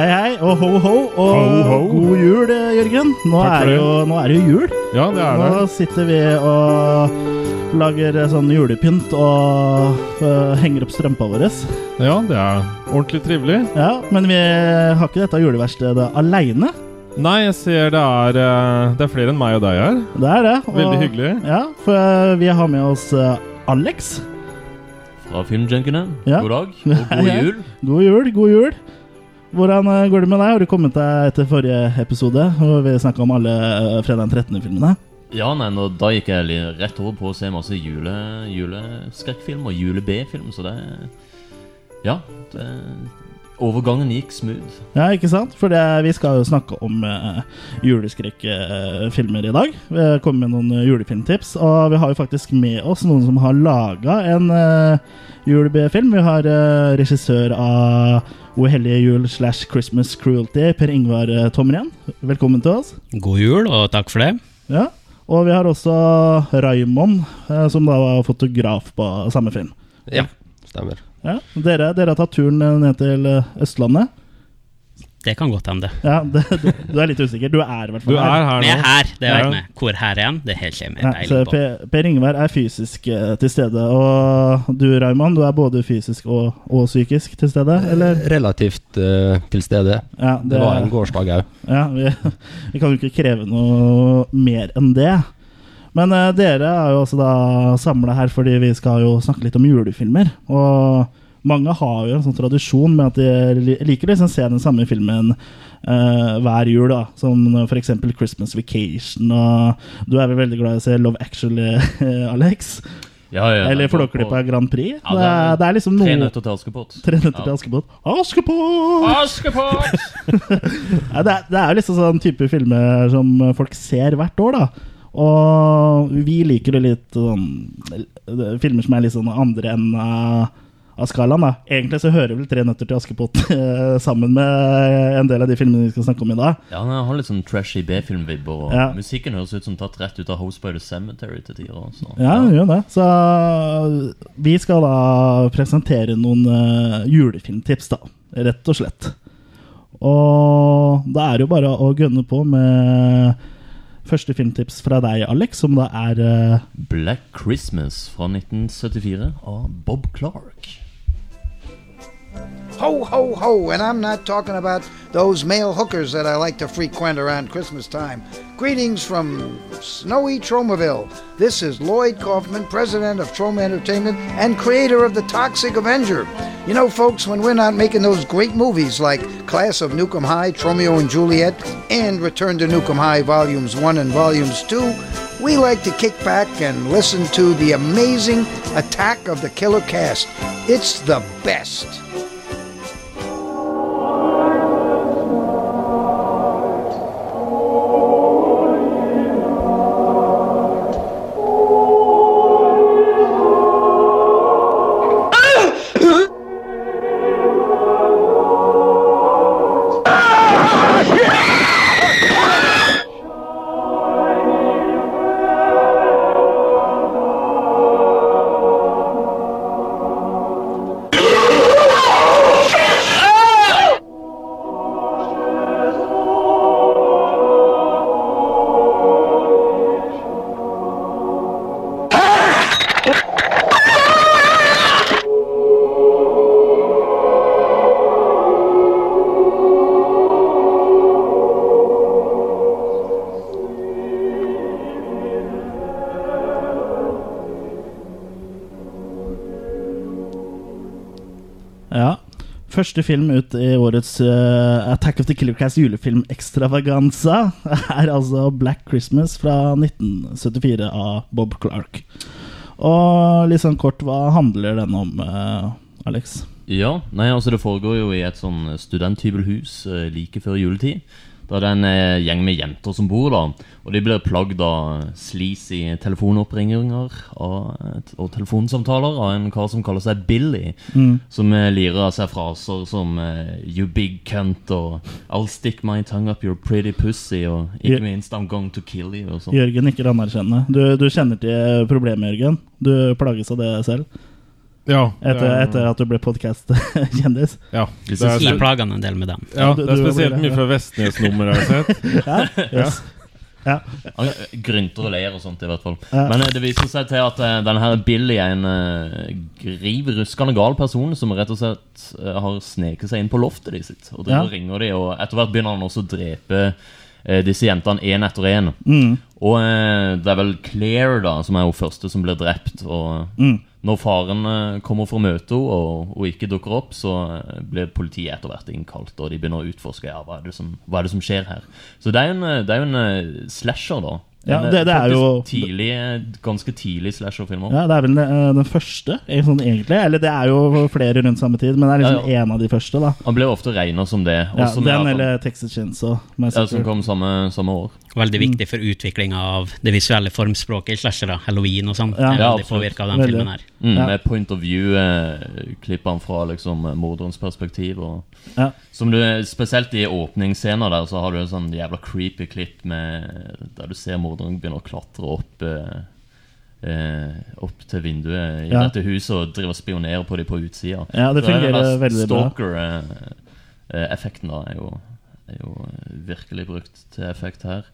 ho, ho, og Ho, ho. god jul, eh, Jørgen. Nå Takk for er, det. jo, nå er det jo jul. Ja, det er det. Nå sitter vi og lager eh, sånn julepynt og eh, henger opp strømpa vår. Ja, det er ordentlig trivelig. Ja, men vi har ikke dette juleverkstedet aleine. Nei, jeg ser det er, eh, det er flere enn meg og deg her. Det er det. og- Veldig hyggelig. Ja, for eh, vi har med oss eh, Alex. Fra Filmjunkene. Ja. God dag og god Hei, hei. jul. God jul, god jul. Hvordan eh, går det med deg? Har du kommet deg etter forrige episode? Hvor vi snakka om alle eh, fredag den 13.-filmene. Ja, nei, nå, Da gikk jeg li- rett over på å se masse jule, juleskrekkfilm og jule-B-film, så det Ja. Det, overgangen gikk smooth. Ja, ikke sant? For det, vi skal jo snakke om uh, juleskrekkfilmer i dag. Vi kommer med noen eh, julefilmtips. Og vi har jo faktisk med oss noen som har laga en uh, jul-B-film. Vi har eh, regissør av O hellige jul slash Christmas Cruelty, Per Ingvar eh, Tomren. Velkommen til oss. God jul, og takk for det. Ja, og vi har også Raymond, eh, som da var fotograf på samme film. Ja, stemmer. Ja, dere, dere har tatt turen eh, ned til eh, Østlandet. Det kan godt hende, det. Ja, det, du, du er litt usikker. Du er i hvert Du fall er her Men jeg er nå. her, det er Ja. jeg med. Hvor her er han? Det er helt kjemi. Ja, så per, per Ingvar er fysisk eh, til stede, og du Raymond, du er både fysisk og, og psykisk til stede, eller? Eh, Relativt eh, til stede. Ja, Det var en gårsdag òg. Ja, vi, vi kan jo ikke kreve noe mer enn det. Men eh, dere er jo også da samla her fordi vi skal jo snakke litt om julefilmer. Og mange har jo en sånn tradisjon med at de li- liker liksom å se den samme filmen eh, hver jul. da Som f.eks. Christmas Vacation. Og du er vel veldig glad i å se Love Actually, Alex? Ja, ja, Eller jeg går på Flåklypa Grand Prix? Ja, det, er, det er liksom Tre noe nøtter til Askepott. Tre nøtter til Ja. Askepott. Askepott! Askepott! Ja, det, er, det er jo liksom sånn type filmer som folk ser hvert år, da. Og vi liker jo litt sånn eh, Filmer som er litt sånn andre enn eh, av skalaen, da. Egentlig så hører vel 'Tre nøtter til Askepott' eh, sammen med en del av de filmene vi skal snakke om i dag. Ja, nei, jeg har litt sånn trashy B-filmvibber. og Ja. Musikken høres ut som tatt rett ut av House by the Cemetery til tider. altså. også. Ja, den gjør det. Så eh, vi skal da presentere noen eh, julefilmtips, da. Rett og slett. Og da er det jo bare å gønne på med første filmtips fra deg, Alex, som da er eh, Black Christmas fra 1974 av Bob Clark. Ho, ho, ho, and I'm not talking about those male hookers that I like to frequent around Christmas time. Greetings from snowy Tromaville. This is Lloyd Kaufman, president of Troma Entertainment and creator of The Toxic Avenger. You know, folks, when we're not making those great movies like Class of Nukem High, Tromeo and Juliet, and Return to Nukem High Volumes 1 and Volumes 2, we like to kick back and listen to the amazing Attack of the Killer Cast. It's the best. Ja. Første film ut i årets eh, Attack of the Killer Cast julefilm Extravaganza er altså Black Christmas fra 1974 av Bob Clark. Og litt sånn kort, hva handler den om, eh, Alex? Ja, nei, altså det foregår jo i et sånn studenthybelhus eh, like før juletid. Da det er en eh, gjeng med jenter som bor da, og de blir plagd av sleazy telefonoppringninger av, eh, og telefonsamtaler av en kar som kaller seg Billy, som eh, lirer av seg fraser som eh, You big cunt og I'll stick my tongue up your pretty pussy og Ja. ikke minst I'm going to kill you og sånn. Jørgen nikker anerkjennende. Du, du kjenner til problemet, Jørgen. Du plages av det selv. Ja, det etter, er- etter at du ble podkast-kjendis. ja, Du det er- synes Jeg plager han en del med dem. ja, du- det er du- spesielt mye fra Vestnes-nummeret jeg har sett. Ja, yes. ja. Han eh, grynter og ler og sånt, i hvert fall. Ja. Men eh, det viser seg til at eh, denne her Billy er en eh, griv ruskende gal person som rett og slett eh, har sneket seg inn på loftet de sitt. Og driver Ja. og ringer de, og etter hvert begynner han også å drepe eh, disse jentene én etter én. Mm. Og eh, det er vel Claire da, som er hun første som blir drept. Og Mm. når faren eh, kommer for å møte henne og, og ikke dukker opp, så eh, blir politiet etter hvert innkalt, og de begynner å utforske ja, hva, er det som, hva er det som skjer her. Så det er jo en, eh, det er jo en eh, slasher, da. En, Ja, eh, det- det er faktisk jo- Tidlig, eh, ganske tidlig slasher-filmer. Ja, det er vel den, eh, den første, eh, sånn egentlig. Eller det er jo flere rundt samme tid, men det er liksom Ja, en av de første, da. Han ble ofte regna som det. Ja, også med at den han- eller Texas Chainsaw ja, som Massacre. kom samme, samme år. Veldig viktig for utviklinga av det visuelle formspråket i slashere. Halloween og sånn. Ja. Jeg er Ja, veldig absolutt. påvirka av den Veldig. filmen her. Mm, Ja. Med point of view-klippene fra liksom, eh, morderens perspektiv. Og, Ja. som du, eh, spesielt i åpningsscener der, så har du en sånn jævla creepy klipp med, der du ser morderen begynner å klatre opp eh, eh, Opp til vinduet i Ja. dette huset og driver og spionerer på dem på utsida. Ja, det Så er fungerer den der veldig bra. Stalker-effekten da er jo, er jo eh, virkelig brukt til effekt her.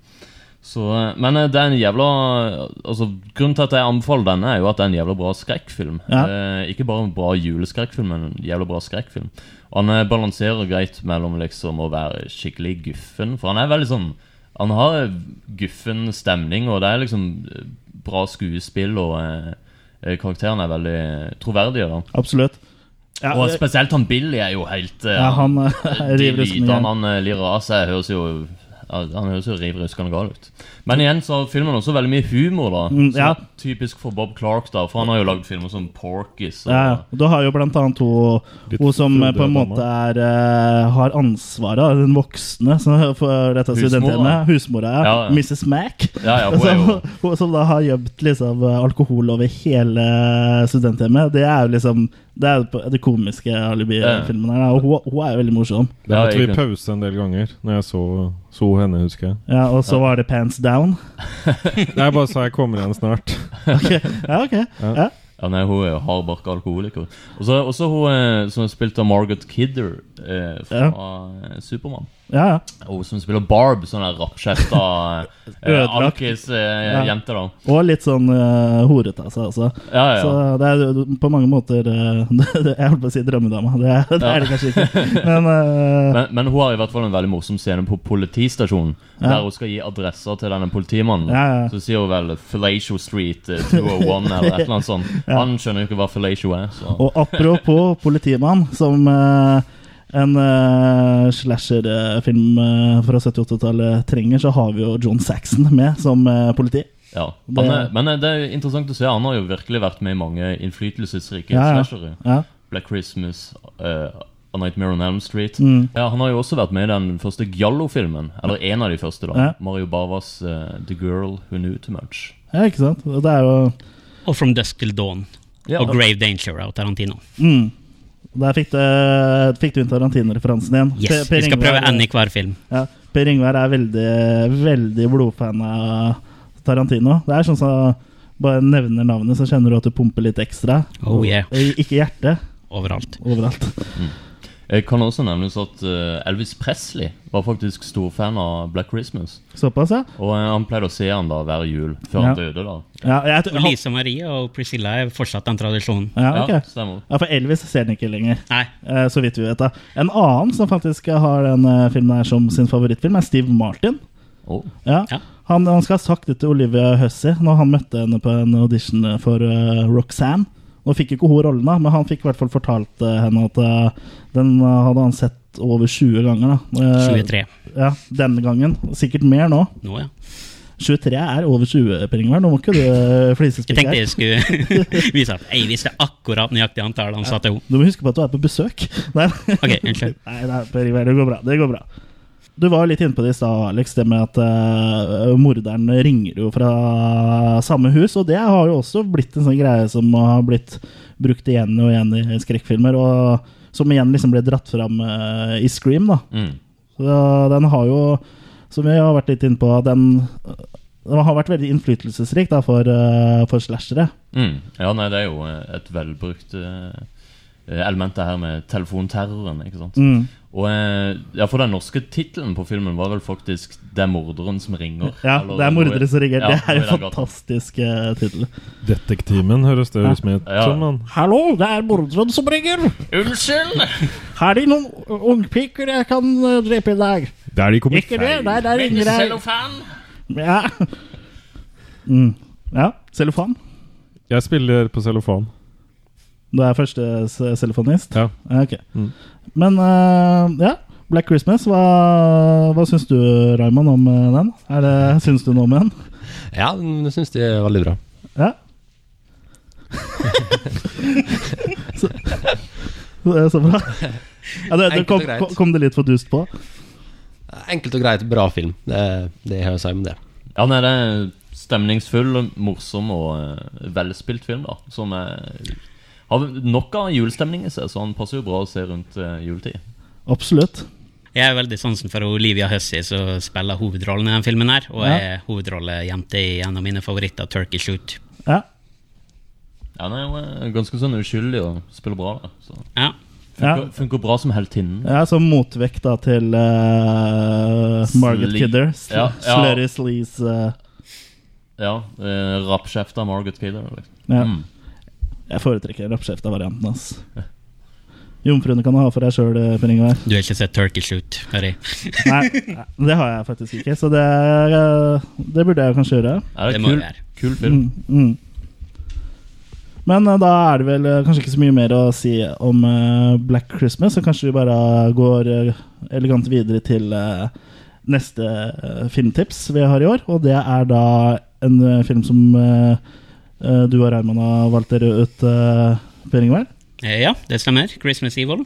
Så, eh, men eh, det er en jævla altså, Grunnen til at jeg anbefaler denne, er jo at det er en jævla bra skrekkfilm. Ja. Eh, ikke bare en bra juleskrekkfilm, men en jævla bra skrekkfilm. Og han eh, balanserer greit mellom liksom å være skikkelig guffen, for han er veldig sånn Han har eh, guffen stemning, og det er liksom eh, bra skuespill, og eh, eh, karakterene er veldig troverdige. da Absolutt. Ja, og det- spesielt han Billy er jo helt eh, ja, han eh, De river ruskende lydene igjen. han eh, lirer av seg, høres jo ja, han høres jo riv ruskende gal ut. Men igjen så har filmen også veldig mye humor, da. Mm, som ja. er typisk for Bob Clark, da. For han har jo lagd filmer som Porkies. Og, Ja, ja. Du har jo blant annet hun, hun som eh, på en måte er, eh, har ansvaret, da, den voksne som- for dette Husmora. studentene. Husmora, ja. Ja, ja. Mrs. Mac. Ja, ja, hun er som, jo- hun som da har gjemt liksom, alkohol over hele studenthjemmet. Det er jo liksom Det er jo på- det komiske Ja. alibi-filmen her. da. Og hun, hun er jo veldig morsom. Det Ja, måtte vi egentlig. pause en del ganger når jeg så, så henne, husker jeg. Ja, og så var det Pants Down. Nei, bare så jeg kommer igjen snart. Ok, Ja, ok. Ja. Ja, nei, hun er jo hardbarka alkoholiker. Og så også hun eh, som er spilt av Margot Kidder eh, fra eh, Supermann. ja, ja. Og hun som spiller Barb, sånn der rappskjefta eh, Ødelagt. Ja. alkis-jente, da. Og litt sånn uh, horete av seg også. Ja, ja, ja. Så det er jo på mange måter eh, det, det, Jeg holdt på å si drømmedama. Det, er- det er det kanskje ikke. Men eh, Men, men hun har i hvert fall en veldig morsom scene på politistasjonen. Der hun skal gi adresser til denne politimannen. Ja, ja. Så sier hun vel 'Fellatio Street eh, 201' eller et eller annet sånt. Han skjønner jo ikke hva fellatio er. Så. Og apropos politimann, som eh, en eh, slasherfilm eh, fra 70-80-tallet trenger, så har vi jo John Saxon med som eh, politi. Ja. Han er, Det- men eh, det er interessant å se. Han har jo virkelig vært med i mange innflytelsesrike Ja, ja. slashere. Ja, Black Christmas, eh, A Nightmare on Elm Street. Mm. Ja, han har jo også vært med i den første Giallo-filmen. Eller en av de første, da. Ja. Mario Bavas eh, 'The Girl Who Knew Too Much'. ja ikke sant? Og Det er jo Og From Dusk Till Dawn. Ja. Og Grave Danger av Tarantino. mm. Der fikk du, fikk du inn Tarantino-referansen igjen. Per- Yes, Per Vi skal Ingvar- prøve en i hver film. Ja, Per Ingvar er veldig, veldig blodfan av Tarantino. Det er sånn som bare nevner navnet, så kjenner du at du pumper litt ekstra. Oh, yeah. Og eh, Ikke hjertet. Overalt. Overalt. Jeg kan også nevnes at eh, Elvis Presley var faktisk stor fan av Black Christmas. Såpass, ja. Og eh, han pleide å se han da hver jul, før han døde, da. Ja, jeg, tror- Og Lisa Marie og Priscilla er fortsatt den tradisjonen. ja, ok. stemmer. ja, for Elvis ser den ikke lenger. Nei, eh, Så vidt vi vet da En annen som faktisk har den eh, filmen her som sin favorittfilm, er Steve Martin. Å, Ja. Ja. Han, han skal ha sagt det til Olivia Hussey når han møtte henne på en audition for eh, Roxanne. Nå fikk ikke hun rollen, da, men han fikk i hvert fall fortalt eh, henne at eh, den eh, hadde han sett over 20 ganger. da Eh, 23. Ja, Denne gangen. Sikkert mer nå. Nå, ja. 23 er over 20, Per Ingvar. Nå må ikke du eh, Jeg flisespikke tenkte her. jeg skulle vise at jeg visste akkurat nøyaktig antall han sa til henne. Du må huske på at du er på besøk. Nei, Ok, unnskyld. nei, nei Per Ingvar, det går bra. Det går bra. Du var jo litt inne på det i stad, Alex, det med at eh, morderen ringer jo fra samme hus. Og det har jo også blitt en sånn greie som har blitt brukt igjen og igjen i skrekkfilmer. Og som igjen liksom ble dratt fram eh, i Scream, da. Mm. Så den har jo, som vi har vært litt inne på, den Det har vært veldig innflytelsesrikt da, for, eh, for slashere. Mm. Ja, nei, det er jo eh, et velbrukt eh, element, det her med telefonterroren. ikke sant? Mm. Og eh, ja, For den norske tittelen på filmen var vel faktisk 'Det er morderen som ringer'. Ja, eller det er noe i- 'Mordere som ringer'. Ja, det er noe i en den gata. fantastisk uh, tittel. Detektimen høres det ut som. Ja. men Hallo, det er morderen som ringer! Unnskyld! Har de noen ungpiker jeg kan eh, drepe i dag? Det er de kommer Ikke det? Nei, der Ikke ringer jeg. cellofan! Ja. Mm. ja. Cellofan. Jeg spiller på cellofan. Du er første ce- cellofanist? Ja. Ok. Mm. Men eh, ja, Black Christmas, hva, hva syns du, Raymond, om eh, den? Er det, syns du noe om den? Ja, den- det syns de er veldig bra. Ja? så, så, så bra. Ja, det, det Enkelt og kom, greit. kom- kom det litt for dust på? Enkelt og greit, bra film. Det, det har jeg å si om det. Ja, nei, det er en stemningsfull, morsom og eh, velspilt film, da. Som eh, har nok av julestemning i seg, så han passer jo bra å se rundt eh, juletid. Absolutt. Jeg er veldig sansen for Olivia Hussey, som spiller hovedrollen i denne filmen. her, Og Ja. er hovedrollejente i en av mine favoritter, Turkey Shoot. Ja. Ja, Hun er jo eh, ganske sånn uskyldig og spiller bra. da så. Ja. Funker, funker bra som heltinnen. Ja, som motvekt da til eh, Margaret Slee. Kidder. Sl Ja, ja. Slurry Slees eh, Ja, eh, Rappskjefta Margaret Kidder. Liksom. ja. Mm. Jeg foretrekker rappskjefta-varianten hans. Jomfruene kan du ha for deg sjøl, Per Ingvar. Du har ikke sett Turkey Shoot, hører jeg. Nei, nei, det har jeg faktisk ikke, så det, er, eh, det burde jeg kanskje gjøre. Ja, det Det er må kul, det være. kul film. Mm, mm. Men eh, da er det vel eh, kanskje ikke så mye mer å si om eh, Black Christmas, så kanskje vi bare går eh, elegant videre til eh, neste eh, filmtips vi har i år. Og det er da en eh, film som eh, eh, du og Raymond har valgt dere ut, eh, Per Ingvar. Eh, Ja, det stemmer. Christmas Evil.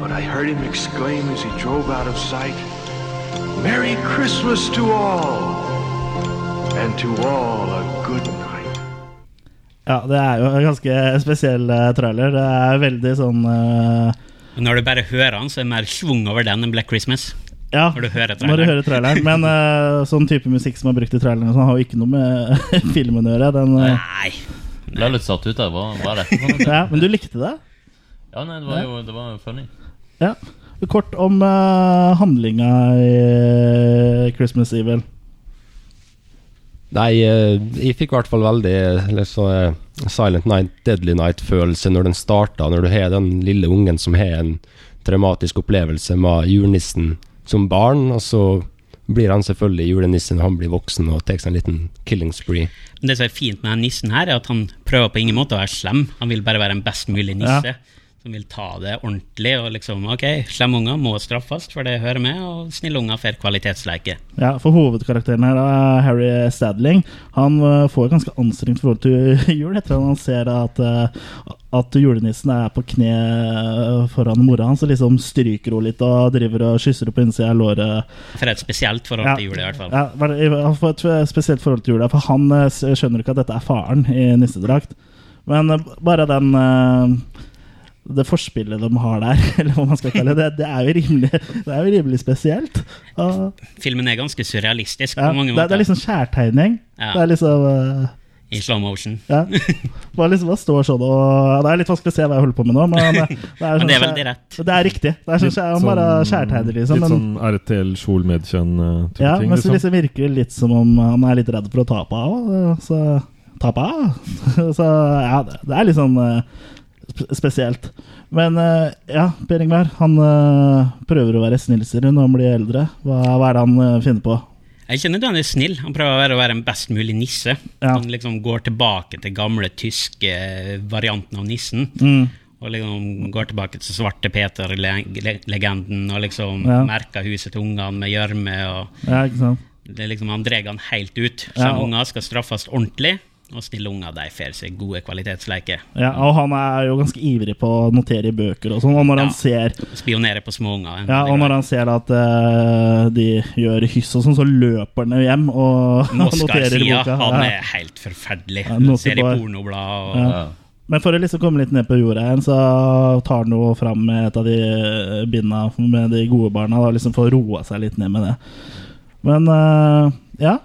but I heard him exclaim as he drove out of sight, Merry Christmas to all, and to all a good night. Ja, det er jo en ganske spesiell eh, trailer. Det er veldig sånn eh, Og Når du bare hører han, så er det mer schwung over den enn Black Christmas. ja, Når du hører Når du traileren. hører traileren. Men eh, sånn type musikk som er brukt i traileren, og sånn, har jo ikke noe med filmen å gjøre. Den, eh, Nei. Ble litt satt ut der. Hva, hva er dette for noe? ja, men du likte det? Ja, nei, det var jo det var jo funny. Ja. Kort om eh, handlinga i eh, Christmas Evil. Nei, eh, jeg fikk i hvert fall veldig eller så, eh, Silent Night, Deadly Night-følelse når den starta, når du har den lille ungen som har en traumatisk opplevelse med julenissen som barn, og så blir han selvfølgelig julenissen når han blir voksen og tar seg en liten killing spree. Men det som er fint med den nissen her, er at han prøver på ingen måte å være slem. Han vil bare være en best mulig nisse. Som vil ta det ordentlig og liksom Ok, slemme unger må straffes, for det hører med, og snille unger får kvalitetsleike. Ja, for Hovedkarakteren her, da, Harry Stadling, han eh, får et ganske anstrengt forhold til jul etter at han ser at, eh, at julenissen er på kne eh, foran mora hans og liksom stryker henne litt og driver og kysser henne på innsida av låret. For et spesielt forhold til jul, i hvert fall. Ja, hva er det- han får et spesielt forhold til jula, for han eh, s- skjønner ikke at dette er faren i nissedrakt. Men eh, bare den eh, det forspillet de har der, eller hva man skal kalle det, det er jo rimelig, det er jo rimelig spesielt. Og, Filmen er ganske surrealistisk ja, på mange det, er- måter. det er liksom skjærtegning. Ja. Det er liksom eh, I slow motion. ja. Bare liksom bare står sånn og Det er litt vanskelig å se hva jeg holder på med nå, men eh, det, er, Men det er sånn veldig skjær- rett. Det er riktig. Det er sånn, skjær- han bare skjærtegner, liksom. Litt men- sånn RTL-kjol med kjønn-type Ja, eh, men ting. så Liksom. liksom virker det litt som om han er litt redd for å tape av. Så Tappa. Så ja, det det er litt sånn eh, sp- spesielt. Men eh, ja, Per Ingvar, han eh, prøver å være snillsere når han blir eldre. Hva, hva er det han eh, finner på? Jeg kjenner at han er snill. Han prøver å være, å være en best mulig nisse. Ja. Han liksom går tilbake til gamle tyske eh, varianten av nissen. Og liksom går tilbake til Svarte Peter-legenden og liksom Ja. merker huset til ungene med gjørme. og Ja, ikke sant? det er liksom Han drar han helt ut. Så Ja, og- unger skal straffes ordentlig, og snille unger de får seg gode kvalitetsleker. Ja, og han er jo ganske ivrig på å notere i bøker og sånn, og når Ja. Mm, han ser Spionere på små unger. ja, og når han ser at eh, de gjør hyss og sånn, så løper han jo hjem og noterer i Moskva-sida, boka. han Ja. er helt forferdelig. Ja, noter Ser i bare- pornoblad og Ja. Men for å liksom komme litt ned på jorda igjen, så tar han jo fram med et av de eh, binda med de gode barna, da, liksom for å roe seg litt ned med det. Men eh, ja.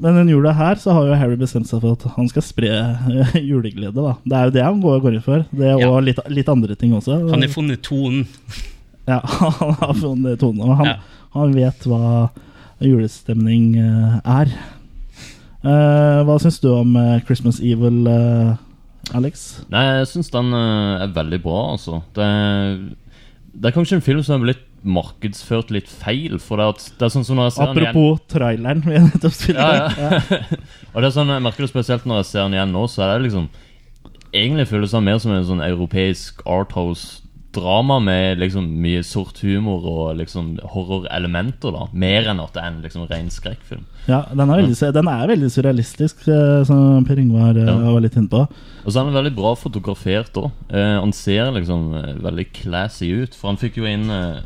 Men den jula her så har jo Harry bestemt seg for at han skal spre eh, juleglede. da Det er jo det han går, går inn for. Det Ja. Og litt, litt andre ting også. Han har funnet tonen. Ja, han har funnet tonen. Og han, Ja. han vet hva julestemning eh, er. Eh, hva syns du om eh, Christmas Evil, eh, Alex? Nei, jeg syns den eh, er veldig bra, altså. Det er, det er kanskje en film som er blitt markedsført litt feil. For det er, at, det er sånn som når jeg ser den igjen Apropos traileren vi nettopp spilte. ja, ja. Og det er sånn, jeg merker det spesielt når jeg ser den igjen nå, så er det liksom Egentlig føles den mer som en sånn europeisk arthouse-drama med liksom mye sort humor og liksom horrorelementer, da. Mer enn at det er en liksom ren skrekkfilm. Ja, den er veldig, den er veldig surrealistisk, eh, som Per Yngvar eh, Ja. var litt inne på. Og så er han veldig bra fotografert òg. Eh, han ser liksom eh, veldig classy ut, for han fikk jo inn eh,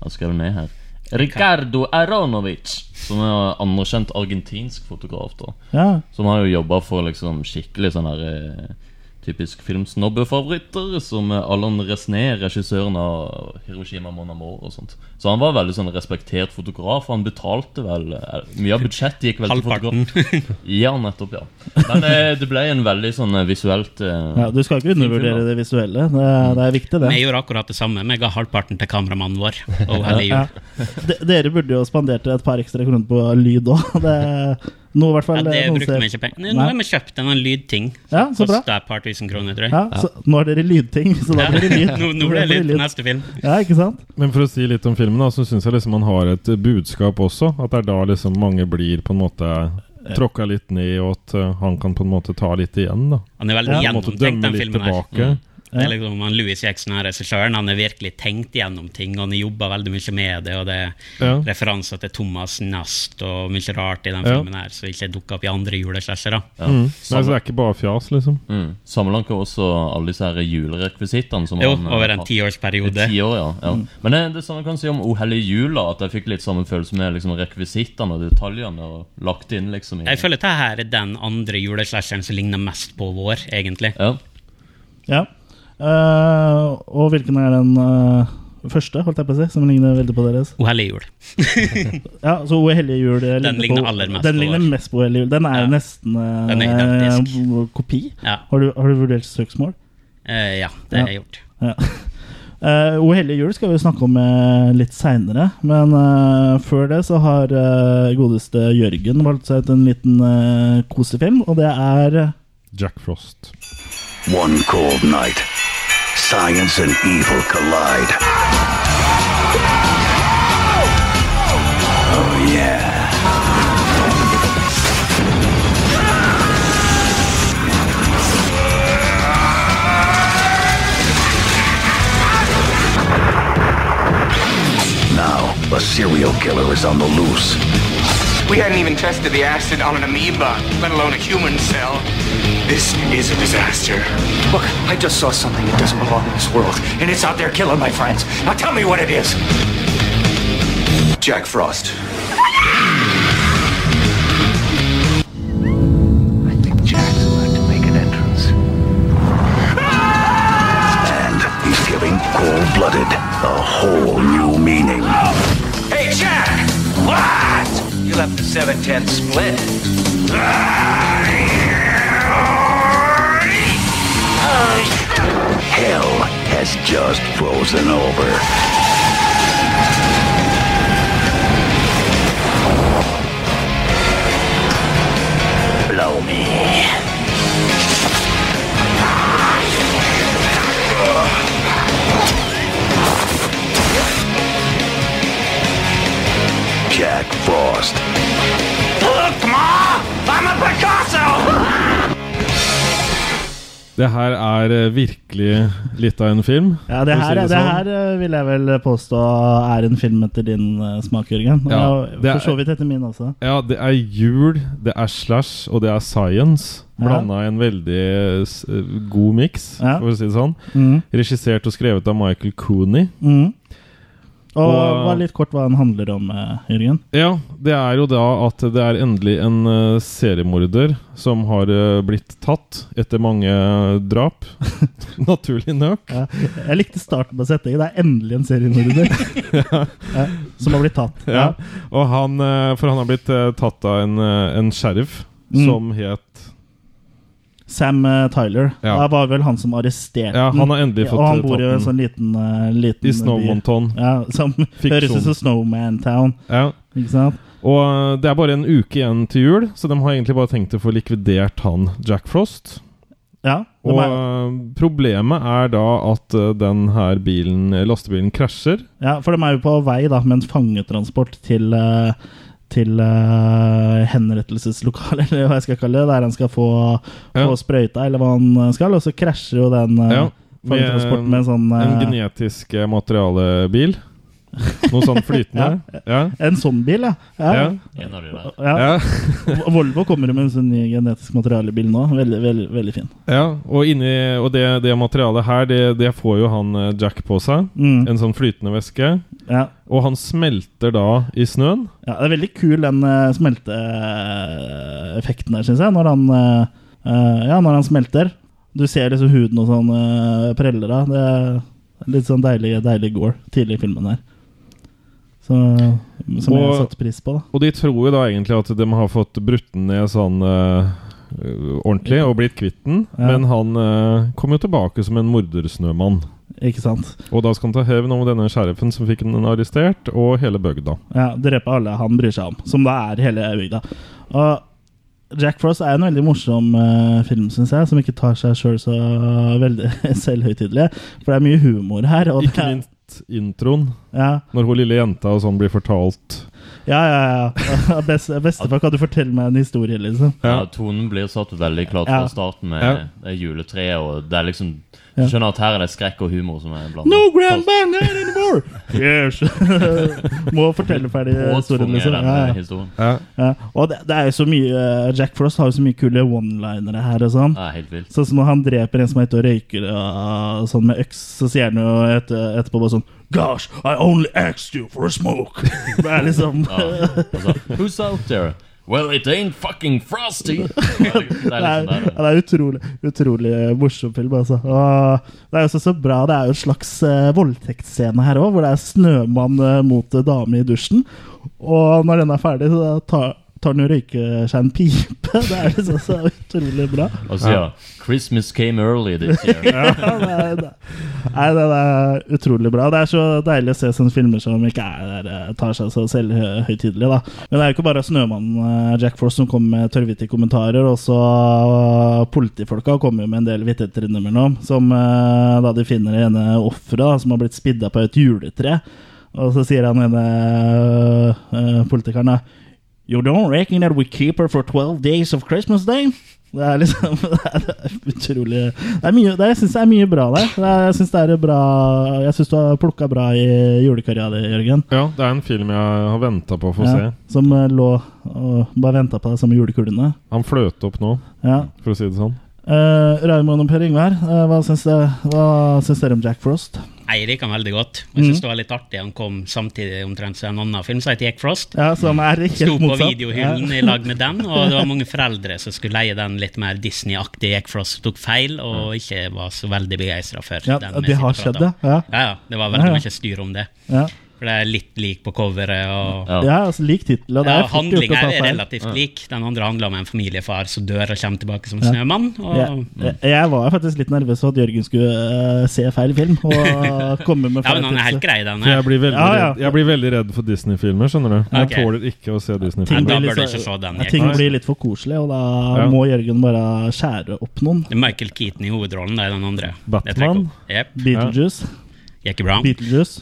Han skrev ned her. Ricardo Aronovic, som er anerkjent argentinsk fotograf. da Ja, Som har jo jobba for liksom skikkelig sånn her eh, Typisk filmsnobbefavoritter, som eh, Allan Resné, regissøren av Hiroshima Mon Amour og sånt. Så han var veldig sånn respektert fotograf, og han betalte vel eh, Mye av budsjettet gikk vel til Halvparten. fotograf. Ja, nettopp, ja. Men eh, det ble en veldig sånn eh, visuelt eh, ja Du skal ikke undervurdere det visuelle. Det, Mm. er- det er viktig, det. Vi gjorde akkurat det samme. Vi ga halvparten til kameramannen vår. Og hele Ja. jul. De, dere burde jo spandert et par ekstra kroner på lyd òg. Noe i hvert Ja, fall. eh, det noen brukte ser- vi ikke penger Nei, Nå har vi kjøpt en annen lydting. Ja, så bra. Kostet et par tusen kroner, tror jeg. Ja, så, nå har dere lydting, så da blir det lyd. Nå, nå blir det lyd på neste film. Ja, ikke sant? Men for å si litt om filmen, da, så syns jeg liksom han har et eh, budskap også. At det er da liksom mange blir på en måte tråkka litt ned, og at eh, han kan på en måte ta litt igjen, da. Han er veldig Ja. På en måte gjennomtenkt, dømme den litt filmen her. tilbake. Det er liksom, han Louis Jackson her, regissøren, han er virkelig tenkt gjennom ting, og han jobber veldig mye med det, og det er Ja. referanser til Thomas Nast og mye rart i den Ja. filmen her, som ikke dukker opp i andre juleslasher. da. ja. Mm. Nei, så det Samme- er ikke bare fjas, liksom. mm. Sammenlanker også alle disse her julerekvisittene. som Jo, han, eh, over en har- tiårsperiode. Ti år, ja. Mm. ja. Men det, det samme kan jeg si om Ohell i jula. At jeg fikk litt samme følelse med liksom, rekvisittene og detaljene. Og lagt inn liksom i Mm. Jeg føler dette her er den andre juleslasheren som ligner mest på vår, egentlig. ja. Ja. Eh, og hvilken er den eh, første, holdt jeg på å si, som ligner veldig på deres? O hellige jul. Ja, så O hellige jul eh, Den på- ligner aller mest Den på ligner vår. mest på O hellige jul. Den er Ja. jo nesten eh, Den er identisk. eh, kopi. Ja. Har du, har du vurdert søksmål? Eh, ja, det Ja. har jeg gjort. Ja. Eh, o hellige jul skal vi jo snakke om eh, litt seinere, men eh, før det så har eh, godeste Jørgen valgt seg ut en liten eh, kosefilm, og det er Jack Frost. One cold night, science and evil collide. Oh, yeah. Now, a serial killer is on the loose. We hadn't even tested the acid on an amoeba, let alone a human cell. This is a disaster. Look, I just saw something that doesn't belong in this world, and it's out there killing my friends. Now tell me what it is. Jack Frost. I think Jack's about to make an entrance. And he's giving cold blooded a whole new meaning. Hey, Jack! What? You left the 710 split. Hell has just frozen over. Blow me. Det her er eh, virkelig litt av en film. Ja, det for å si her, det sånn. her eh, vil jeg vel påstå er en film etter din eh, smak, Jørgen. Og Ja, det er- for så vidt etter min også. Ja, det er jul, det er slash, og det er science. Ja. Blanda i en veldig eh, s- eh, god miks, Ja. for å si det sånn. Mhm. Regissert og skrevet av Michael Cooney. Mhm. Og, Og- bare litt kort hva den handler om, eh, Jørgen. Ja, det er jo da at det er endelig en eh, seriemorder som har eh, blitt tatt etter mange eh, drap. Naturlig nok. Ja. Jeg likte starten på setningen. Det er endelig en seriemorder ja. som har blitt tatt. Ja. Og han, eh, for han har blitt eh, tatt av en, eh, en sheriff Mm. som het Sam eh, Tyler. Ja. Det var vel han som arresterte Ja, han har endelig fått eh, Og han bor tatt jo i en den. sånn liten, eh, liten I by. Snowmonton. Ja, som høres ut som Snowman Town. Ja. Ikke sant? Og eh, det er bare en uke igjen til jul, så de har egentlig bare tenkt å få likvidert han Jack Frost. Ja, de Og er, eh, problemet er da at eh, den her bilen, eh, lastebilen krasjer. ja, for de er jo på vei da med en fangetransport til eh, til eh, henrettelseslokalet, eller hva jeg skal kalle det, der han skal få, Ja. få sprøyta, eller hva han eh, skal. Og så krasjer jo den eh, Ja, med fangetransporten med en sånn En eh, genetisk eh, materialebil. Noe sånn flytende. ja. En sånn bil, ja. Ja. Ja. En av de der. ja. Ja. Volvo kommer jo med en sånn ny genetisk materialebil nå. Veldig, veldig, veldig fin. ja. Og, inni, og det, det materialet her, det, det får jo han eh, Jack på seg. Mm. En sånn flytende væske. Ja. Og han smelter da i snøen. ja, Det er veldig kul den eh, smelteeffekten der, syns jeg. Når han, eh, eh, ja, når han smelter. Du ser liksom huden og sånn eh, preller av. Det er litt sånn deilig, deilig gore tidlig i filmen her. Så, som jeg har Og- satt pris på, da. Og de tror jo da egentlig at de har fått brutt den ned sånn eh, ordentlig og blitt kvitt den. Ja. Men han eh, kom jo tilbake som en mordersnømann. Ikke sant? Og da skal han ta hevn over denne sheriffen som fikk den arrestert, og hele bygda. Ja, drepe alle han bryr seg om, som da er hele bygda. Og Jack Frost er en veldig morsom eh, film, syns jeg, som ikke tar seg sjøl så veldig selvhøytidelig. For det er mye humor her. Og det Ikke er- minst introen. Ja, Når hun lille jenta og sånn blir fortalt ja, ja. ja. Best, Bestefar, kan du fortelle meg en historie, liksom? Ja. Ja, tonen blir satt veldig klart Ja. fra starten med Ja. det juletreet, og det er liksom Ja. Du skjønner at her er det skrekk og humor som er blanda. No grandma, not anymore! Yes. Må fortelle ferdig historien, liksom. Ja, ja. historien. Ja. Og det, det er jo så mye eh, Jack Frost har jo så mye kule one-linere her og sånn. Det er helt vilt. Sånn som når han dreper en som er ute og røyker og sånn med øks, så sier han jo et, etterpå bare sånn Gosh, I only asked you for a smoke. Det er liksom Ja. Altså, Who's out there? Well, it ain't fucking Frosty! Det er liksom Det er, der, ja, det er utrolig utrolig morsom film, altså. Og det er jo også så bra. Det er jo en slags eh, voldtektsscene her òg, hvor det er snømann eh, mot eh, dame i dusjen. Og når den er ferdig, så tar, tar den og røyker seg en pipe. Det er liksom så utrolig bra. Og så ja, 'Christmas came early this year'. Ja, det er- det er- Nei, det er utrolig bra. Det er så deilig å se sånne filmer som ikke er der, eh, tar seg så selvhøytidelig. da. Men det er jo ikke bare snømannen eh, Jack Frost som kommer med tørrvittige kommentarer. Også eh, politifolka kommer jo med en del vittigheter innimellom. Som eh, da de finner det ene offeret da, som har blitt spidda på et juletre. Og så sier han ene eh, politikeren da You don't reckon that we keep her for 12 days of Christmas day? Det er liksom Det er, det er utrolig det er mye, det, Jeg syns det er mye bra der. Det er, jeg syns det er bra Jeg synes du har plukka bra i julekarrieren din, Jørgen. Ja, det er en film jeg har venta på å få Ja, se. som eh, lå og bare venta på deg som julekulene. Han fløt opp nå, Ja. for å si det sånn. Eh, Raymond og Per Yngvar, eh, hva syns dere- hva syns dere om Jack Frost? Jeg liker han veldig godt. Jeg Mm. synes det var litt artig han kom samtidig omtrent som en annen film som heter Jack Frost. Ja, Som er Sto helt på motsatt. videohyllen i lag med den, og det var mange foreldre som skulle leie den litt mer Disney-aktige Jack Frost, som tok feil og ikke var så veldig begeistra for Ja, den. ja, med det sine har plater. skjedd, ja. Ja, Ja, ja. Det var Ja, ja. veldig mye styr om det. ja. For det er litt lik på coveret. og... Ja. ja altså, lik tittel, og det Ja, er fort gjort å Handlinga ta er feil. relativt lik. Den andre handler om en familiefar som dør og kommer tilbake som snømann. Og Ja. Jeg, jeg var faktisk litt nervøs for at Jørgen skulle eh, se feil film og komme med Ja, feil men han er helt tips. grei, den For eh. her. jeg blir veldig, Ja, ja. Redd, jeg blir veldig redd for Disney-filmer, skjønner du. Jeg Ok. tåler ikke å se Nei, Ting Disney-filmer. da blir bør du litt så- ikke se den. Ja, Jeg. ting blir litt for koselig, og da Ja. må Jørgen bare skjære opp noen. Det er Michael Keaton i hovedrollen, det er den andre. Batman? Jepp. Beetlejuice. Jackie Brown. Beetlejuice.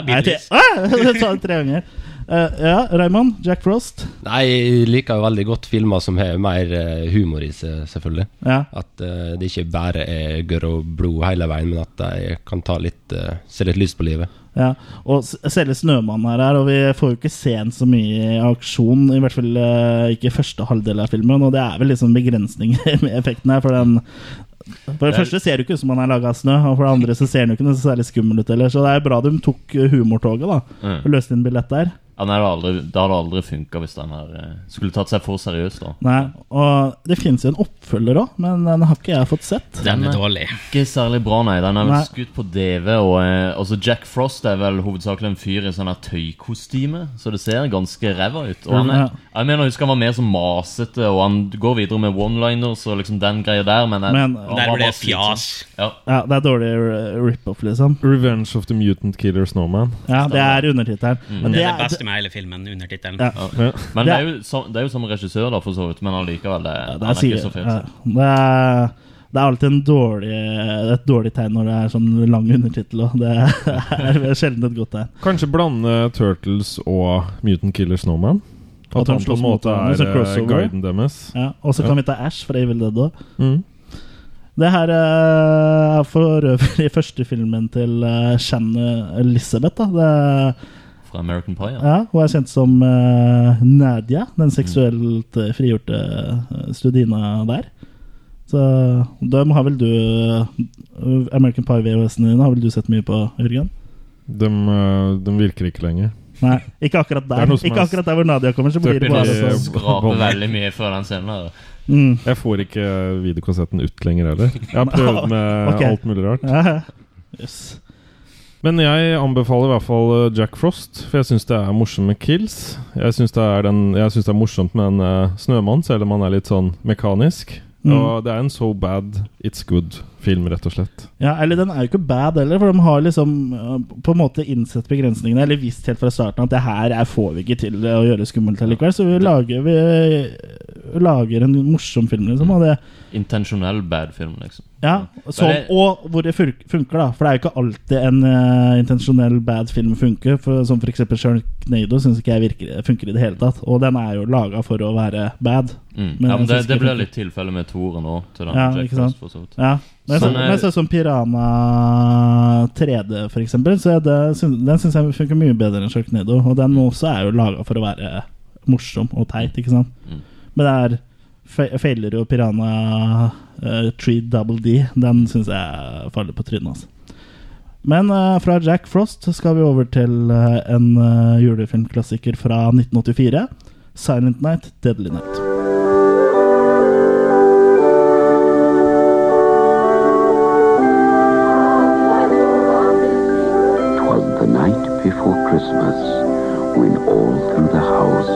Nei, tre, Beatles. ah, jeg sa det tre ganger. Eh, ja, Raymond. Jack Frost. Nei, jeg liker jo veldig godt filmer som har mer eh, humor i seg, selvfølgelig. Ja. At eh, det ikke bare er gørr og blod hele veien, men at de kan ta litt, eh, se litt lyst på livet. Ja, og s- selve Snømannen er her, og vi får jo ikke se den så mye i aksjon. I hvert fall eh, ikke i første halvdel av filmen, og det er vel liksom begrensninger med effekten her. For den For det første ser du ikke ut som han er laga av snø, og for det andre så ser han jo ikke noe særlig skummel ut heller. Så det er bra de tok eh, humortoget, da. Mm. Og løste inn billett der. Ja, nei, det hadde aldri, det hadde aldri funka hvis den her eh, skulle tatt seg for seriøst. da Nei, og det finnes jo en oppfølger òg, men den har ikke jeg fått sett. Den er dårlig. Ikke særlig bra, nei. Den er vel Nei. skutt på DV. Og eh, altså Jack Frost er vel hovedsakelig en fyr i sånn her tøykostyme, så det ser ganske ræva ut. Og han Ja. er, jeg mener, jeg husker han var mer så masete, og han går videre med one-liners og liksom den greia der, men, jeg, Men- han Der var Der blir bare det fjas. slitsom. Ja. Ja, Det er dårlig eh, rip-off, liksom. Revenge of the Mutant Killer Snowman. Ja, Det er undertittelen. Men Det det er det er- beste med hele filmen, undertittelen. Ja. Men Det det er- er, jo, sam- det er jo samme regissør, da, for så vidt, men allikevel. Det, Ja, han det, er er ikke så sier- fet. ja, det, er, det er alltid en dårlig, et dårlig tegn når det er sånn lang undertittel. og Det er sjelden et godt tegn. Kanskje blande Turtles og Mutant Killer Snowman? At At de han på slåss en mot måte hverandre, er så eh, crossover. guiden deres. Ja, og så kan vi ta Ash fra Evil Dead òg. Mm. Det her eh, er for øvrig første filmen til eh, Shannon Elizabeth. Da. Det, Fra American Pie. Ja. ja, hun er kjent som eh, Nadia, den seksuelt eh, frigjorte eh, studina der. Så dem har vel du eh, American Pie VHS-en din har vel du sett mye på, Jørgen? De, eh, de virker ikke lenger. Nei, ikke akkurat Det der er noe som Ikke er- akkurat der hvor Nadia kommer, så blir det bare Begynner å sånn. skrape Bomber. veldig mye før den scenen. der. Mm. Jeg får ikke videokassetten ut lenger heller. Jeg har prøvd med Ok. alt mulig rart. Ja. Yes. Men jeg anbefaler i hvert fall eh, Jack Frost, for jeg syns det er morsomt med kills. Jeg syns det, er den- jeg synes det er morsomt med en eh, snømann, selv om han er litt sånn mekanisk. Mm. Og det er en so bad it's good-film, rett og slett. Ja, eller den er jo ikke bad heller, for de har liksom øh, på en måte innsett begrensningene, eller visst helt fra starten at det her er, får vi ikke til å gjøre skummelt likevel, så vi Mm. lager, vi lager en morsom film, liksom. Og det, Intensjonell bad film, liksom. ja, Mm. som, det- og hvor det fur- funker, da. For det er jo ikke alltid en eh, intensjonell bad film funker. For, som f.eks. Sharknado syns ikke jeg virker, funker i det hele tatt. Og den er jo laga for å være bad. Mm. Men ja, jeg men det, synes det ikke ble det- litt tilfelle med toeren òg. Til den Ja, Jack ikke sant? Frost, for så vidt. Ja. Men jeg Sånn så- men jeg er- så som Piranha 3D, for eksempel, så er det, syn- den syns jeg funker mye bedre enn Sharknado. Og den også er jo laga for å være morsom og teit, ikke sant. Men det er fe- feiler jo Piranha uh, 3 Double D. Den syns jeg faller på trynet, altså. Men eh, fra Jack Frost skal vi over til eh, en eh, julefilmklassiker fra 1984. 'Silent Night, Deadly Night'. Twas the night before Christmas when all through the house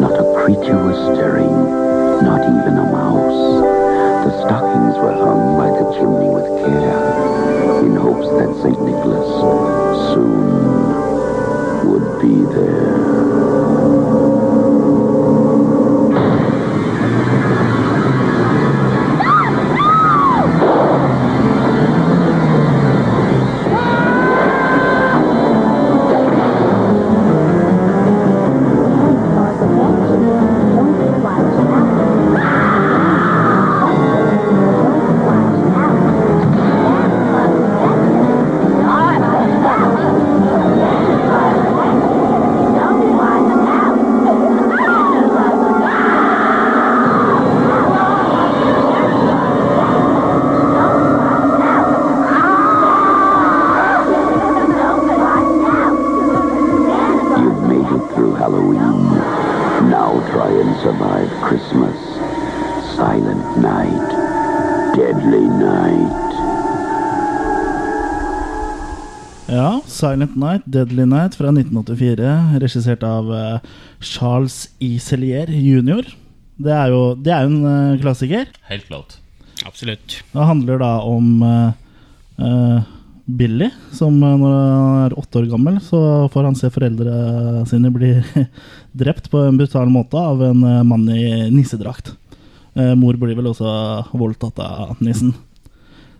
not a creature was stirring, not even a mouse. The stockings were hung by the chimney with care in hopes that St. Nicholas soon would be there. You've made it through Halloween. Now try and survive Christmas. Silent night. Deadly night. Ja, 'Silent Night, Deadly Night' fra 1984, regissert av eh, Charles E. Cellier jr. Det er jo, det er jo en eh, klassiker. Helt klart. Absolutt. Det handler da om eh, eh, Billy, som eh, når han er åtte år gammel, så får han se foreldrene sine bli drept på en brutal måte av en eh, mann i nissedrakt. Eh, mor blir vel også voldtatt av nissen.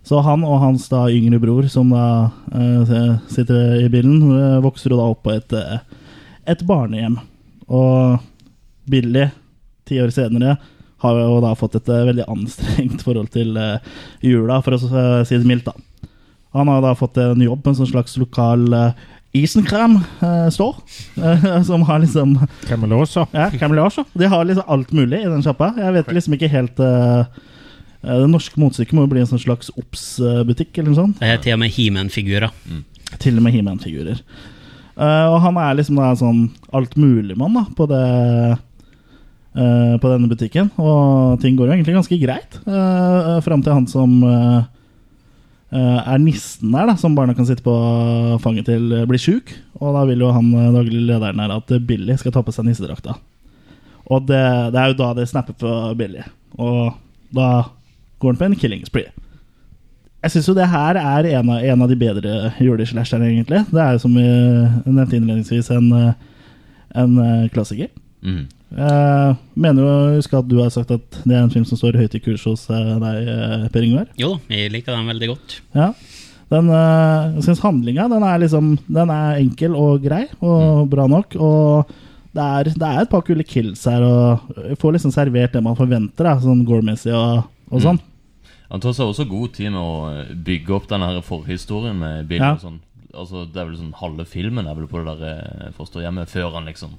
Så han og hans da yngre bror, som da eh, sitter i bilen, eh, vokser jo da opp på et, eh, et barnehjem. Og Billy, ti år senere, har jo da fått et eh, veldig anstrengt forhold til eh, jula, for å eh, si det mildt, da. Han har da fått en jobb på en sånn slags lokal eh, Isenkrem-store, som har liksom Camelot, ja, Camelot. De har liksom alt mulig i den sjappa. Jeg vet liksom ikke helt eh, eh, Det norske motstykket må jo bli en sånn slags Obs-butikk eller noe sånt. Det er til og med He-Man-figurer. Til og med He-Man-figurer. Eh, og han er liksom da en sånn altmuligmann da, på det eh, På denne butikken. Og ting går jo egentlig ganske greit uh, fram til han som eh, eh, er nissen der, da, som barna kan sitte på fanget til, eh, blir sjuk. Og da vil jo han eh, daglig lederen her at eh, Billy skal ta på seg nissedrakta. Og det, det er jo da det snapper på Billy. Og da går han på en killing spree. Jeg syns jo det her er en av, en av de bedre juleslasherne, egentlig. Det er jo som vi nevnte innledningsvis, en, eh, en eh, klassiker. Mhm. Jeg mener jo å huske at du har sagt at det er en film som står høyt i kurs hos eh, deg, eh, Per Yngvar. Jo da, jeg liker dem veldig godt. Ja. Den, eh, jeg syns handlinga den er, liksom, den er enkel og grei og bra nok. Og det er, det er et par kule kills her, og jeg får liksom servert det man forventer, da, sånn gourmessig og, og sånn. Han tar seg også god tid med å eh, bygge opp den her forhistorien med Bill. Ja. og Sånn. Altså, det er vel sånn halve filmen er vel på det der eh, fosterhjemmet før han liksom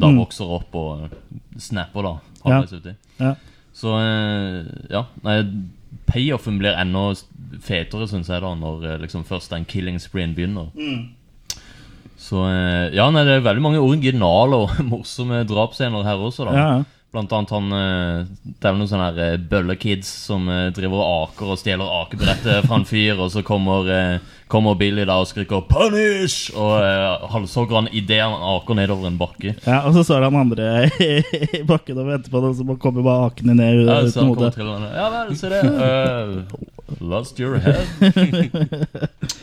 da vokser opp og eh, snapper, da. Mm. Ja. Halvveis uti. Ja. Så eh, ja. Nei, payoffen blir enda s- fetere, syns jeg, da, når eh, liksom først den killing spreen begynner. Så eh, Ja, nei, det er veldig mange originale og morsomme drapsscener her også, da. Ja, ja. Blant annet han eh, Det er vel noen sånne her eh, bøllekids som eh, driver og aker og stjeler akebrettet fra en fyr, og så kommer, eh, kommer Billy da og skriker 'punish!' og eh, halshogger han idet han aker nedover en bakke. Ja, og så står han andre i bakken og venter på det, og så bare kommer bare akene ned eh, Ja, uten så han kommer hodet. trillende. Ja vel, se det. eh, lost your head.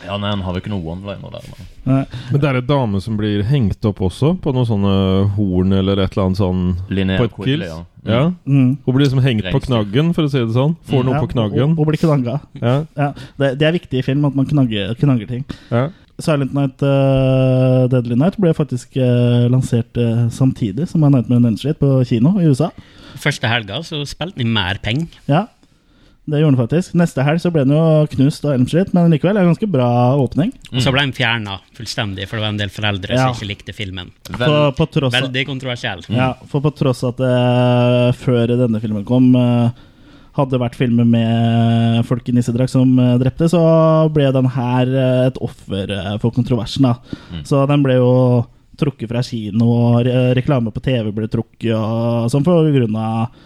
ja, nei, han har jo ikke noen one-liner der. Men. Nei. Men det er ei dame som blir hengt opp også, på noen sånne horn eller et eller annet sånn Linnea På et Quigley, kills. ja. Mm. Ja. Mm. Hun blir liksom hengt på Rensdyr. knaggen, for å si det sånn. Får noe Ja, på knaggen. Og, og blir knagga. Ja, Ja, det, det er viktig i film at man knagger, knagger ting. ja. Silent Night eh, Deadly Night ble faktisk eh, lansert eh, samtidig som A Nightmare on Elm Street på kino i USA. Første helga så spilte den i mer penger. Ja, det gjorde den faktisk. Neste helg så ble den jo knust av Elm Street, men likevel er det en ganske bra åpning. Og Mm. så ble den fjerna fullstendig, for det var en del foreldre Ja. som ikke likte filmen. På, Vel, på tross av Veldig kontroversiell. Ja, for på tross at det før denne filmen kom, eh, hadde vært filmer med folk i nissedrakt som eh, drepte, så ble den her eh, et offer eh, for kontroversen. Da. Så den ble jo trukket fra kino, og re reklame på TV ble trukket, og sånn på grunn av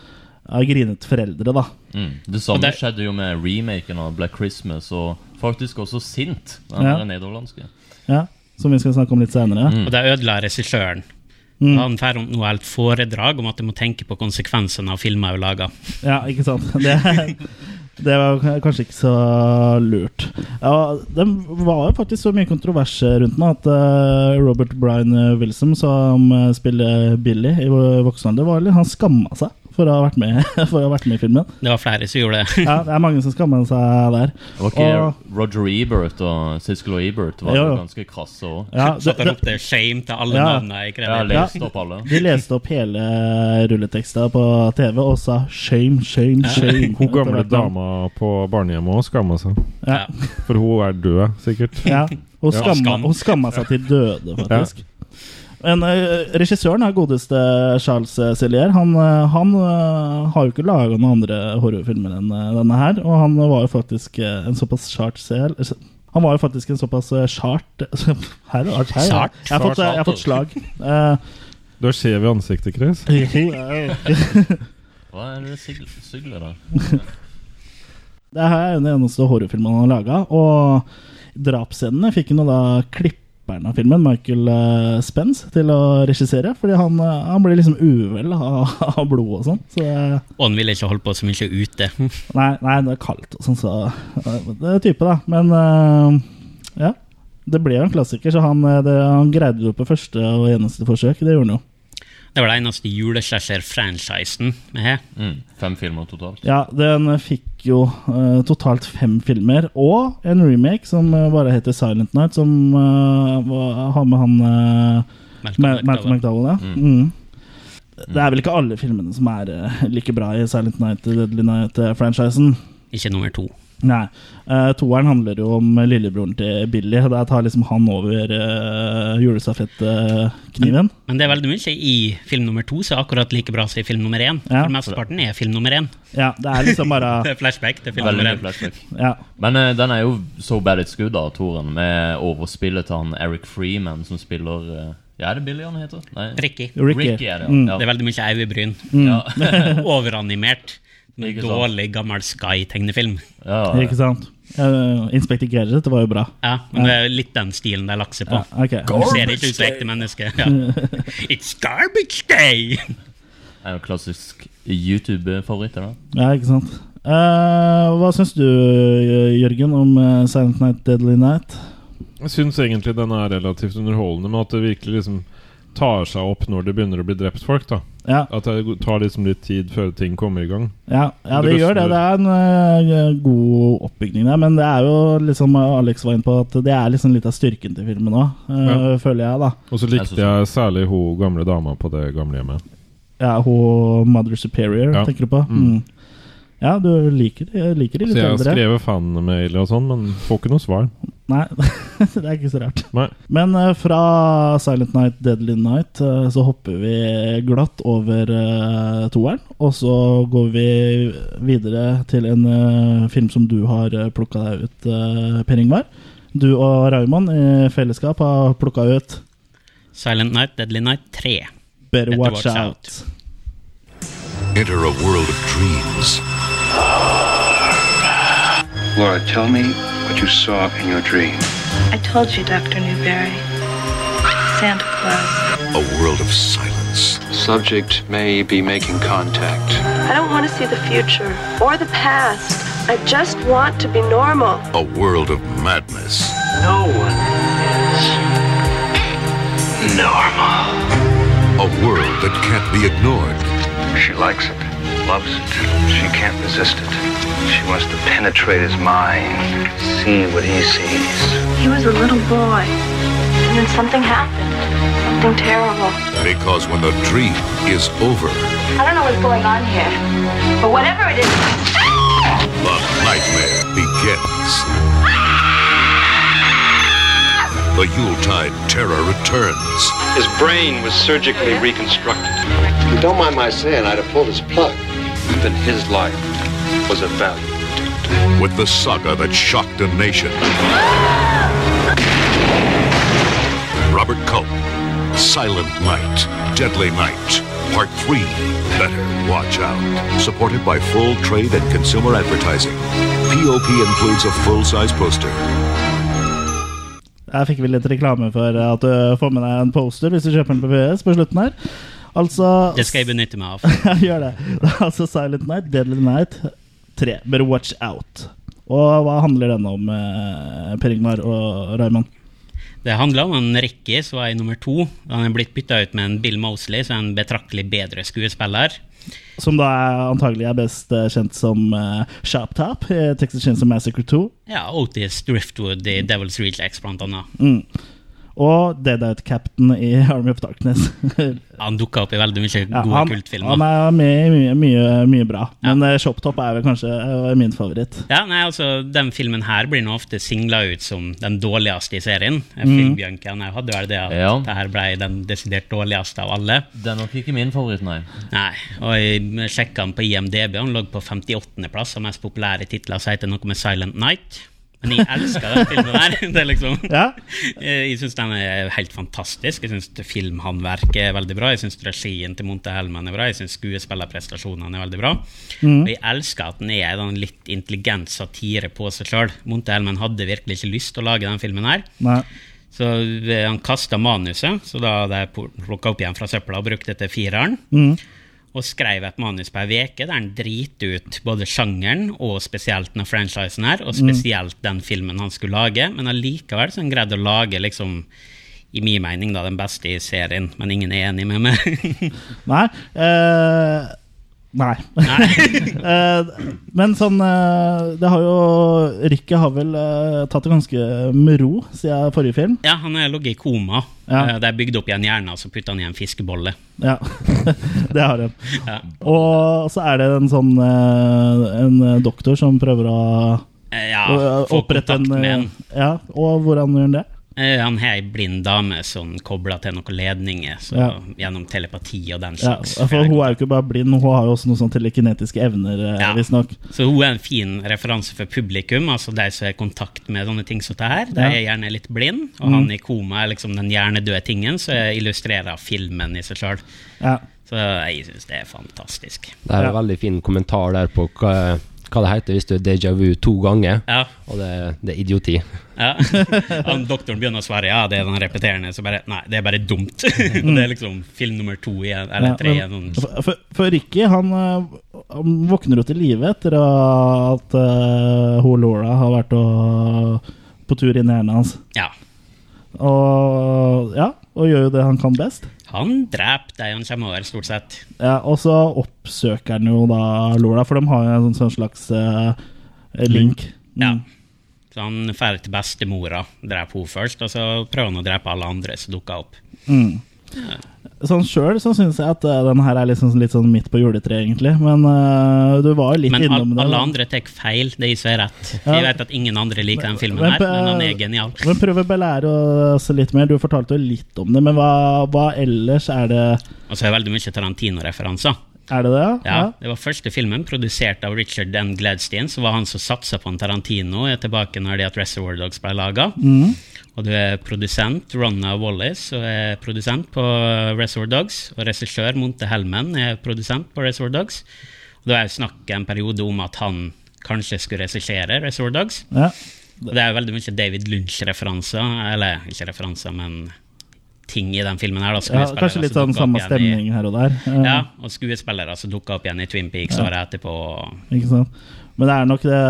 av grinet foreldre, da. Mm. Det samme Og det- skjedde jo med remaken av Black Christmas, og faktisk også Sint. Den Ja. der nederlandske. Ja, som vi skal snakke om litt senere. Mm. Og det ødela regissøren. Mm. Han får nå helt foredrag om at du må tenke på konsekvensene av filmer du lager. Ja, ikke sant. Det, det var kanskje ikke så lurt. Ja, det var jo faktisk så mye kontrovers rundt den at eh, Robert Bryan Wilson, som eh, spiller Billy i vo- voksen alder, var litt- han skamma seg for å ha vært med, for å ha vært med i filmen. Det var flere som gjorde det. Ja, det er mange som skammer seg der. Det var ikke Roger Ebert og Siskel og Ebert var Jo, jo. jo ganske krasse òg. ja, Så det- han ropte 'shame' til alle Ja. navnene jeg Jeg har krever. Ja. lest opp alle. de leste opp hele rulleteksta på TV og sa 'shame, shame, shame'. Hun gamle etter hvert. dama på barnehjemmet òg skamma seg. Ja. For hun er død, sikkert. Ja, hun, Ja. skamma, Skam. hun skamma seg til døde, faktisk. Men eh, regissøren er godeste Charles Cellier. Han, eh, han eh, har jo ikke laga noen andre horrorfilmer enn eh, denne her. Og han var jo faktisk eh, en såpass chart sel... eh, Han var jo faktisk en såpass eh, chart Her er art her. ja. Chart? Jeg har fått, jeg har fått slag. Eh, Du er skjev i ansiktet, Chris. Hva er det sigl- siglet der? Det her er jo den eneste horrorfilmen han har laga. Og drapsscenene fikk han jo da klipperen av filmen, Michael eh, Spence, til å regissere. Fordi han, eh, han ble liksom uvel av, av blod og sånn. Så eh, Og han ville ikke holde på så mye ute. nei, nei, det er kaldt og sånn, så eh, Det er type, da. Men eh, ja. Det ble jo en klassiker, så han, eh, det, han greide det jo på første og eneste forsøk. Det gjorde han jo. Det var den eneste juleslasher-franchisen vi har. Mm. Fem filmer totalt. Ja, den fikk jo eh, totalt fem filmer og en remake som eh, bare heter Silent Night, som eh, var, har med han eh, Malcolm Ma- Malcolm McDowell. McDowell. Ja. Mm. Det er vel ikke alle filmene som er eh, like bra i Silent Night, eh, Deadly Night-franchisen. Ikke nummer to. Nei. Eh, toeren handler jo om eh, lillebroren til Billy. og Der tar liksom han over uh, julestafettkniven. Men det er veldig mye i film nummer to som er akkurat like bra som i film nummer én. Ja. For mesteparten er film nummer én. Ja, det er liksom Det bare er flashback til film Veldig nummer mye én. flashback. Ja. Men eh, den er jo so bad it's good, da, Toren, med overspillet til han Eric Freeman, som spiller eh, Ja, er det Billy han heter? Nei. Ricky. Ricky. Ricky er det, Mm. ja. Det er veldig mye øyebryn. Overanimert. Ikke sant. Dårlig gammel Sky-tegnefilm. ja. ja, Mm, Ikke sant? Uh, Inspector Gadget, det var jo bra. Ja, men det er litt den stilen de lakser på. Ja, ok. Du ser ikke ut som ekte menneske. Ja. It's garbage day! Det er jo klassisk YouTube-favoritt. er det? Ja, ikke sant. Eh, hva syns du, Jørgen, om eh, Silent Night, Deadly Night? Jeg syns egentlig den er relativt underholdende, men at det virkelig liksom tar seg opp når det begynner å bli drept folk. da Ja, At det tar liksom litt tid før ting kommer i gang. ja, ja det Det gjør det. løsner. Det er en eh, god oppbygning der. Men det er jo liksom eh, Alex var inne på at det er liksom litt av styrken til filmen òg, Ja. føler jeg, da. Og så Jeg likte synes- jeg særlig hun gamle dama på det gamlehjemmet. Ja, hun Mother Superior, Ja. tenker du på? Mm. Ja, du liker, jeg liker de Så litt jeg har eldre. skrevet fanmail og sånn, men får ikke noe svar. Nei, det er ikke så rart. Nei. Men eh, fra Silent Night, Deadly Night eh, så hopper vi glatt over eh, toeren. Og så går vi videre til en eh, film som du har uh, plukka deg ut, eh, Per Ingvar. Du og Raymond i fellesskap har plukka ut Silent Night, Deadly Night 3. Better Better Watch, Watch Out. Out. Enter a world of dreams Laura, tell me what you saw in your dream. I told you, Dr. Newberry. Santa Claus. a world of silence, Subject may be making contact. I don't want to see the future or the past. I just want to be normal. a world of madness. No one is normal. A world that can't be ignored. She likes it, loves it. She can't resist it. She wants to penetrate his mind, see what he sees. He was a little boy. And then something happened. Something terrible. Because when the dream is over, I don't know what's going on here. But whatever it is, the nightmare begins. The Yuletide terror returns. His brain was surgically reconstructed. You don't mind my saying, I'd have pulled his plug. Even his life was of value. with the saga that shocked a nation. Robert Culp, Silent Night, Deadly Night, Part 3, Better Watch Out. Supported by full trade and consumer advertising. POP includes a full-size poster. Der fikk vi litt reklame for at du får med deg en poster hvis du kjøper den på VS på slutten her. Altså Det skal jeg benytte meg av. Ja, gjør det. Altså Silent Night, Deadly Night 3. Better Watch Out. Og hva handler den om, eh, Per Ingvar og Raymond? Det handler om en Ricky som er i nummer to. Han er blitt bytta ut med en Bill Mosley, som er en betraktelig bedre skuespiller. Som da er, antagelig er best eh, kjent som eh, Shop Top i Texas Chainsaw Massacre 2. Ja, Otis Driftwood i Devil's Rejects, blant annet. Og Dead Out Captain i Army of Darkness. Han dukka opp i veldig mye Ja, gode han, kultfilmer. han er med i mye, mye, mye bra. Men eh, Shop Top er vel kanskje eh, min favoritt. Ja, nei, altså, Den filmen her blir nå ofte singla ut som den dårligste i serien. Filmbjunkene hadde vel det at Ja. det her ble den desidert dårligste av alle. Det er nok ikke min favoritt, nei. Nei, og jeg sjekka han på IMDb, han lå på 58.-plass av mest populære titler, så heter det noe med Silent Night. Men jeg elsker den filmen der. Det er liksom, Ja. Eh, Jeg syns den er helt fantastisk. Jeg syns filmhåndverket er veldig bra. Jeg syns regien til Monte Helman er bra. Jeg syns skuespillerprestasjonene er veldig bra. Og jeg elsker at den er en litt intelligent satire på seg sjøl. Monte Helman hadde virkelig ikke lyst til å lage den filmen her. Nei. Så eh, han kasta manuset, så da hadde jeg plukka opp igjen fra søpla og brukt det til fireren. Og skrev et manus per uke der han driter ut både sjangeren og spesielt denne franchisen her, og spesielt den filmen han skulle lage, men allikevel så han greide å lage liksom i min mening da den beste i serien, men ingen er enig med meg. Nei. eh, nei. Eh, men sånn eh, Det har jo Rikke har vel eh, tatt det ganske med ro siden forrige film. ja, han har ligget i koma. Ja. Eh, Det er bygd opp igjen hjernen, og så putta han i en fiskebolle. Ja, det har hun. Ja. Og så er det en sånn eh, En doktor som prøver å Eh, ja, å, eh, få kontakt med eh, en. Ja, og hvordan gjør han det? Eh, Han har ei blind dame som kobler til noen ledninger så, Ja. gjennom telepati og den Ja, slags. for hun er jo ikke bare blind, hun har jo også noen sånne telekinetiske evner, eh, Ja. visstnok. Så hun er en fin referanse for publikum, altså de som er i kontakt med sånne ting som det her. De er gjerne litt blind, og Mm. han i koma er liksom den hjernedøde tingen som illustrerer filmen i seg sjøl. Ja. Så jeg syns det er fantastisk. Det er en veldig fin kommentar der på hva, hva det heter hvis du er déjà vu to ganger. Ja. Og det, det er idioti. Ja. Han, doktoren begynner å svare ja, det er den repeterende, så bare nei, det er bare dumt. Og det er liksom film nummer to igjen, eller Ja, tre men- igjen. sånn. for, for, for Ricky, han, eh, han våkner jo til live etter at eh, hun Laura har vært og, på tur inn i hjernen hans. Ja. Og, ja, og gjør jo det han kan best. Han dreper de han kommer over, stort sett. Ja, og så oppsøker han jo da Laura, for de har jo en sånn, sånn slags eh, link. Mm. Ja. Så han drar til bestemora, dreper henne først, og så prøver han å drepe alle andre som dukker opp. Mm. Sånn sjøl så syns jeg at eh, den her er liksom, litt sånn midt på juletreet, egentlig. Men eh, du var jo litt Men innom al- det. alle da. andre tar feil, det er som er rett. Ja. Jeg vet at ingen andre liker den filmen Men her, på- men han er genial. Men prøv å belære oss litt mer. Du fortalte jo litt om det, men hva, hva ellers er det Og så er det veldig mye Tarantino-referanser. Er det det? Ja, Det var første filmen produsert av Richard N. Gladstein, som var han som satsa på en Tarantino er tilbake når det at Reservoir Dogs ble laga. Mhm. Og du er produsent, Ronna Wallis, og er produsent på Reservoir Dogs. Og regissør Monte Helmen er produsent på Reservoir Dogs. Og det var jo snakk en periode om at han kanskje skulle regissere Reservoir Dogs. Ja. Og det er jo veldig mye David Lynch-referanser, eller ikke referanser, men ting i den filmen her. Da, ja, skuespillere kanskje litt sånn som dukker opp samme altså igjen i- stemning her og der. Eh, ja, og skuespillere som dukka opp igjen i Twin Peaks Ja. året etterpå. Ikke sant? Men det er nok det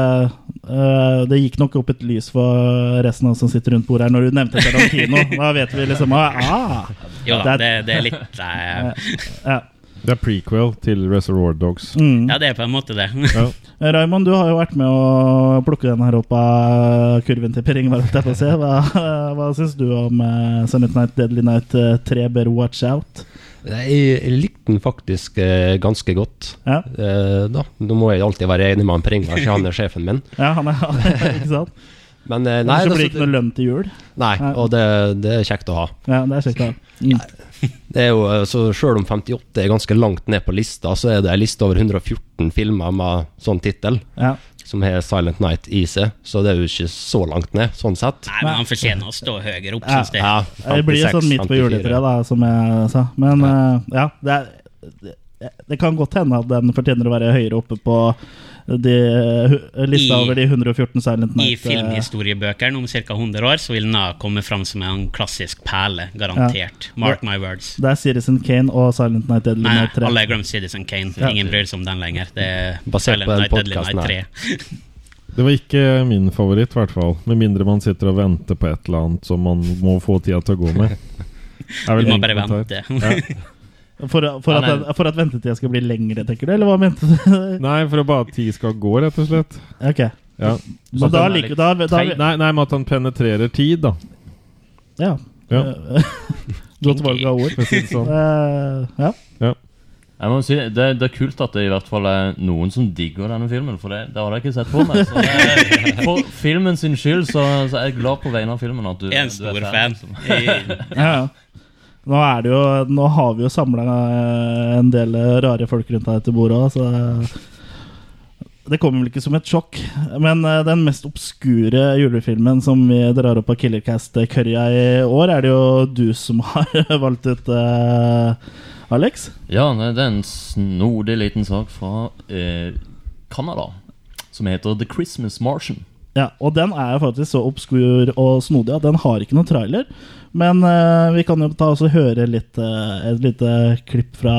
eh, Det gikk nok opp et lys for resten av oss som sitter rundt bordet her, når du nevnte Tarantino. Da vet vi liksom ah, Jo da, det, det er litt Ja. eh, Ja. Det er prequel til Reservoir Dogs. Mm. Ja, det er på en måte det. Ja. Raymond, du har jo vært med å plukke den her opp av kurven til Per Ingvar. holdt jeg på å si. Hva, hva syns du om uh, Summit Night Deadly Night eh, 3 Better Watch Out? Jeg jeg likte den faktisk eh, ganske godt. Ja. Eh, da. Nå må jeg alltid være enig med han Per Ingvar, siden han er sjefen min. Ja, han er Ikke sant? Men eh, Nei, nei, så altså, blir det ikke noe lønn til jul. nei, og det, det er kjekt å ha. Ja, det er kjekt, da. Mm. Det er jo, eh, så Selv om 58 er ganske langt ned på lista, så er det ei liste over 114 filmer med sånn tittel, Ja. som har Silent Night i seg, så det er jo ikke så langt ned, sånn sett. Nei, men han fortjener å stå høyere opp, Ja. syns jeg. Ja, Det blir jo sånn midt på 56, juletreet, da, som jeg sa. Men eh, ja, det, er, det, det kan godt hende at den fortjener å være høyere oppe på de, hu- lista I- over de 114 Silent I Night. eh, filmhistoriebøkene om ca. 100 år så vil den da komme fram som en klassisk perle, garantert. Ja. Mark my words. Det er Citizen Kane og Silent Night Deadly Nei, Night 3. alle har glemt Citizen Kane. Ja. Ingen bryr seg om den lenger. Det er Basert Silent på den Night, Deadly podcasten Night her. 3. Det var ikke min favoritt, i hvert fall. Med mindre man sitter og venter på et eller annet som man må få tida til å gå med. Er vel Du må min bare kommentar. vente. Ja. For, for, Ja, nei. at, for at ventetida skal bli lengre, tenker du? Eller hva mente du? Nei, for å bare at tid skal gå, rett og slett. Ok. Ja. Men da liker da, da, Nei, nei, men at han penetrerer tid, da. Ja. Ja. Godt valg av ord. Eh, For å si det sånn. Eh, ja. Jeg må si, det, det er kult at det i hvert fall er noen som digger denne filmen, for det, det har jeg ikke sett for meg. Så det, for filmen sin skyld så, så er jeg glad på vegne av filmen at du, Jeg er en du er stor fan. Jeg- ja, ja. Nå, er det jo, nå har vi jo samla en del eh, rare folk rundt dette bordet òg, så eh, det kommer vel ikke som et sjokk. Men eh, den mest obskure julefilmen som vi drar opp av Killercast-kørja i år, er det jo du som har valgt ut, eh, Alex. Ja, nei, det er en snodig liten sak fra eh, Canada som heter The Christmas Martian. Ja, og den er jo faktisk så obskur og snodig at den har ikke noen trailer. Men eh, vi kan jo ta oss og høre litt, eh, et lite klipp fra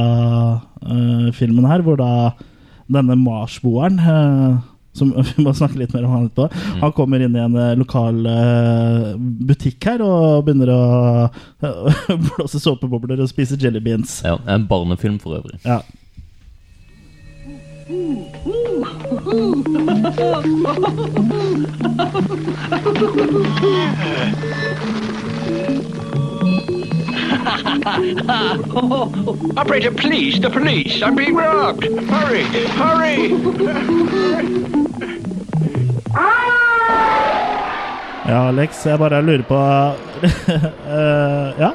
eh, filmen her, hvor da denne marsboeren eh, som vi må snakke litt mer om han etterpå. Han kommer inn i en eh, lokal eh, butikk her og begynner å eh, blåse såpebobler og spise jelly beans. Ja, En barnefilm for øvrig. Ja. Operator, please, the police. I'm being robbed. Hurry, hurry. ja, Alex, jeg bare lurer på eh, Ja.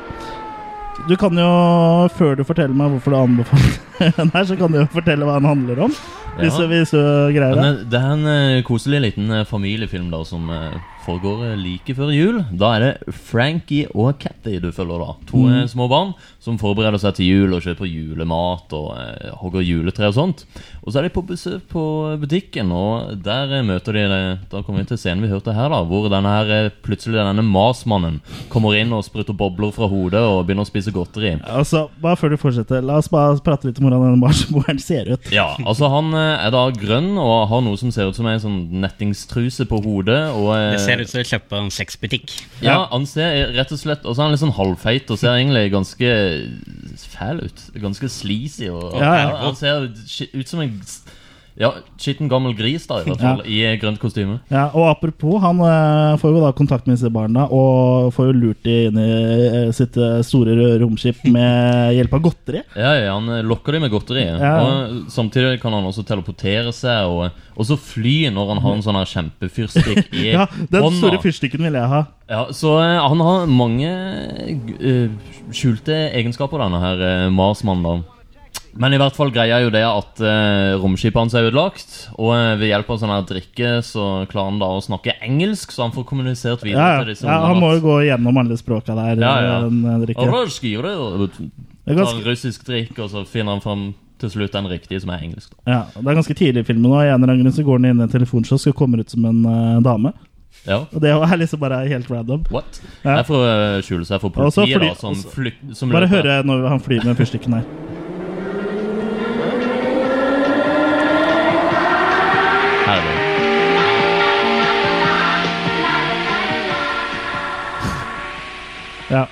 Du kan jo, før du forteller meg hvorfor du anbefaler den her, så kan du jo fortelle hva den handler om. Hvis, Ja. du- hvis du greier det. Men, eh, det er en eh, koselig liten eh, familiefilm da som eh, foregår eh, like før jul. Da er det Frankie og Cathy du følger, da. To eh, Mm. små barn som forbereder seg til jul og kjøper julemat og eh, hogger juletre og sånt. Og så er de på besøk på butikken, og der eh, møter de eh, Da kommer vi til scenen vi hørte her, da. Hvor denne her eh, plutselig denne masmannen kommer inn og sprutter bobler fra hodet og begynner å spise godteri. Altså, bare før du fortsetter, la oss bare prate litt om hvordan denne marsboeren ser ut. Ja, altså han eh, er da grønn og har noe som ser ut som en sånn nettingstruse på hodet. Og, eh, Det ser ut som jeg kjøpt på en sexbutikk. Ja, han ser rett og slett Og så er han litt sånn halvfeit og ser egentlig ganske fæl ut. Ganske sleazy. Og, Ja, ja. Han ser sk- ut som en s- ja, skitten gammel gris, da, i hvert fall. I grønt kostyme. Ja, og apropos, han eh, får jo da kontakt med disse barna og får jo lurt de inn i eh, sitt eh, store røde romskip med hjelp av godteri. Ja, ja, han eh, lokker dem med godteri. Ja. Og eh, samtidig kan han også teleportere seg og, eh, og så fly når han har en sånn her kjempefyrstikk i Mm. Ja, Den hånda. store fyrstikken vil jeg ha. Ja, så eh, han har mange eh, skjulte egenskaper, denne her eh, Marsmannen, da. Men i hvert fall greia er jo det at eh, romskipet hans er ødelagt. Og eh, ved hjelp av sånn her drikke så klarer han da å snakke engelsk, så han får kommunisert Ja, videre ja. til disse ja, han ungene. må jo gå gjennom alle språka der. Ja, ja. eh, den drikken. Og da skriver det, og Det er tar ganske- russisk drikk, og så finner han fram til slutt den riktige, som er engelsk. da. Ja, det er ganske tidlig i filmen, og av en eller annen grunn så går han inn i en telefonkiosk og kommer ut som en eh, dame. Ja. Og det er liksom bare helt random. What? Ja. Det er for å eh, skjule seg for Og så politiet, fly- da, som, også- flyk, som Bare løper. høre når han flyr med fyrstikken her. Her er det. Ja.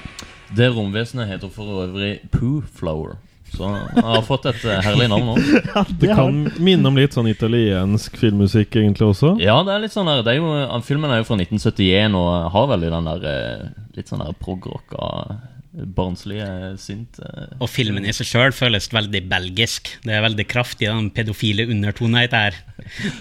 Det romvesenet heter for øvrig Poo Flower. Så han har fått et eh, herlig navn nå. Det kan minne om litt sånn italiensk filmmusikk egentlig også. Ja, det er litt sånn der, det er jo, eh, Filmen er jo fra 1971 og har veldig den der eh, litt sånn der prog-rocka, barnslige synt. eh. Og filmen i seg sjøl føles veldig belgisk. Det er veldig kraftig, den pedofile undertonen i dette her.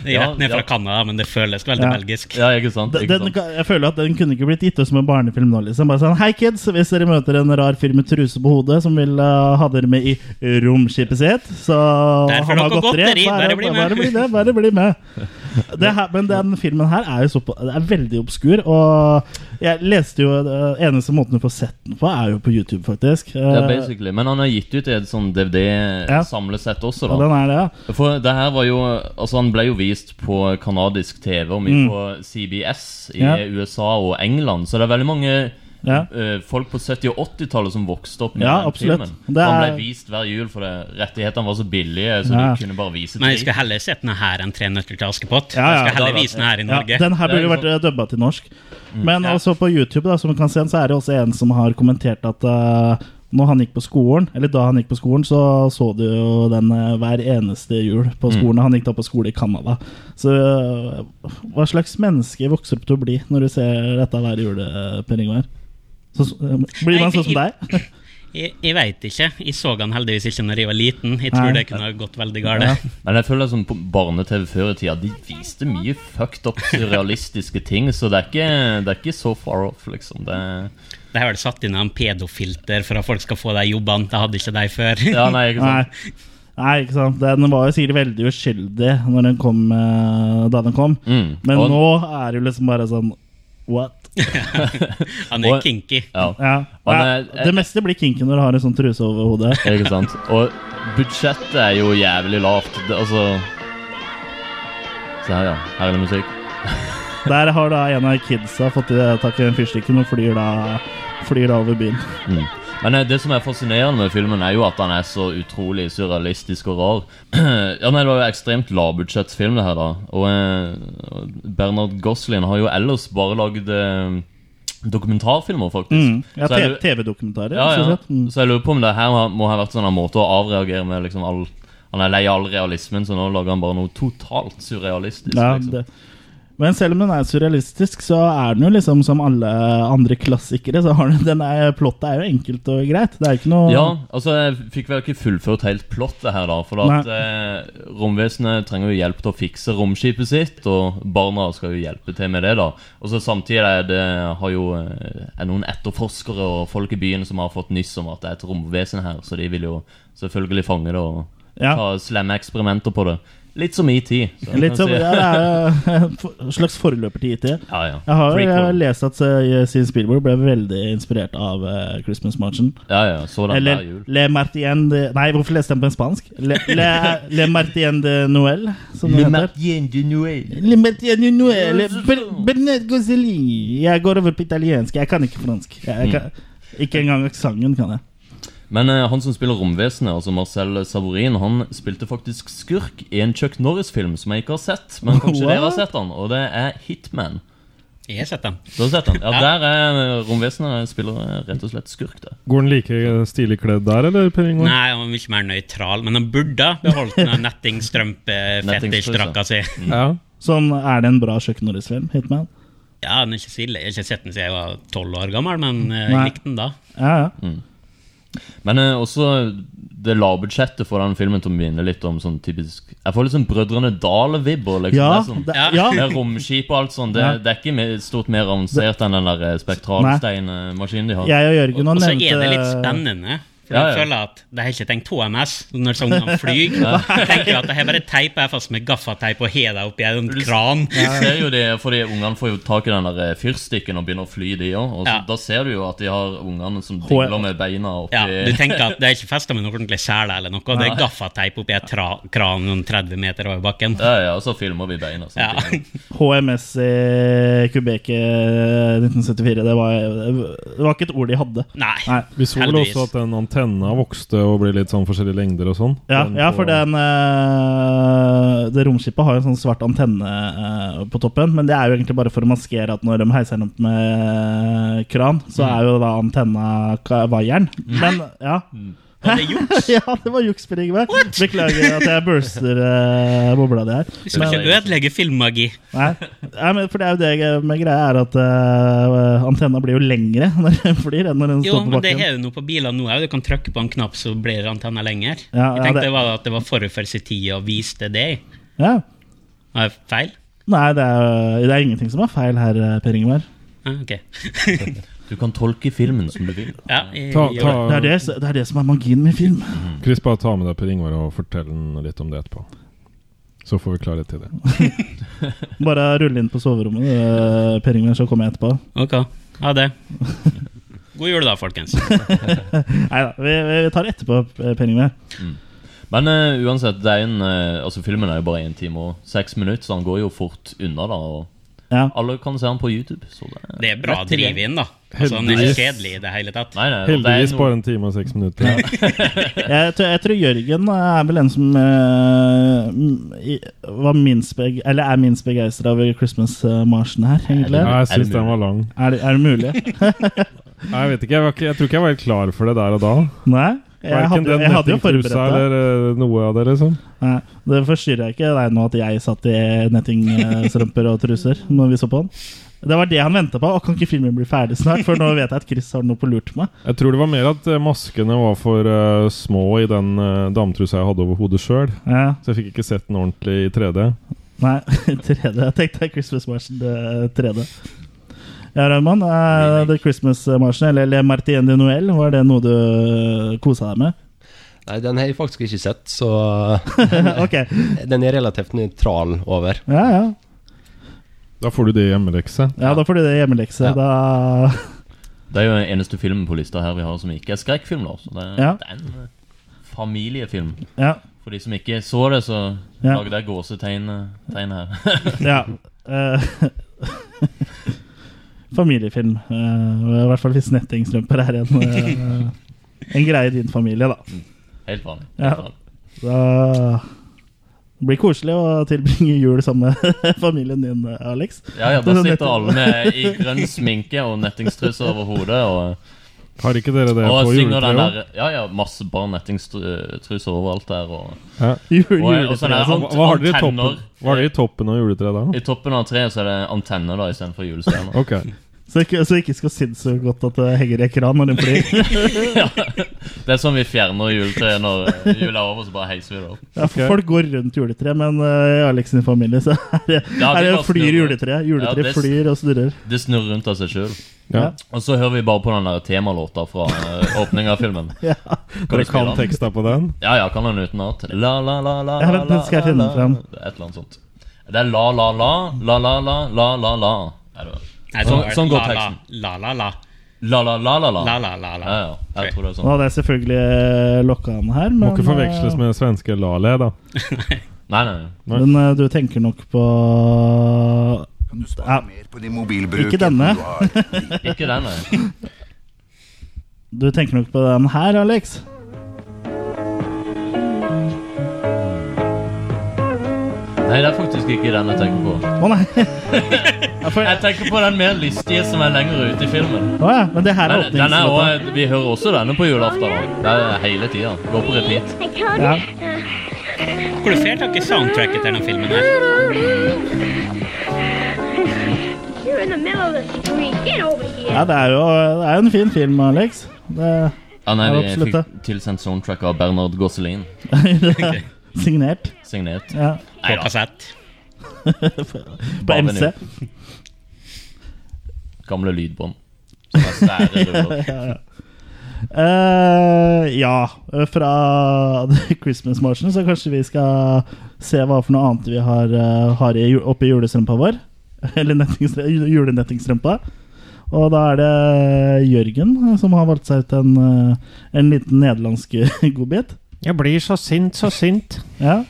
Det er Ja, rett ned fra ja. Canada, men det føles veldig belgisk. Ja, ikke sant? Den, den, kan- jeg føler at den kunne ikke blitt gitt ut som en barnefilm nå. liksom Bare sånn, Hei, kids! Hvis dere møter en rar fyr med truse på hodet som vil eh, ha dere med i romskipet sitt, så Der får han har dere godteri, Bare, bare bli med. Bare bli med! Bare bli med. Det her, men den filmen her er jo så på, det er veldig obskur, og jeg leste jo eh, Eneste måten du får sett den på, er jo på YouTube, faktisk. Ja, Eh, basically. Men han har gitt ut et sånn Ja. DVD-samlesett også, da. Ja, Eh, den er det, For det her var jo Altså, han ble jo vist på kanadisk TV og mye Mm. på CBS i Ja. USA og England, så det er veldig mange Ja. eh, folk på 70- og 80-tallet som vokste opp med Ja, den absolutt. filmen. Det Han er- ble vist hver jul fordi rettighetene var så billige, så Ja. de kunne bare vise Men jeg til- skulle heller sett den her enn Tre nøtter til Askepott. Ja, ja. Jeg skal heller vise den her i Norge. Ja, den her liksom- burde vært dubba til norsk. Mm. Men også på YouTube da, som vi kan se, så er det også en som har kommentert at eh, når han gikk på skolen, eller da han gikk på skolen, så så du jo den eh, hver eneste jul på Mm. skolen. Han gikk da på skole i Canada. Så eh, hva slags menneske vokser du til å bli når du ser dette hver jul, eh, Per Ingvar? Så, eh, blir man sånn som deg? Jeg, jeg veit ikke. Jeg så han heldigvis ikke når jeg var liten. Jeg Nei. tror det kunne ha gått veldig galt. Men jeg føler sånn på barne-TV før i tida De viste mye fucked up surrealistiske ting, så det er ikke, det er ikke så far off, liksom. Det er Det er vel satt inn en pedofilter for at folk skal få de jobbene. Det hadde ikke de før. Nei. Nei, ikke sant. Den var jo sikkert veldig uskyldig når den kom, eh, da den kom. Mm. Men Og- nå er det jo liksom bare sånn What? Han er Og- kinky. Ja. Ja. Han er- Ja, det meste blir kinky når du har en sånn truse over hodet. Ikke sant? Og budsjettet er jo jævlig lavt. Det, altså Se her, ja. Her er det musikk. Der har da en av kidsa fått i tak i den fyrstikken og flyr da flyr da over byen. Mm. Men eh, det som er fascinerende med filmen, er jo at den er så utrolig surrealistisk og rar. ja, nei, Det var jo ekstremt lavbudsjettsfilm, det her, da. Og eh, Bernard Goslin har jo ellers bare lagd eh, dokumentarfilmer, faktisk. Mm. Ja, Så er det- T- TV-dokumentarer. ja, sånn ja. sett. Mm. Så jeg lurer på om det her har- må ha vært sånn en måte å avreagere med liksom all Han er lei av all realismen, så nå lager han bare noe totalt surrealistisk. Ja, liksom. det. Men selv om den er surrealistisk, så er den jo liksom som alle andre klassikere. Så har den, den er, Plottet er jo enkelt og greit. Det er ikke noe Ja, altså jeg fikk vel ikke fullført helt plottet her, da. For at eh, romvesenet trenger jo hjelp til å fikse romskipet sitt, og barna skal jo hjelpe til med det, da. Og så samtidig er det har jo eh, er noen etterforskere og folk i byen som har fått nyss om at det er et romvesen her, så de vil jo selvfølgelig fange det og Ja. ta slemme eksperimenter på det. Litt som ET. så jeg Litt kan som, si- ja, det er jo en for- slags forløper til IT. Ja, ja. Jeg har Prequel. jeg har lest at eh, Steven Spielberg ble veldig inspirert av eh, Christmas Marchen. Ja, ja, så den Eller der jul. Le Martien de Nei, hvorfor leste jeg den på en spansk? Le, le, le Martien de Noël, som Le det heter. Martien de Noël. Le Martien de Noël Ber, Bernard Gosselin. Jeg går over på italiensk. Jeg kan ikke fransk. Jeg, jeg kan, ikke engang aksenten kan jeg. Men eh, han som spiller romvesenet, altså Marcel Savorin, han spilte faktisk skurk i en Chuck Norris-film som jeg ikke har sett. Men kanskje dere har What? sett den, og det er Hitman. Jeg har sett den. Du har sett den? Ja, Ja. der er eh, romvesenet spiller eh, rett og slett skurk, da. Går den like stilig kledd der, eller, Per Ingvar? Nei, han var mye mer nøytral, men han burde ha beholdt den nettingstrømpe-fetisj-drakka si. Sånn, er det en bra Chuck Norris-film? Hitman? Ja, den er ikke så ille. Jeg har ikke sett den siden jeg var tolv år gammel, men eh, jeg Nei. likte den da. Ja, ja. Mm. Men eh, også det lavbudsjettet for den filmen til å minne litt om sånn typisk Jeg får litt sånn Brødrene Dale-vibber. Liksom. Ja, det, er sånn, det- ja. Med romskip og alt sånt. Det, Ja. det er ikke mer- stort mer avansert enn den der eh, spektralsteinmaskinen de har. Jeg og Jørgen har Og så nevnt er det litt eh, spennende. For Ja, Jeg ja. føler at det har ikke tenkt HMS når sånn han flyr. Ja. Jeg tenker at det her bare teiper jeg fast med gaffateip og har deg oppi en kran. Du ser jo det, fordi Ungene får jo tak i den der eh, fyrstikken og begynner å fly, de òg. Og så, Ja. Da ser du jo at de har ungene som H- dingler med beina oppi Ja, du tenker at det er ikke festa med noen ordentlig sele eller noe, det er Nei. gaffateip oppi en tra- kran noen 30 meter over bakken. Ja, ja, og så filmer vi beina. Ja. HMS i Quebec eh, 1974. Det var, det var ikke et ord de hadde. Vi så vel også at den antenna vokste og ble litt sånn forskjellige lengder og sånn. Ja, Den ja, på- for den, eh, det romskipet har jo en sånn svart antenne eh, på toppen. Men det er jo egentlig bare for å maskere at når de heiser den opp med eh, kran, så Mm. er jo da antenna ka- vaieren. Men ja. Var det Mm. juks? ja, det var juks, Per Ingvar. Beklager at jeg burster eh, bobla di her. Du skal Men- ikke ødelegge filmmagi. Nei. Nei, men for det er jo det jeg- med greia er at eh, antenna blir jo lengre når den flyr enn når den Jo, står på men det bakken. har du nå på biler nå òg. Du kan trykke på en knapp, så blir antenna lenger. Ja, Jeg ja, tenkte det- det var at det var forut for sin tid og viste det. Ja. Var jeg feil? Nei, det er, det er ingenting som er feil her, eh, Per Ingvar. Ah, ok. Du kan tolke filmen som du vil. Ja, jeg- Ta- jeg- ta- Det er det, det er det som er magien med film. Chris, bare ta med deg Per Ingvar og fortell den litt om det etterpå. Så får vi klarhet til det. Bare rulle inn på soverommet, eh, Per Ingvar, så kommer jeg etterpå. Ok. Ha det. God jul, da, folkens. Nei da, vi, vi tar etterpå, eh, Per Ingvar. Mm. Men eh, uansett, det er en, eh, altså filmen er jo bare én time og seks minutter, så han går jo fort unna, da. Og Ja. alle kan se han på YouTube. Så det, Det er bra lett tilgjengelig. driv-in, da. Altså, Han er Heldigvis. ikke kjedelig i det hele tatt. Nei, nei, og det er Heldigvis noe- bare en time og seks minutter. Jeg, tror- jeg tror Jørgen er vel en som eh, m- i- var minst beg Eller er minst begeistra over Christmas-marsjen her, egentlig. Ja, jeg syns den var lang. Er det, er det mulig? Nei, jeg vet ikke, jeg, var ikke, jeg tror ikke jeg var helt klar for det der og da. Nei, jeg Verken hadde- den jeg hadde jo nettingtrusa forberedt det. eller eh, noe av det, liksom. Nei, det forstyrrer ikke deg nå at jeg satt i eh, nettingstrømper og truser når vi så på den. Det var det han venta på. Å, kan ikke filmen bli ferdig snart? For nå vet jeg at Chris har noe på lurt meg. Jeg tror det var mer at eh, maskene var for eh, små i den eh, dametrusa jeg hadde over hodet sjøl. Ja. Så jeg fikk ikke sett den ordentlig i 3D. Nei, 3D. Jeg tenkte Christmas March 3D. Ja, Raymond. eh, The Christmas March, eller Le Martien de Noël, var det noe du kosa deg med? Nei, den har jeg faktisk ikke sett, så eh, Ok. Den er relativt nøytral over. Ja, ja. Da får du det i hjemmelekse. Ja, da får du det i hjemmelekse. Da Det er jo den eneste filmen på lista her vi har som ikke er skrekkfilm. da Så det, Ja. det er en eh, familiefilm. Ja. For de som ikke så det, så Ja. lagde jeg gåsetegn eh, tegn her. Ja. eh, familiefilm. Eh, og I hvert fall hvis nettingstrømper er en, eh, en greie i din familie, da. Helt vanlig. Ja. Da det blir koselig å tilbringe jul sammen med familien din, eh, Alex. Ja, ja, da Sånn sitter netting- alle med i grønn sminke og nettingstruse over hodet. Og, Har ikke dere det og på synger den juletreet? der Ja, ja, masse bare nettingstruse overalt der. Og, Ja. og, og sånn der Hva- Hva har dere i toppen, antenner. hva har dere i toppen av juletreet der, da? I toppen av treet så er det antenner da istedenfor julestjerner. Ok. Så ikke, så ikke skal sinne så godt at det henger i en kran når den flyr. ja. Det er sånn vi fjerner juletreet når eh, jula er over, så bare heiser vi det opp. Ja, for Folk går rundt juletreet, men eh, i Alex sin familie så er det, er Ja, de det bare flyr snurrer. juletreet. Juletreet Ja, det- flyr og snurrer. Det snurrer rundt av seg sjøl. Ja. Og så hører vi bare på den der temalåta fra eh, åpningen av filmen. Ja. du Dere spille kan den? teksta på den? Ja, ja, kan den utenat. La, la, la, la, Ja, la, vent, den skal jeg la, finne la. frem. Det er Et eller annet sånt. Det er la, la, la, la, la, la, la, la, la. Er det Nei, sånn, det var sånn går la, la, teksten. La, la, la. La, la, la, la, la. La, la, la, la. Ja, ja, jeg tror det Nå er sånn. hadde jeg selvfølgelig eh, lokka han her, men Må ikke eh, forveksles med svenske Lale, da. Nei, nei. eh, Men eh, du tenker nok på ja. på din mobilbruk Ikke denne. enn du har. Ikke den, nei. Du tenker nok på den her, Alex. Nei, det er faktisk ikke den jeg tenker på. Å nei! Jeg tenker på den mer lystige som er lenger ute i filmen. Å ja, men det her er Men den er åpningslåta. også, vi hører også denne på julaften. da. Det er hele tida. Går på repeat. Ja. Hvor fer dere soundtracket til denne filmen her? You're in the middle of the street. Get over here. ja, det er jo det er jo en fin film, Alex. Det Ja, nei, er vi absolutt det. fikk tilsendt soundtrack av Bernard Gosselin. Signert. Signert. Ja. Nei da. på Bare MC. vinyl. Gamle lydbånd. Som er svære ruller. ja, ja. Eh, ja, fra The Christmas Marchen, så kanskje vi skal se hva for noe annet vi har, eh, har i, ju- oppi julestrømpa vår. Eller nettingstre- ju- julenettingstrømpa. Og da er det Jørgen eh, som har valgt seg ut en, eh, en liten nederlandsk godbit. Jeg blir så sint, så sint. Ja.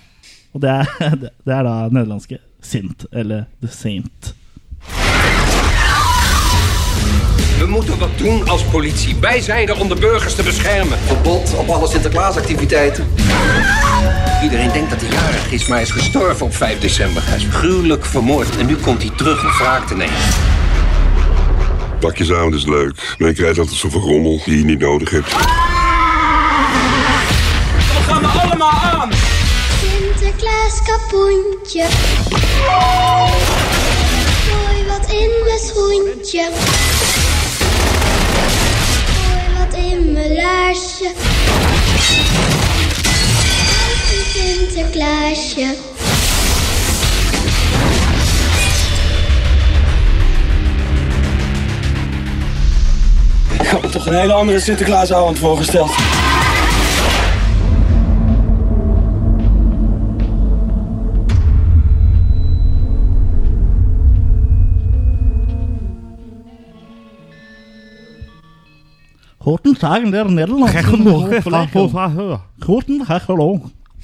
Og det er, det er da nederlandske Sint, eller The Saint. We moeten wat doen als politie. Wij zijn er om de burgers te beschermen. Verbod op alle Sinterklaasactiviteiten. Iedereen denkt dat hij jarig is, maar hij is gestorven op 5 december. Hij is gruwelijk vermoord en nu komt hij terug om wraak te nemen. Pakjes aan is leuk, maar je krijgt altijd zoveel rommel die je niet nodig hebt. We gaan er allemaal aan! Sinterklaas kapoentje. Gooi wat in mijn schoentje. Gooi wat in mijn laarsje. Hoi, Sinterklaasje. Ik had me toch een hele andere Sinterklaasavond voorgesteld. Horten sagen, det er nederlandsk. Horten, her, hallo.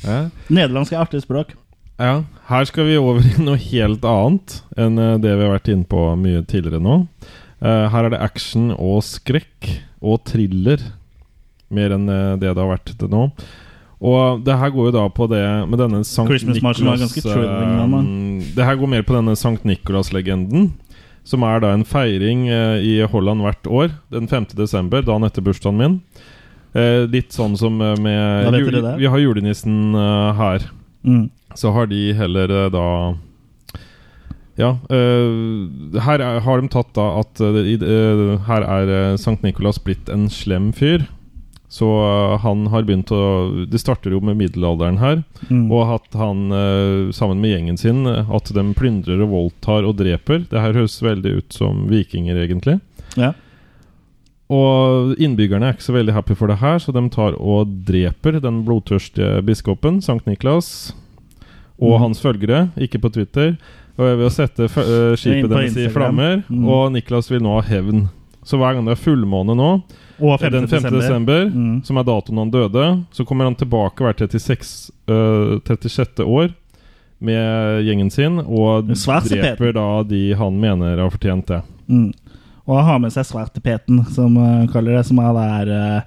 Ja. Nederlandsk er artig språk. ja. Her skal vi over i noe helt annet enn eh, det vi har vært inne på mye tidligere nå. Eh, her er det action og skrekk og thriller mer enn eh, det det har vært til nå. Og det her går jo da på det med denne Sankt Christmas Marchen var Nicholas, ganske thrilling, eh, den da. Mm, Det her går mer på denne Sankt Nikolas-legenden. Som er da en feiring eh, i Holland hvert år. Den 5. desember, dagen etter bursdagen min. Eh, litt sånn som eh, Da med vet jule- dere det. Vi har julenissen eh, her. Mm. Så har de heller eh, da ja, eh, her er, har de tatt da at eh, i, eh, Her er eh, Sankt Nikolas blitt en slem fyr. Så eh, han har begynt å Det starter jo med middelalderen her. Mm. Og at han eh, sammen med gjengen sin eh, At de plyndrer og voldtar og dreper. Det her høres veldig ut som vikinger, egentlig. Ja. Og innbyggerne er ikke så veldig happy for det her, så de tar og dreper den blodtørstige biskopen, Sankt Niklas, og Mhm. hans følgere, ikke på Twitter, og ved å sette fø- eh, Inn skipet på deres i Instagram. flammer. Mhm. Og Niklas vil nå ha hevn. Så hver gang det er fullmåne nå, Og 5. den 5. desember, desember. Mhm. som er datoen han døde, så kommer han tilbake hvert 36, eh, 36. år med gjengen sin og Svær sepet. dreper da de han mener har fortjent det. Mm. Og han har med seg svartepeten, som han kaller det, som er der eh,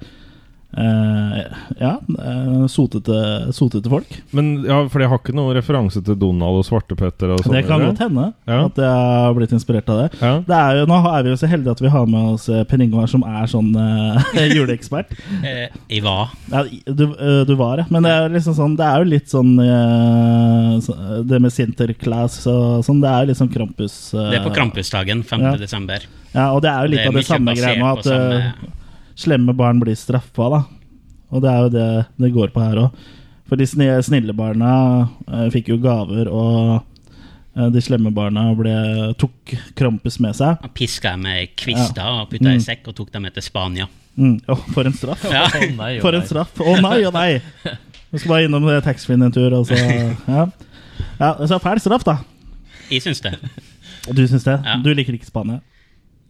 eh, Ja, eh, sotete, sotete folk. Men ja, for jeg har ikke noen referanse til Donald og Svartepetter og sånn? Det kan eller? godt hende Ja. at jeg har blitt inspirert av det. det er jo, nå er vi jo så heldige at vi har med oss eh, Per Ingvar, som er sånn eh, juleekspert. Eh, I hva? Ja, du, eh, du var det. Men det er, liksom sånn, det er jo litt sånn eh, så- Det med Sinterklaas og sånn, det er jo litt sånn Krampus eh, Det er på Krampusdagen, 5. ja. desember. Ja, og det er jo litt Det er av det mye samme basert greia med på sånn, at eh, slemme barn blir straffa, da. Og det er jo det det går på her òg. For de sni- snille barna eh, fikk jo gaver, og eh, de slemme barna ble, tok Krampus med seg. Han piska dem med kvister Ja. og putta Mm. i sekk og tok dem med til Spania. Mm. Å, for en straff! Ja. Å nei, å for en nei. straff! Å nei, å nei! Vi skal bare innom eh, taxfree-en en tur, og så Ja, ja så fæl straff, da. Jeg syns det. Du syns det? Ja. Du liker ikke Spania?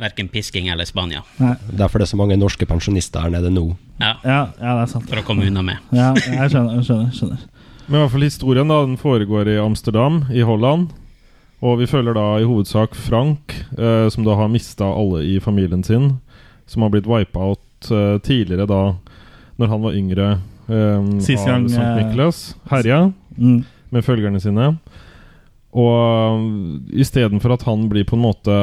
Verken pisking eller Spania. Derfor det er så mange norske pensjonister her nede nå. Ja. det er sant. For å komme unna med. Ja, jeg skjønner. jeg skjønner, skjønner. Men i hvert fall historien da, den foregår i Amsterdam, i Holland. Og vi følger da i hovedsak Frank, eh, som da har mista alle i familien sin. Som har blitt wipet out eh, tidligere da Når han var yngre. Eh, Sist gang, Av St. eh, Nicholas. Herja Mm. med følgerne sine. eh, Og istedenfor at han blir på en måte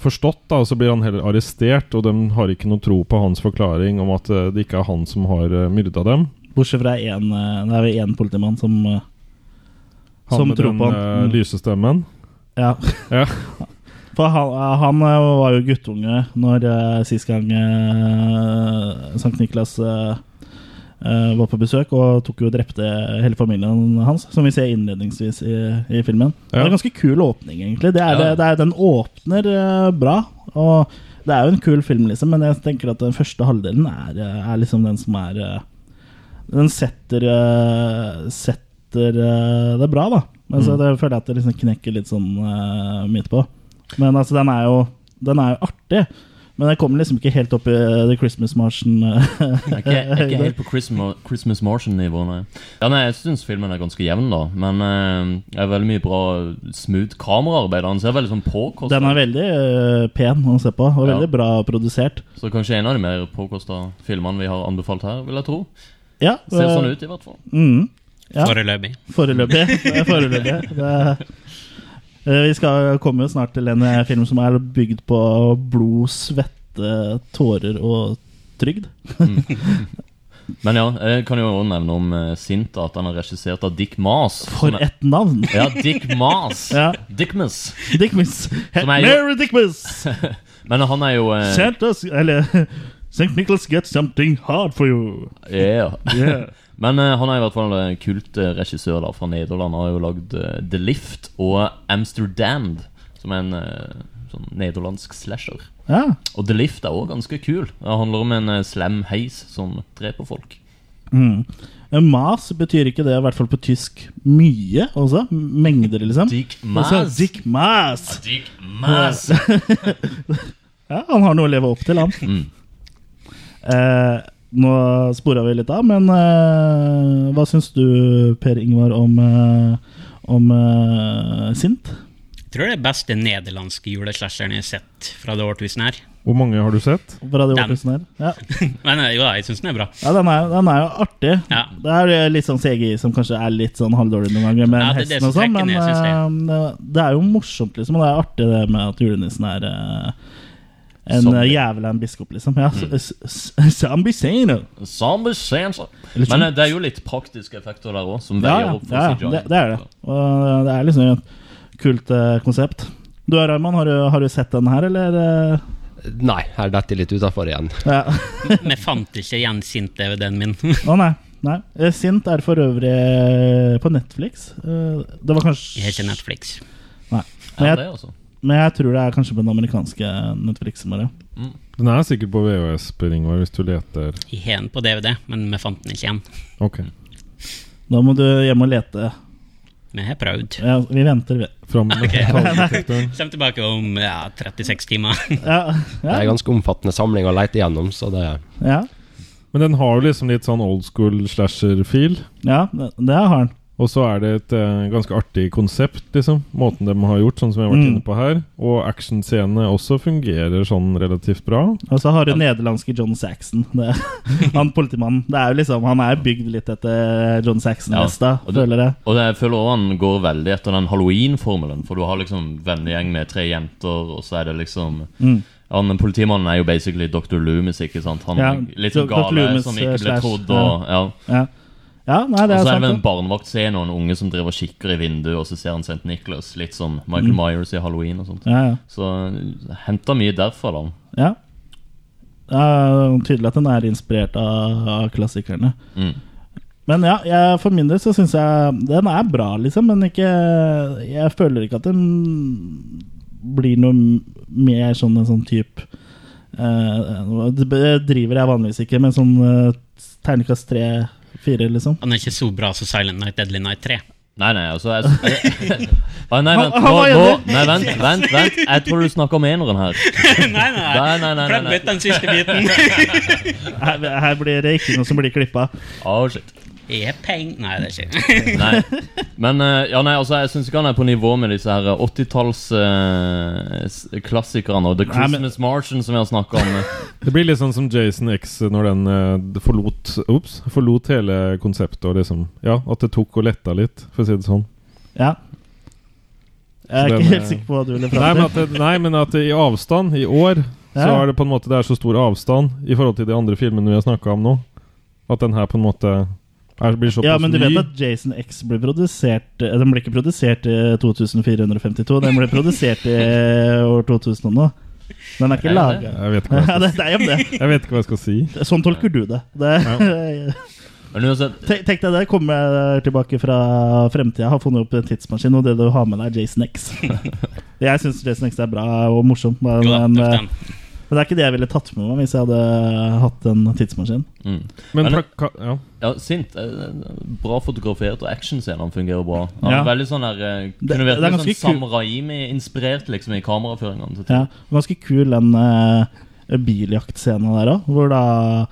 forstått, da, så blir han heller arrestert. Og de har ikke noe tro på hans forklaring om at eh, det ikke er han som har eh, myrda dem. Bortsett fra en, eh, det er vel én politimann som eh, Han Som med tror den på han. eh, Mm. lyse stemmen. Ja. For han, eh, han eh, var jo guttunge når eh, sist gang eh, Sankt Niklas eh, eh, var på besøk, og tok jo og drepte hele familien hans, som vi ser innledningsvis i, i filmen. Det er en ganske kul åpning, egentlig. Det er, det, det er, den åpner eh, bra. Og det er jo en kul film, liksom, men jeg tenker at den første halvdelen er, eh, er liksom den som er eh, Den setter eh, Setter eh, det bra, da. Altså, Mm. det føler jeg at det liksom knekker litt sånn eh, midt på. Men altså, den er jo Den er jo artig. Men jeg kommer liksom ikke helt opp i eh, The Christmas eh, Marchen. Jeg er ikke, jeg er ikke helt på Christmas, Christmas Martian-nivå, nei. Ja, nei. Jeg syns filmen er ganske jevn, da. Men eh, det er veldig mye bra smooth kameraarbeid. Han ser veldig sånn påkosta Den er veldig eh, pen å se på, og Ja. veldig bra produsert. Så kanskje en av de mer påkosta filmene vi har anbefalt her, vil jeg tro. Ja, Ser eh, sånn ut, i hvert fall. Mm, ja. Foreløpig. Foreløpig. det er Foreløpig. Det er, Eh, vi skal komme jo snart til en eh, film som er bygd på blod, svette, tårer og trygd. Men ja, jeg kan jo også nevne om eh, Sint at han er regissert av Dick Mas. For et navn! Ja, Dick Mas. Ja. Dickmas. Dickmas. Som er jo- Mary Dickmas! Men han er jo eh, Santa's Eller St. Nicholas gets something hard for you. Ja. Yeah. Men eh, han er i hvert fall en kult eh, regissør da, fra Nederland. Han har jo lagd eh, The Lift og Amsterdam, som er en eh, sånn nederlandsk slasher. Ja. Og The Lift er òg ganske kul. Det handler om en eh, slem heis som dreper folk. Mm. Men Mas betyr ikke det, i hvert fall på tysk, mye også? Mengder, liksom? Dick Mas. Altså, Dick Mas. Dick Mas. ja, han har noe å leve opp til, han. Mm. Eh, nå spora vi litt av, men eh, hva syns du, Per Ingvar, om, eh, om eh, Sint? Jeg tror det er beste nederlandske juleslasheren jeg har sett fra det årtusenet her. Hvor mange har du sett? Fra det Den. årtusen her? Ja. Men eh, jo, da, jeg syns den er bra. Ja, den er, den er jo artig. Det er eh, litt sånn CGI som kanskje er litt sånn halvdårlig noen ganger, med Ja, det er det hesten og som sånn, trekker men ned, synes eh, det er jo morsomt, liksom. Og det er artig det med at julenissen er eh, en Zombie. eh, jævla en biskop, liksom. Ja, Mm. s- s- Zombie Sano. Zombie Sansa. Eller Men eh, det er jo litt praktiske effekter der òg, som Ja, veier ja, opp for ja, CGI. det, det er det. Og det er liksom et kult eh, konsept. Du Raymond, har, du- har du sett den her, eller? eh? Nei, her detter jeg litt utafor igjen. Ja. Vi fant ikke igjen Sint-DVD-en min. Å nei. nei. Eh, Sint er for øvrig eh, på Netflix. Eh, Det var kanskje Jeg har ikke Netflix. Nei. Ja, jeg, det altså. men jeg tror det er kanskje på den amerikanske Netflixen bare. Den er sikkert på VHS, Per Ingvar, hvis du leter. Jeg har den på DVD, men vi fant den ikke igjen. Ok. Da må du hjem og lete. Vi har prøvd. Ja, vi venter, vi. Fram Ok. Metalldetektoren. Kjem tilbake om ja, 36 timer. Ja, Det er en ganske omfattende samling å leite gjennom, så det Ja. Men den har jo liksom litt sånn old school slasher-feel. Ja, det det har han. Og så er det et eh, ganske artig konsept, liksom. Måten de har gjort, sånn som jeg har vært Mm. inne på her. Og actionscenene også fungerer sånn relativt bra. Og så har du nederlandske John Saxon. Det, han politimannen. Det er jo liksom, han er bygd litt etter John Saxon-lista, og det- føler jeg. Og jeg føler også han går veldig etter den halloween-formelen. For du har liksom vennegjeng med tre jenter, og så er det liksom Mm. Han politimannen er jo basically Dr. Loomis, ikke sant? Han Ja, er litt Dr. gale Loomis, som ikke eh, ble slash, trodd, og ja. Ja, ja nei, det og er så er det vel sant. en barnevaktscene og en unge som driver og kikker i vinduet, og så ser han St. Nicholas, litt som Michael Mm. Myers i Halloween og sånt. Ja, ja. Så eh, henter mye derfra, da. det. Ja. Det er tydelig at den er inspirert av, av klassikerne. Mm. Men ja, jeg, for min del så syns jeg den er bra, liksom. Men ikke Jeg føler ikke at den blir noe m- mer sånn en sånn type eh, Det driver jeg vanligvis ikke med sånn eh, terningkast tre-fire, liksom. Han er ikke så bra som Silent Night Deadly Night 3. Nei, nei, altså jeg, Å, Nei, vent, Hva- nå, hva nå, gjør du? nei, vent, vent, vent. Jeg tror du snakker om eneren her. Nei, Nei, nei, nei, nei, nei. Klipp ut den siste biten. Her, her blir det ikke noe som blir klippa. Oh, shit. Er peng Nei, det er ikke Nei. Men eh, ja, nei, altså, jeg syns ikke han er på nivå med disse her eh, 80-tallsklassikerne og The Nei, men- Christmas Martian som vi har snakka om. eh. Det blir litt sånn som Jason X når den eh, forlot, ups, forlot hele konseptet. Og liksom, ja, At det tok og letta litt, for å si det sånn. Ja. Jeg er Så ikke den, helt eh, sikker på hva du ville nei, men fram at til. det, nei, men at det, i avstand, i år, så Ja. er det på en måte Det er så stor avstand i forhold til de andre filmene vi har snakka om nå. At den her på en måte er, blir såpass Ja, men du ny. vet at Jason X ble produsert eh, Den ble ikke produsert i 2452, den ble produsert i eh, år 2000 nå. Den er ikke laga Jeg vet ikke hva jeg Ja, skal, det, det er jo det. Jeg vet ikke hva jeg skal si. Sånn tolker du det. det Men uansett, Tenk tenk deg det, kommer jeg tilbake fra fremtida, har funnet opp en tidsmaskin, og det du har med deg, er Jason X. jeg syns Jason X er bra og morsom, men, Jo da, men, takk, eh, men det er ikke det jeg ville tatt med meg hvis jeg hadde hatt en tidsmaskin. Mm. Men Men- plaka, ja. Ja, sint. eh, Bra fotografert, og actionscenene fungerer bra. Han er Ja. Veldig sånn der eh, Det- det Kunne vært er litt ganske sånn kul- Sam Raimi-inspirert, liksom, i kameraføringene. til Ja, ting. og ganske kul den uh, biljaktscenen der òg, hvor da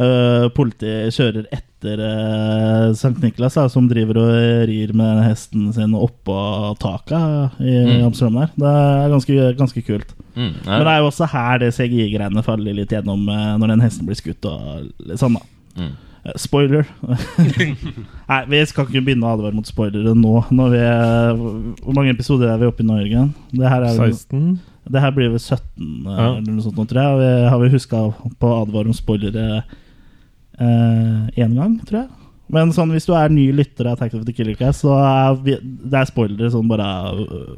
eh, politiet kjører etter eh, Sankt Niklas, da, som driver og rir med den hesten sin oppå taket eh, i Mm. Amsterdam der. Det er ganske, ganske kult. Mm, ja. Men det er jo også her det CGI-greiene faller litt gjennom eh, når den hesten blir skutt og litt sånn, da. Mm. Eh, Spoiler. Nei, vi skal ikke begynne å advare mot spoilere nå. Når vi er, hvor mange episoder er vi oppe i nå, Jørgen? Det her er vel- 16? Det her blir vel 17, eh, Ja. eller noe sånt, nå, tror jeg. Og vi har vi huska på å advare om spoilere én gang, tror jeg. Men sånn, hvis du er ny lytter av Tax of the Killer Cast, så er vi, det er spoilere sånn bare eh,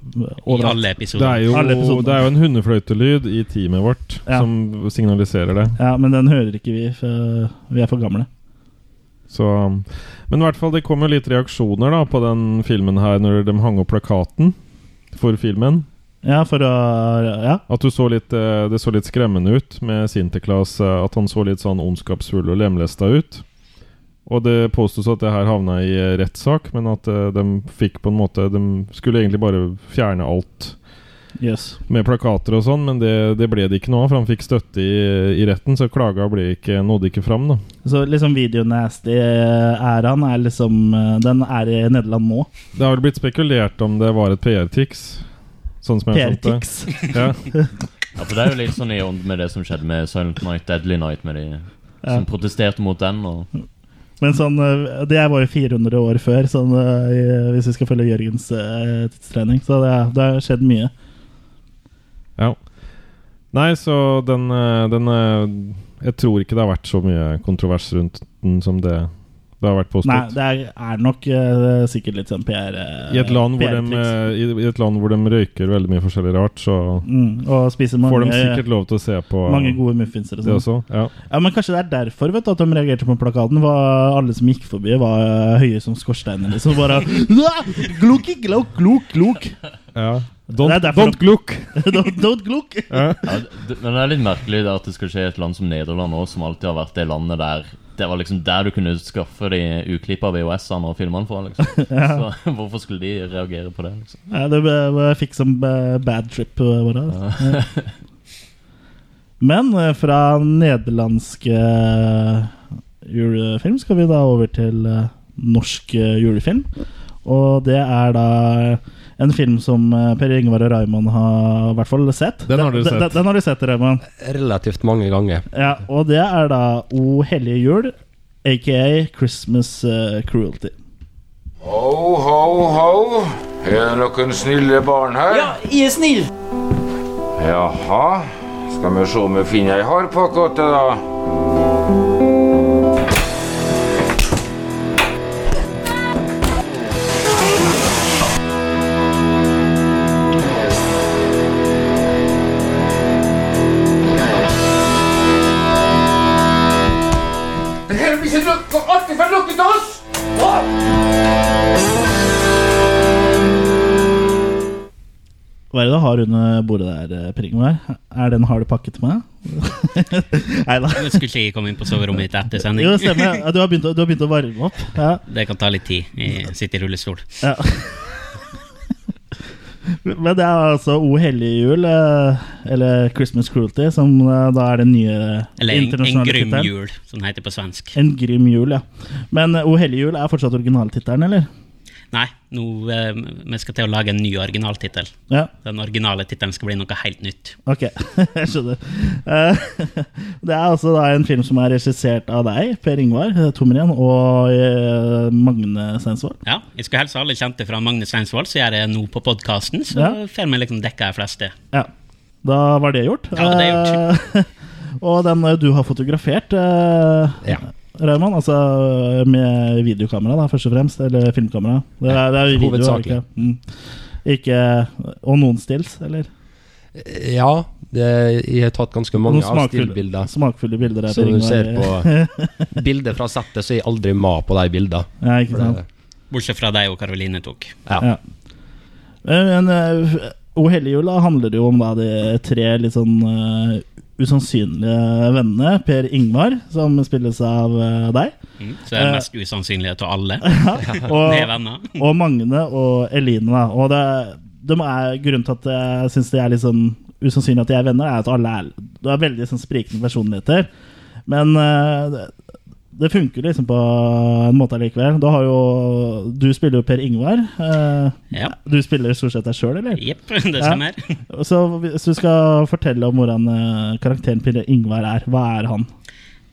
overalt. Det er jo, Alle episodene. det er jo en hundefløytelyd i teamet vårt Ja. som signaliserer det. Ja, men den hører ikke vi, for vi er for gamle. Så, men i hvert fall, det kom jo litt reaksjoner da på den filmen her når de hang opp plakaten for filmen. Ja, for å Ja. At du så litt, eh, det så litt skremmende ut med Sinterklas. eh, At han så litt sånn ondskapsfull og lemlesta ut. Og det påstås at det her havna i eh, rettssak, men at eh, de fikk på en måte De skulle egentlig bare fjerne alt Yes. med plakater og sånn, men det, det ble det ikke noe av. For han fikk støtte i, i retten, så klaga ble ikke, nådde ikke fram, da. Så liksom videonasty-æraen er liksom eh, Den er i Nederland nå. Det har vel blitt spekulert om det var et PR-tics. Sånn som jeg skjønte det. PR-tics. Ja. Ja, for Det er jo litt sånn i ånd med det som skjedde med Silent Night, Deadly Night, med de som protesterte mot den. og Men sånn, eh, det var jo 400 år før, sånn, eh, i- hvis vi skal følge Jørgens eh, tidstrening. Så det, det har skjedd mye. ja. Nei, så den, eh, den eh, Jeg tror ikke det har vært så mye kontrovers rundt den som det, det har vært Nei, påstått. det er, er nok eh, sikkert litt sånn PR. eh, I et, land hvor de, PR-triks. eh, i, I et land hvor de røyker veldig mye forskjellig rart, så Mm, og spiser mange- eh, får de sikkert lov til å se på Mange gode muffinser og det sånn. også, ja. Ja, men Kanskje det er derfor vet du, at de reagerte på plakaten. Var alle som gikk forbi, var eh, høye som skorsteiner. Liksom bare Glukki, glok, glok, glok. Ja. Don't, Det er derfor don't gluk! don't, don't gluk. Ja, det, men det er litt merkelig det at det skal skje i et land som Nederland òg, som alltid har vært det landet der Det var liksom der du kunne skaffe de uklippa VHS-ene og filmene fra. liksom Ja. Så hvorfor skulle de reagere på det? liksom Ja, det ble- ble- fikk som eh, bad trip. eh, Var det, altså. Ja. Ja. Men eh, fra nederlandsk eh, julefilm skal vi da over til eh, norsk eh, julefilm. Og det er da eh, en film som eh, Per Ingvar og Raymond har i hvert fall sett. Den har du sett. Den, den har du sett, Raymond. Relativt mange ganger. Ja, og det er da O hellige jul, aka Christmas eh, Cruelty. Ho, ho, ho. Er det noen snille barn her? Ja, jeg er snill. Jaha. Skal vi se om vi finner ei hardpakke til det, da. Den her blir ikke lukket, går alltid for lukket til oss! Hva er det du har under bordet der, eh, Per Ingvar? Er den hard pakket med? Nei da. Jeg skulle ikke komme inn på soverommet mitt etter sending. Jo, stemmer. Ja, Du har begynt, å- du har begynt å varme opp. Ja. Det kan ta litt tid. Jeg sitter i rullestol. Ja. Men det er altså O hellige jul, eh, eller Christmas Cruelty, som eh, da er den nye Eller en, en internasjonale grym tittelen. jul, som det heter på svensk. En grim jul, ja. Men eh, O hellige jul er fortsatt originaltittelen, eller? Nei, nå, eh, vi skal til å lage en ny originaltittel. Ja. Den originale tittelen skal bli noe helt nytt. Ok, jeg skjønner. Eh, Det er altså da en film som er regissert av deg, Per Ingvar eh, Tomren, og eh, Magne Steinsvold. Ja, Jeg skal hilse alle kjente fra Magne Steinsvold, som gjør det nå på podkasten. Så Ja. får vi liksom dekka de fleste. Ja. Da var det gjort. Ja, det er Eh, og den eh, du har fotografert, uh, Ja. Raymond, altså med videokamera, da, først og fremst. Eller filmkamera. Det er, det er jo video, er det Hovedsakelig. ikke? Mm. ikke Og noen stills, eller? Ja, det, jeg har tatt ganske mange Noen av smakfulle- stillbilder. Smakfulle bilder. Så når du ser Ingvar. på bilder fra settet, så er jeg aldri med på de bildene. Ja, ikke sant. Bortsett fra deg og Karoline tok. Ja. Men eh, O hellige jul da, handler jo om da de tre litt sånn eh, usannsynlige vennene. Per Ingvar, som spilles av eh, deg. Mm, så det er Eh, det mest usannsynlige av alle. og, Det er venner. og Magne og Eline. Da. Og det, de er, grunnen til at jeg syns det er litt sånn usannsynlig at de er venner, er at alle er, det er veldig sånn sprikende personligheter. Men eh, det, det funker liksom på en måte allikevel. Du, har jo, du spiller jo Per Ingvar. eh, Ja. Du spiller stort sett deg sjøl, eller? Jepp, det stemmer. Ja. Så hvis du skal fortelle om hvordan eh, karakteren Per Ingvar er, hva er han?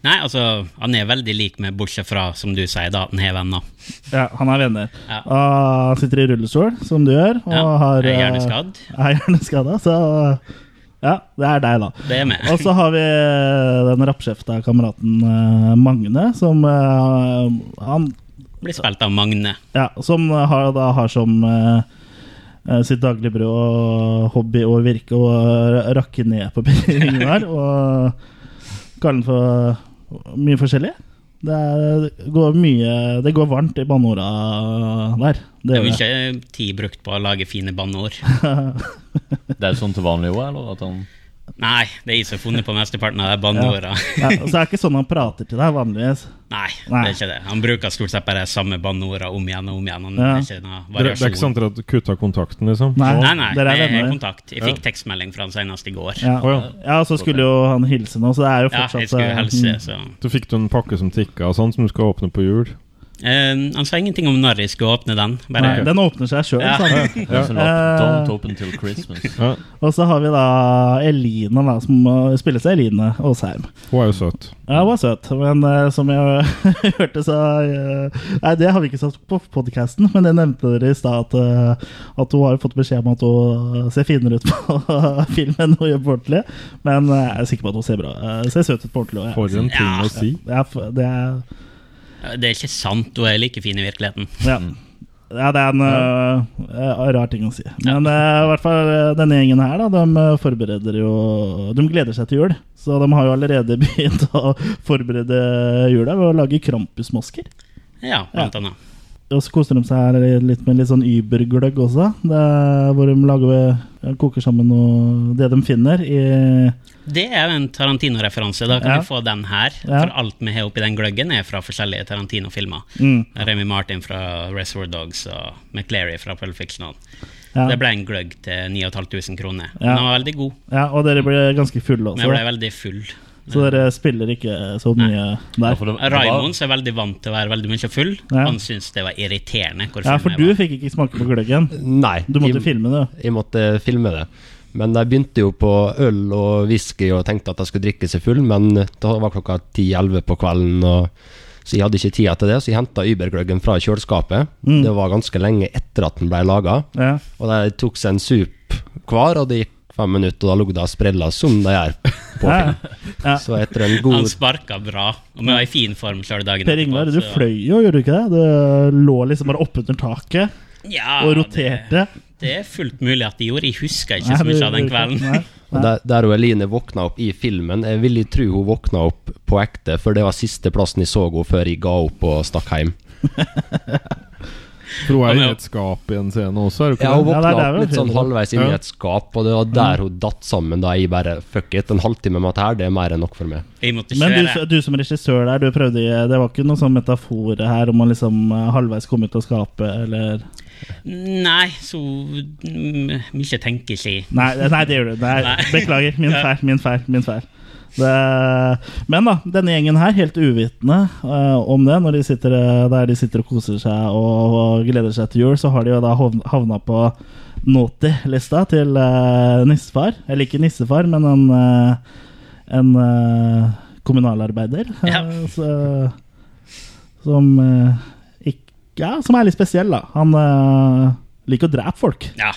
Nei, altså, han er veldig lik meg, bortsett fra, som du sier, da, at han har venner. Ja, han er venner. Ja. Og Ah, han sitter i rullestol, som du gjør. Og Ja, har, er eh, hjerneskadd. Er hjerneskada, så ja, det er deg, da. Det er meg. Og så har vi eh, den rappskjefta kameraten eh, Magne, som eh, han Blir spilt av Magne. ja, som har, da har som eh, eh, sitt daglige brød og hobby og virke å ra- rakke ned på Per Ingvar. Og kalle den for mye forskjellig. Det, er, går mye, det går varmt i banneorda der. Det er gjør jo det. ikke eh, tid brukt på å lage fine banneord. Det er sånn til vanlig òg, eller? At han Nei, det er jeg som har funnet på mesteparten av de banneorda. Ja. Ja, så det er ikke sånn han prater til deg vanligvis. Nei, det Nei. er ikke det. Han bruker stort sett bare de samme banneorda om igjen og om igjen. Han Ja. er ikke Det, det noe er ikke variasjon. sånn at dere kutta kontakten, liksom? Nei. Nei, nei, Dere er det er venner. kontakt. Jeg fikk tekstmelding fra han senest i går. Ja. ja, og så skulle jo han hilse nå, så det er jo Ja, fortsatt jeg skulle eh, hilse, mm. så Så fikk du en pakke som tikka og sånn, som du skal åpne på jul? Eh, Han sa ingenting om når jeg skulle åpne den. Bare Nei, Den åpner seg sjøl, Ja. liksom Don't open till Christmas. Og så har vi da Eline, da, som eh, spilles av Eline Aasheim. Hun er jo søt. Ja, hun var søt, men eh, som jeg hørte, så eh, Nei, det har vi ikke sagt på podkasten, men det nevnte dere i stad, at, eh, at hun har fått beskjed om at hun eh, ser finere ut på film enn hun gjør på ordentlig. Men eh, jeg er sikker på at hun ser bra eh, ser søt ut på ordentlig. også, ja. For en ting Ja. å si. Ja, for- det er Det er ikke sant, hun er like fin i virkeligheten. Ja. Ja, det er en øh, øh, rar ting å si. Men øh, i hvert fall øh, denne gjengen her, da, de øh, forbereder jo De gleder seg til jul. Så de har jo allerede begynt å forberede jula ved å lage krampusmasker. Ja, blant annet. Og så koser de seg litt med litt sånn übergløgg også. Det er hvor de lager, koker sammen noe, det de finner i Det er jo en Tarantino-referanse. Da kan Ja. du få den her. Ja. For alt vi har oppi den gløggen, er fra forskjellige Tarantino-filmer. Mm. Remy Martin fra Reservoir Dogs og McCleary fra Pulp Fiction. Ja. Det ble en gløgg til 9500 kroner. Ja. Den var veldig god. Ja, og dere ble ganske fulle også. Men jeg ble veldig full. Så dere spiller ikke så mye der. Raimonds er veldig vant til å være veldig mye full. Ja. Han syntes det var irriterende. Hvor Ja, full for jeg du fikk ikke smake på gløggen. Nei. Du måtte jeg- filme det. Jeg måtte filme det. Men jeg begynte jo på øl og whisky og tenkte at jeg skulle drikke seg full, men da var klokka 10-11 på kvelden, og så jeg hadde ikke tida til det, så jeg henta Ubergløggen fra kjøleskapet. Mm. Det var ganske lenge etter at den ble laga, Ja. og de tok seg en sup hver, og det gikk fem minutter, og da lå de og sprella som de gjør på Ja. film. Så etter en god Han sparka bra, og var i fin form sjøl dagen Per Ingvar, du så- fløy jo, gjorde du ikke det? Du lå liksom bare oppunder taket Ja, og roterte. Det er fullt mulig at de gjorde. Jeg husker ikke Nei, så mye det- av den kvelden. Og der, der hun Eline våkna opp i filmen Jeg vil ikke tro hun våkna opp på ekte, for det var siste plassen jeg så henne før jeg ga opp og stakk hjem. For hun er i et skap i en scene også, er hun ikke Ja, hun det? våkna opp Mm. litt sånn halvveis inn i et skap, og det var der hun datt sammen da jeg bare Fuck it, en halvtime med dette her, det er mer enn nok for meg. Men du, du som regissør der, du prøvde Det var ikke noe sånn metafor her om å liksom eh, halvveis komme ut av skapet, eller Nei, så mm, mye tenker ikke jeg. Nei, det- nei det gjør du. Nei, beklager. Min Ja. feil, min feil. min feil det, Men da, denne gjengen her, helt uvitende eh, om det, når de sitter eh, der de sitter og koser seg og, og gleder seg til jul, så har de jo da hovn- havna på naughty-lista til eh, nissefar. Eller ikke nissefar, men en, eh, en eh, kommunalarbeider. eh, så, som eh, ikke Ja, som er litt spesiell, da. Han eh, liker å drepe folk. Ja.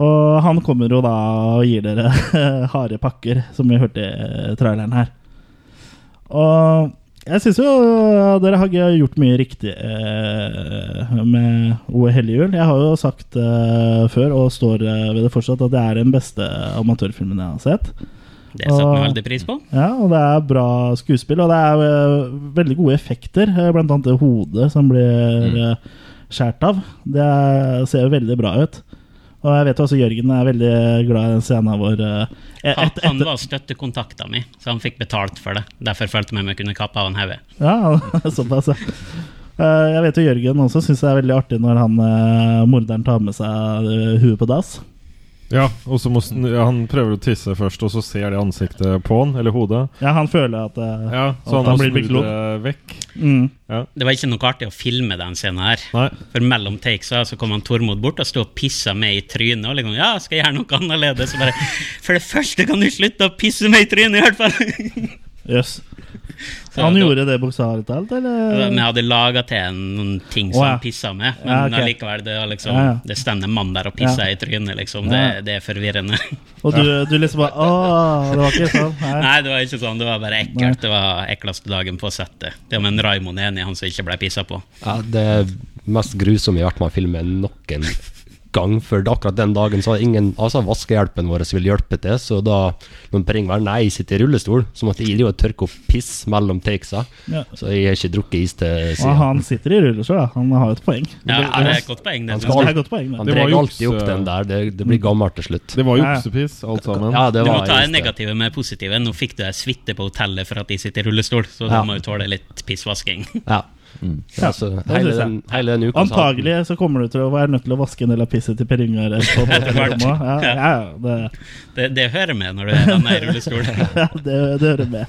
Og han kommer jo da og gir dere harde pakker, som vi hørte i traileren her. Og jeg syns jo dere har ikke gjort mye riktig eh, med O hellige jul. Jeg har jo sagt eh, før, og står eh, ved det fortsatt, at det er den beste amatørfilmen jeg har sett. Det satte vi Og- veldig pris på. Ja, og det er bra skuespill, og det er eh, veldig gode effekter. eh, Blant annet det hodet som blir eh, skjært av. Det er, ser jo veldig bra ut. Og jeg vet jo også Jørgen er veldig glad i den scenen hvor eh, et, Han, et, han var støttekontakta mi, så han fikk betalt for det. Derfor følte jeg meg kunne kappe av en hode. Ja, såpass, ja. Eh, Jeg vet jo Jørgen også syns det er veldig artig når han eh, morderen tar med seg eh, huet på dass. Ja, og så må sn- han prøver å tisse først, og så ser de ansiktet på han, eller hodet. Ja, han føler at, eh, Ja, så at han han må blir snu beklådd. det vekk. Mm. Det var ikke noe artig å filme den scenen her. For mellom takesa så kom han Tormod bort og sto og pissa meg i trynet. Og liksom, ja, skal jeg gjøre noe annerledes? Og bare, For det første kan du slutte å pisse meg i trynet, i hvert fall! Jøss. Så Han da- gjorde det bokstavelig talt, eller? Men jeg hadde laga til noen ting Å, som ja. han pissa med. Men Ja, ok. allikevel, det, var liksom, Ja, ja. det stender en mann der og pisser Ja. i trynet, Ja. liksom. Det, det er forvirrende. Og du, du liksom bare Åh, det var ikke sånn. Nei. Nei. det var ikke sånn. Det var bare ekkelt. Det var ekleste dagen på settet. Det var med en Raymond enig, han som ikke ble pissa på. Ja, det er mest grusomme jeg har vært med å filme noen gang, for akkurat den dagen så hadde ingen Altså, vaskehjelpen vår ville hjelpe til, så da når Per Ingvar nei sitter i rullestol, så måtte jeg drive og tørke opp piss mellom takesa. Ja. Så jeg har ikke drukket is til Og siden. han sitter i rullestol, da. Han har jo et poeng. Han, skal, Det er et godt poeng, det. han drar alltid opp den der. Det, det blir gammelt til slutt. Det var juksepiss, alt sammen. Ja, det du var må ta just det det. negative med positive. Nå fikk du ei suite på hotellet for at de sitter i rullestol, så Ja. du må jo tåle litt pissvasking. Ja. Ja, så det altså, hele synes jeg. den- altså, hele den uka så- Antagelig så kommer du til å være nødt til å vaske en del av pisset til Per Ingar. på- på- på- Etter hvert. på- på- Ja, ja, det, Det, det hører med når du er den i rullestol. ja, det, det hører med.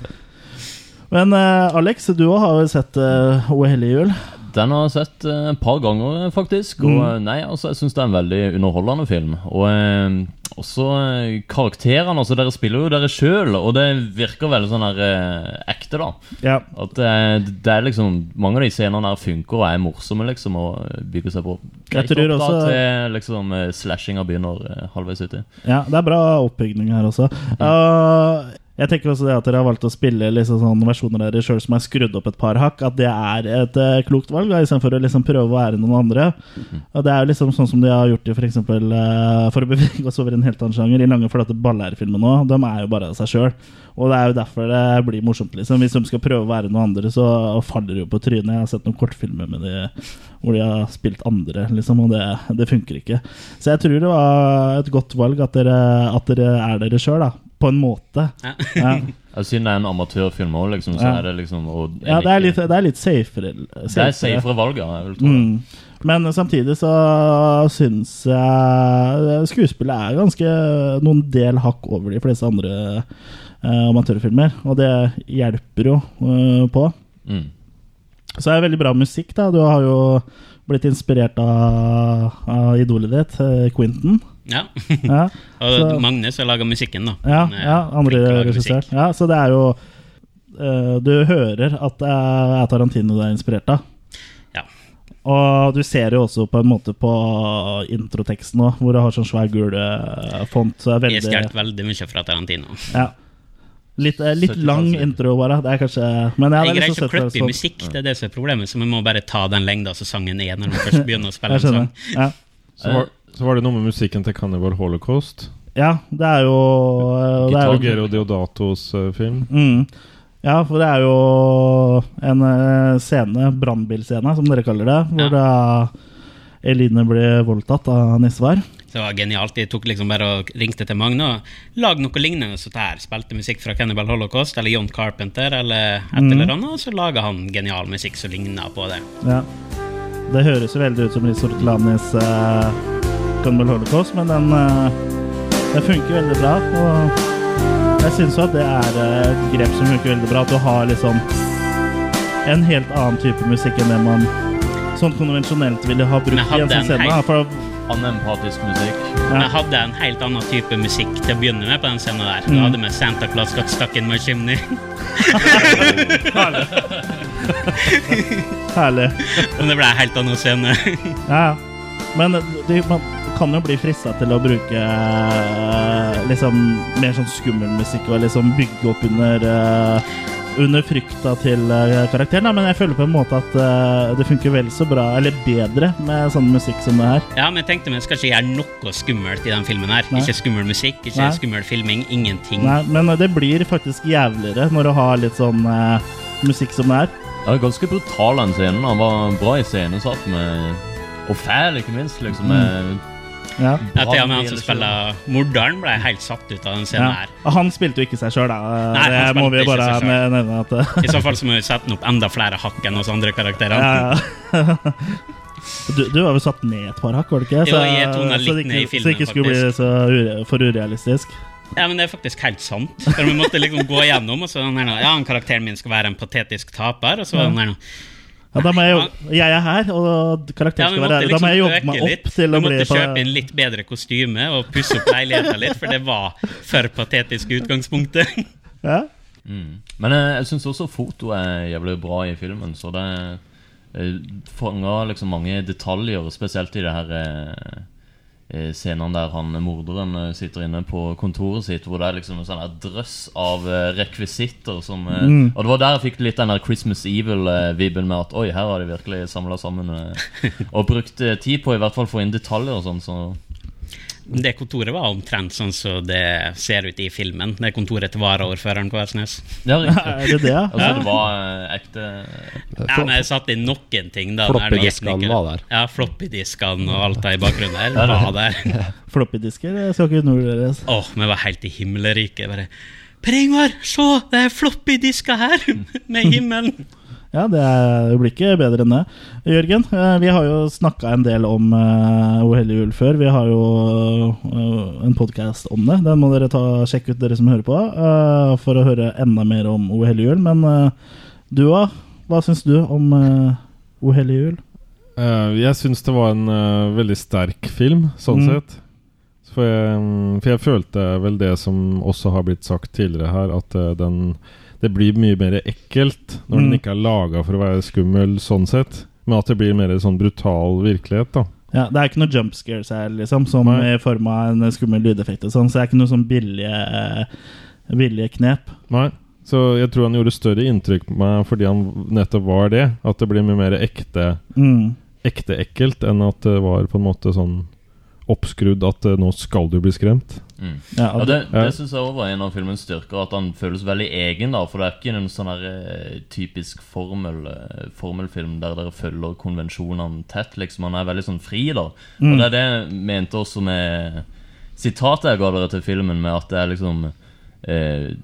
Men eh, Alex, du også har jo sett eh, O hellige jul. Den har jeg sett eh, et par ganger, eh, faktisk. Og Mm. eh, nei, altså, jeg syns det er en veldig underholdende film. Og eh, også eh, karakterene. altså Dere spiller jo dere sjøl, og det virker veldig sånn her eh, ekte, da. Ja. At eh, det er liksom Mange av de scenene her funker og er morsomme, liksom, og bygger seg på. Jeg Greit tror opp da også- til liksom eh, slashinga begynner eh, halvveis uti. Ja, det er bra oppbygning her også. Uh, jeg tenker også det at dere har valgt å spille liksom sånn versjoner av dere sjøl som er skrudd opp et par hakk, at det er et eh, klokt valg, da, istedenfor å liksom prøve å være noen andre. Og Det er jo liksom sånn som de har gjort i for eksempel, eh, for å bevege oss over en helt annen sjanger, i lange flate ballærfilmer nå. De er jo bare seg sjøl. Og det er jo derfor det blir morsomt. liksom Hvis de skal prøve å være noen andre, så faller de jo på trynet. Jeg har sett noen kortfilmer med de hvor de har spilt andre, liksom, og det, det funker ikke. Så jeg tror det var et godt valg at dere, at dere er dere sjøl, på en måte. Ja. Ja, Altså, Siden det er en amatørfilm òg, liksom, så Ja. er det liksom og, Ja, det er litt, det er litt safere. Det er safere valg, ja. Jeg vil tro. Mm. Men samtidig så syns jeg skuespillet er ganske noen del hakk over de fleste andre eh, amatørfilmer, og det hjelper jo eh, på. Mm. Så er det veldig bra musikk, da. Du har jo blitt inspirert av, av idolet ditt, eh, Quentin. Ja. Ja, og så- Magnus har laga musikken, da. Ja, Han er ja flink til å andre lage musikk. regissør. Ja, så det er jo eh, Du hører at det er Tarantino du er inspirert av. Og du ser jo også på en måte på introteksten òg, hvor det har sånn svær gul eh, font. Så det er Jeg har veldig stjålet veldig mye fra Tarantino. ja. Litt, eh, litt lang intro, bare. Det er kanskje Men ja, det er jeg greier liksom ikke å søtt å være klippe i sånn. musikk, det er det som er problemet. Så vi må bare ta den lengda som sangen er, når vi først begynner å spille Jeg en sang. skjønner. Ja. Så var, så var det noe med musikken til Cannibal Holocaust. ja, det er jo eh, det er jo- Gitagero Deodatos eh, film. Mm. Ja, for det er jo en eh, scene, brannbilscene, som dere kaller det, hvor da Eline blir voldtatt av Nisvar. Så det var genialt. Jeg tok liksom bare og ringte til Magne og lag noe lignende som det her. Spilte musikk fra Cannibal Holocaust eller John Carpenter eller et Mhm. eller annet, og så laga han genial musikk som ligna på det. Ja. Det høres jo veldig ut som Liz Ortelanis uh, Gumball Holocaust, men den, eh, den funker veldig bra. Og jeg syns jo at det er eh, et grep som funker veldig bra, at du har liksom en helt annen type musikk enn det man sånn konvensjonelt ville ha Men brukt i en sånn scene. da, For Anempatisk musikk. Vi hadde en helt annen type musikk til å begynne med på den scenen der. Mhm. Da hadde vi Santa Claus Got Stuck In My Chimney. Herlig. Men det ble en helt annen scene. Ja, ja. Men de, man kan jo bli frista til å bruke eh, liksom mer sånn skummel musikk og liksom bygge opp under eh, under frykta til eh, karakteren, da. men jeg føler på en måte at eh, det funker vel så bra, eller bedre, med sånn musikk som det her. Ja, men jeg tenkte vi skal ikke gjøre noe skummelt i den filmen her. Nei. Ikke skummel musikk, ikke Nei. skummel filming, ingenting. Nei, men det blir faktisk jævligere når du har litt sånn eh, musikk som det her. Ja, ganske brutal den scenen. Han var bra iscenesatt med Og fæl, ikke minst. liksom med Ja. Mm. Ja, til og med han som spiller morderen, ble helt satt ut av den scenen Ja. her. Og Han spilte jo ikke seg sjøl, da. Nei, det han må vi spilte ikke bare seg selv. nevne. at eh, I så fall så må vi sette den opp enda flere hakk enn hos andre karakterer. Ja, ja. Du, du har vel satt ned et par hakk, var det ikke? Jo, jeg tonet litt så det ikke, ned i så filmen, det ikke skulle bli faktisk. så ure, for urealistisk. Ja, men det er faktisk helt sant. For vi måtte liksom gå igjennom, og så den her, nå, ja, han karakteren min skal være en patetisk taper, og så var den her nå. Ja, da må jeg, jo- jeg er her, og Ja, karakteren vi skal være måtte her. Da liksom må jeg jobbe øke meg litt. opp til å Vi bli måtte på kjøpe inn litt bedre kostyme og pusse opp leiligheten litt, for det var for patetisk i utgangspunktet. Ja. Mm. Men eh, jeg syns også fotoet er jævlig bra i filmen. Så det eh, fanger liksom mange detaljer, spesielt i det her eh, eh, scenen der han morderen eh, sitter inne på kontoret sitt, hvor det er liksom en sånn her drøss av eh, rekvisitter som eh, Mm. Og det var der jeg fikk litt den der Christmas Evil-vibben med at oi, her har de virkelig samla sammen eh, og brukt eh, tid på i hvert fall å få inn detaljer og sånn. så... Det kontoret var omtrent sånn som det ser ut i filmen. Det kontoret til varaordføreren på Vestnes. Ja, riktig. Altså, Ja. det var eh, ekte Ja, men jeg satte inn noen ting. da Floppy når det diskene ikke- var der. Ja, floppydiskene og alt det i bakgrunnen der Ja, var det- der. Floppydisker eh, skal ikke undervurderes. Åh, vi var helt i himmelriket. bare Per Ingvar, se! Det er floppydisker her! Med himmelen! Ja, det er- det blir ikke bedre enn det. Jørgen, eh, vi har jo snakka en del om eh, O hellige jul før. Vi har jo eh, en podkast om det. Den må dere ta, sjekke ut, dere som hører på, eh, for å høre enda mer om O hellige jul. Men eh, du òg, hva syns du om eh, O hellige jul? Eh, jeg syns det var en eh, veldig sterk film, sånn Mm. sett. Så For jeg, mm, for jeg følte vel det som også har blitt sagt tidligere her, at eh, den Det blir mye mer ekkelt når Mm. den ikke er laga for å være skummel, sånn sett. Men at det blir mer sånn brutal virkelighet, da. Ja, Det er ikke noe jump scares her, liksom, som Nei. i form av en skummel lydeffekt. og Sånn, så det er ikke noe sånn billige, eh, billige knep. Nei. Så jeg tror han gjorde større inntrykk på meg fordi han nettopp var det. At det blir mye mer ekte Mm. Ekte ekkelt enn at det var på en måte sånn oppskrudd at eh, nå skal du bli skremt. Mm. Ja, Ja, det Ja. det syns jeg også var en av filmens styrker, at han føles veldig egen. da For det er ikke en sånn her, eh, typisk formel, eh, formelfilm der dere følger konvensjonene tett. liksom Han er veldig sånn fri, da. Mm. Og det er det jeg mente også med sitatet jeg ga dere til filmen, med at det er liksom eh,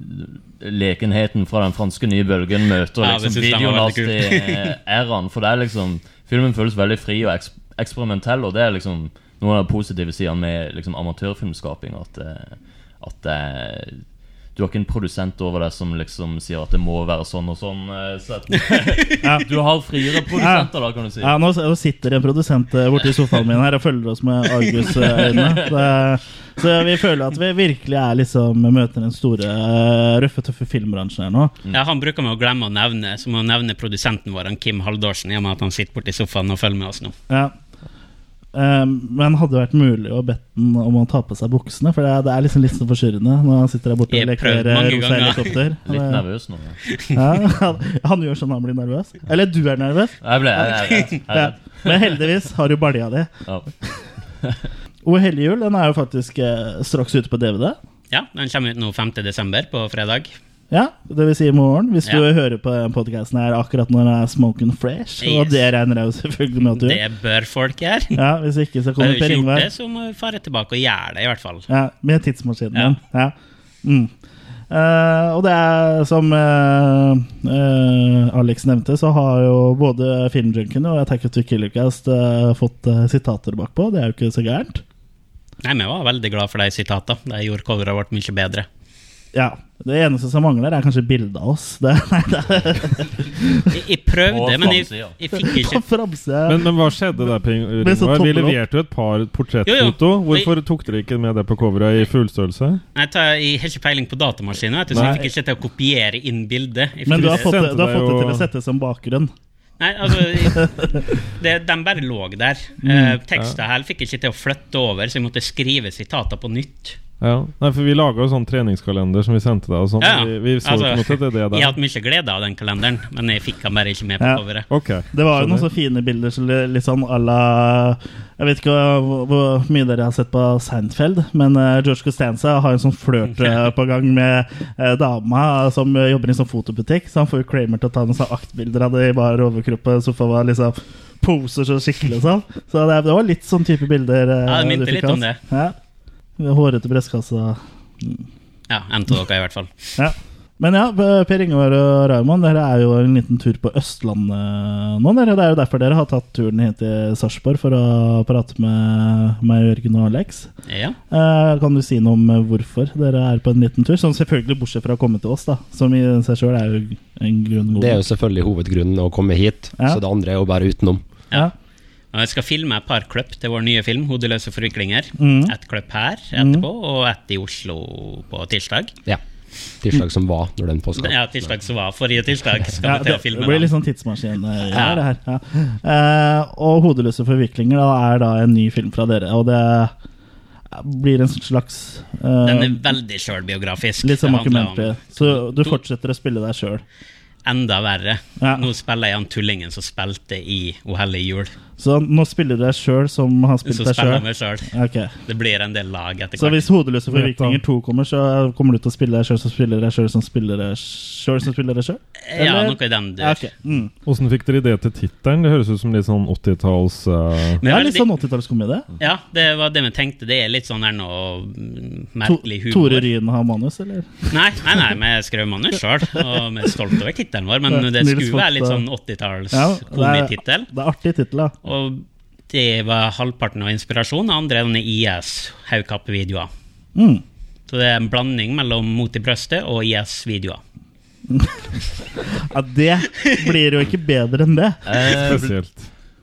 Lekenheten fra den franske nye bølgen møter Ja, det liksom synes jeg var veldig videonasty kult. æraen. For det er liksom Filmen føles veldig fri og eks eksperimentell, og det er liksom noen av de positive sidene med liksom amatørfilmskaping. At, eh, at eh, du Du har ikke en produsent over deg som liksom sier at det må være sånn og sånn. eh, Så at, du har friere produsenter, da, kan du si. Ja, nå s- nå sitter en produsent eh, borti sofaen min her og følger oss med argusøyne. Det- Så vi føler at vi virkelig er liksom møter den store, eh, røffe, tøffe filmbransjen her nå. Ja, han bruker med å glemme å nevne Så må han nevne produsenten vår, han Kim Haldorsen, i og med at han sitter borti sofaen og følger med oss nå. Ja. Eh, men hadde det vært mulig å bedt den om å ta på seg buksene? For det er, det er liksom litt så forstyrrende når han sitter der borte og Jeg har leker prøvd eh, mange rosa ganger. helikopter. Litt Eh, nervøs nå, Ja, ja. han, han gjør sånn han blir nervøs. Eller du er nervøs. Jeg ble- jeg- jeg- jeg- jeg- Ja. Men heldigvis har du balja di. Ja. O hellige jul den er jo faktisk eh, straks ute på DVD. Ja, den kommer ut nå 5. desember, på fredag. Ja, det vil si i morgen, hvis du Ja. hører på den podcasten her akkurat når det er smoking fresh. Og Yes. det regner jeg jo selvfølgelig med at du Det bør folk gjøre. Ja, Hvis ikke, så Har kommer du Per ikke gjort Ingvar. det, så må du fare tilbake og gjøre det, i hvert fall. Ja, med tidsmaskinen din. Ja. Mm. Eh, og det er som eh, eh, Alex nevnte, så har jo både Filmjunken og Attack of the Killer Cast eh, fått eh, sitater bakpå. Det er jo ikke så gærent. Nei, men Jeg var veldig glad for de sitatene. Det gjorde coveret vårt mye bedre. Ja, Det eneste som mangler, er kanskje bilde av oss. Det, nei, det Jeg, jeg prøvde, Og men jeg, framsida. jeg fikk ikke På framsida. Men, men hva skjedde der? Ping, Men så Ringvar? Vi tommel opp. leverte jo et par Jo, portrettfoto. jo. Hvorfor tok dere ikke med det på coveret i fullstørrelse? Nei, ta, jeg har ikke peiling på datamaskinen, vet du, så jeg fikk ikke til å kopiere inn bildet. Jeg Men fikk du har ikke- fått, det- du har deg fått det til jo- å sette som bakgrunn. Nei, altså jeg- det, Den bare lå der. Eh, Mm, Teksten her fikk jeg ikke til å flytte over, så jeg måtte skrive sitater på nytt. Ja. Nei, for vi laga jo sånn treningskalender som vi sendte deg og sånn. Ja, Vi, vi så på altså, en måte det, det Jeg har der. hatt mye glede av den kalenderen, men jeg fikk den bare ikke med på Ja. coveret. Det var jo noen så fine bilder, så li- litt sånn à la Jeg vet ikke hvor, hvor mye dere har sett på Seinfeld, men eh, George Costanza har en sånn flørt eh, på gang med eh, dama som eh, jobber i en sånn fotobutikk, så han får jo Kramer til å ta noen sånne aktbilder av det i bar overkropp og sofaen var liksom poser så skikkelig og sånn. Så det, det var litt sånn type bilder. eh, Ja, det minte du fikk litt av oss. om det. Ja. Hårete brystkassa. Ja, en av dere, i hvert fall. Ja. Men ja, Per Ingvar og Raymond, dere er jo en liten tur på Østlandet eh, nå. Dere. Det er jo derfor dere har tatt turen hit til Sarpsborg for å prate med meg, Jørgen og Alex. Ja. Eh, kan du si noe om hvorfor dere er på en liten tur? Sånn selvfølgelig bortsett fra å komme til oss, da. Som i seg sjøl er jo en grunn god. Det er jo selvfølgelig hovedgrunnen å komme hit, Ja. så det andre er jo bare utenom. Og jeg skal filme et par kløpp til vår nye film, 'Hodeløse forviklinger'. Mm. Et kløpp her etterpå, og ett i Oslo på tirsdag. Ja. Tirsdag som var, når den påska. Ja, tirsdag som var forrige tirsdag, skal Ja, vi til det, å det filme. blir den. litt sånn tidsmaskin. eh, Ja. det her, ja. Eh, og 'Hodeløse forviklinger' da, er da en ny film fra dere. Og det blir en slags eh, Den er veldig sjølbiografisk. Litt sånn som Det handler om- dokumentary. Så du fortsetter å spille deg sjøl. Enda verre. Nå spiller jeg han tullingen som spilte i O hellige jul. Så nå spiller du deg sjøl som har spilt Så deg spiller jeg meg sjøl? sjøl. Det blir en del lag etter Så hvert. hvis 'Hodeløse forvirkninger 2' kommer, så kommer du til å spille deg sjøl som spiller deg sjøl som spiller deg sjøl som spiller deg sjøl? Ja, noe i den Ja, der. ok. Mm. Åssen fikk dere idé til tittelen? Det høres ut som litt sånn 80-talls eh, Det er litt sånn 80-tallskomedie. Ja, det var det vi tenkte. Det er litt sånn her noe mm, merkelig To- humor. Tore Ryen har manus, eller? Nei, nei, nei, vi skrev manus sjøl, og vi er stolte over tittelen vår, men det Nils skulle være litt Fogstad. sånn 80-talls Ja, det er- komitittel. Det er artig tittel, da. Og det var halvparten av inspirasjonen, andre er denne IS-haugkapp-videoer. Mm. Så det er en blanding mellom Mot i brøstet og IS-videoer. Ja, det blir jo ikke bedre enn det. Eh,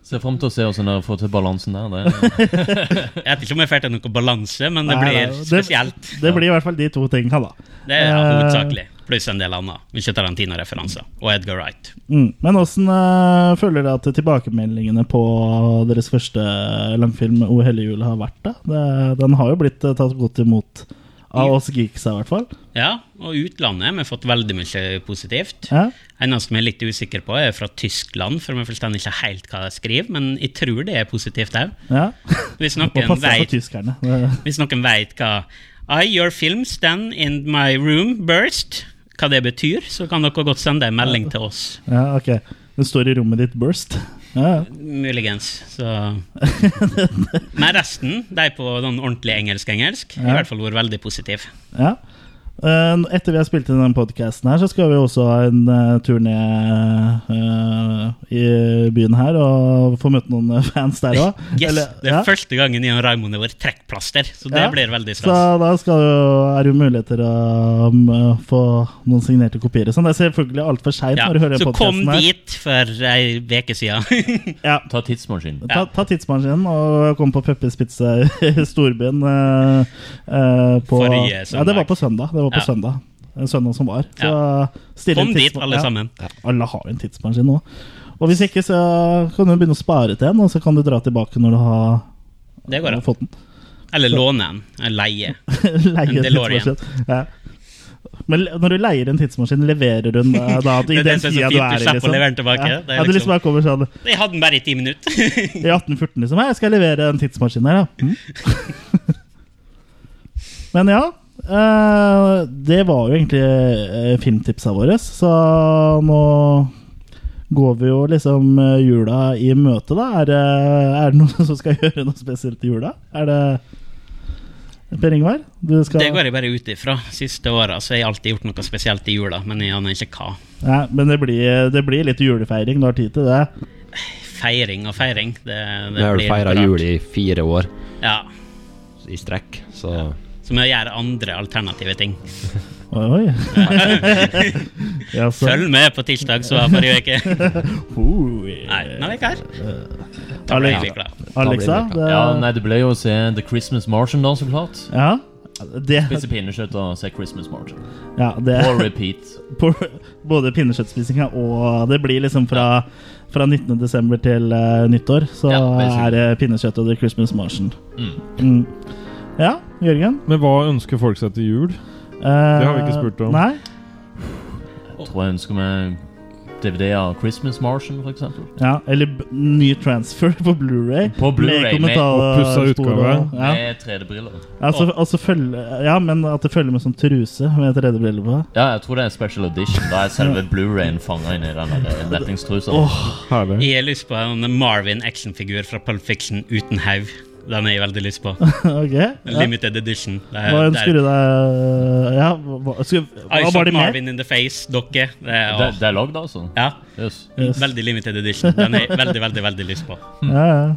Ser frem til å se hvordan dere får til balansen der. Det. Jeg vet ikke om jeg får til noe balanse, men det Nei, blir nei, det- spesielt. Det blir i hvert fall de to tinga, da. Det er ja, Eh, hovedsakelig. Pluss en del annet. Mye Tarantino-referanser. Og Edgar Wright. Mm. Men åssen eh, føler dere at tilbakemeldingene på deres første langfilm, 'O hellige jul', har vært? da? Det, den har jo blitt eh, tatt godt imot av oss geeksa, i hvert fall. Ja, og utlandet vi har fått veldig mye positivt. Ja. Eneste vi er litt usikre på, er fra Tyskland, for vi forstår ikke helt hva de skriver, men jeg tror det er positivt òg. Ja. Hvis Må noen passe seg vet- for tyskerne. Det- Hvis noen vet hva I, your film, stand in my room, burst Hva det betyr, så kan dere godt sende en melding til oss. Ja, ok. Den står i rommet ditt, Burst. Ja, ja. Muligens. Så. Men resten, de på den ordentlige engelsk-engelsk, har Ja. i hvert fall vært veldig positive. ja. Eh, Etter vi har spilt inn den podkasten her, så skal vi også ha en eh, tur ned eh, i byen her og få møte noen eh, fans der òg. Yes, Det er første gangen jeg og Raymond har vært trekkplaster, så det Ja. blir veldig Så stas. da skal jo, er det jo muligheter å um, få noen signerte kopier. og Sånn, det er selvfølgelig altfor seint. Ja, når du hører så kom podcasten her. dit for ei uke siden. Ta tidsmaskinen. Ta, ta tidsmaskinen og kom på Peppers Pizza i storbyen. eh, eh, på, Forrige søndag. Ja, det var på søndag. Det var på Ja. søndag. En søndag som var. Så Ja. still Kom en dit, tidsma- alle ja. sammen. Ja, alle har jo en tidsmaskin nå. Og hvis ikke, så kan du begynne å spare til en, og så kan du dra tilbake når du har Det går har an. fått den. Eller låne en. Eller leie. Leie en DeLorean. tidsmaskin. Ja. Men le- når du leier en tidsmaskin, leverer du den eh, da Det i er den det som er tida så du fint, du er i? slipper å liksom? levere den tilbake. Ja. Det er Ja, du liksom- liksom bare kommer sånn Jeg hadde den bare i ti minutter. i 1814 liksom. «Hei, Jeg skal levere en tidsmaskin her, da. Mm. Men ja. eh, det var jo egentlig eh, filmtipsa våre, så nå går vi jo liksom eh, jula i møte, da. Er det, er det noen som skal gjøre noe spesielt i jula? Er det Per Ingvar? Du skal Det går jeg bare ut ifra. Siste åra har jeg alltid gjort noe spesielt i jula, men jeg aner ikke hva. Nei, men det blir, det blir litt julefeiring. Du har tid til det. Feiring og feiring. Det, Vi det har vel blir feira rart. jul i fire år Ja. i strekk, så Så må jeg gjøre andre alternative ting. Oi, oi. Ja, så- Følg med på tirsdag, så var forrige uke. Nei, nå er vi klar. Da blir vi klar. Alexa, det- Ja, nei, det ble jo å se The Christmas Martian, da, så klart. Ja. Det, Spise pinnekjøtt og se Christmas Martian. Ja, det På repeat. På, både pinnekjøttspisinga og Det blir liksom fra, fra 19. desember til eh, nyttår. Så basically. er det pinnekjøtt og The Christmas Martian. Mm. Mm. Ja, Jørgen? Eh, Men hva ønsker folk seg til jul? det har vi ikke spurt om. Nei? Jeg tror jeg ønsker meg DVD av Christmas Martian, for eksempel. Ja, eller b- ny transfer på Blu-ray. På Blu-ray, med kommentarspor oppusset utgave. og- Ja. Med 3D-briller. Ja, så- og så Altså, følge, ja, men at det følger med sånn truse med 3D-briller på. Ja, jeg tror det er special edition. Da er selve Blu-rayen fanga inn i den der eh, deppingstrusa. Jeg har lyst på en Marvin actionfigur fra Pulp Fiction uten haug. Den har jeg veldig lyst på. Ok, ja. Limited edition. Det er- Hva det er- ønsker du deg eh, Ja, hva, skulle, I hva shot var det mer? Marvin in the face, dokke. Det er, Det- det er lagd, altså? Ja. Yes. Veldig limited edition. Den har jeg veldig, veldig veldig lyst på. Ja, ja.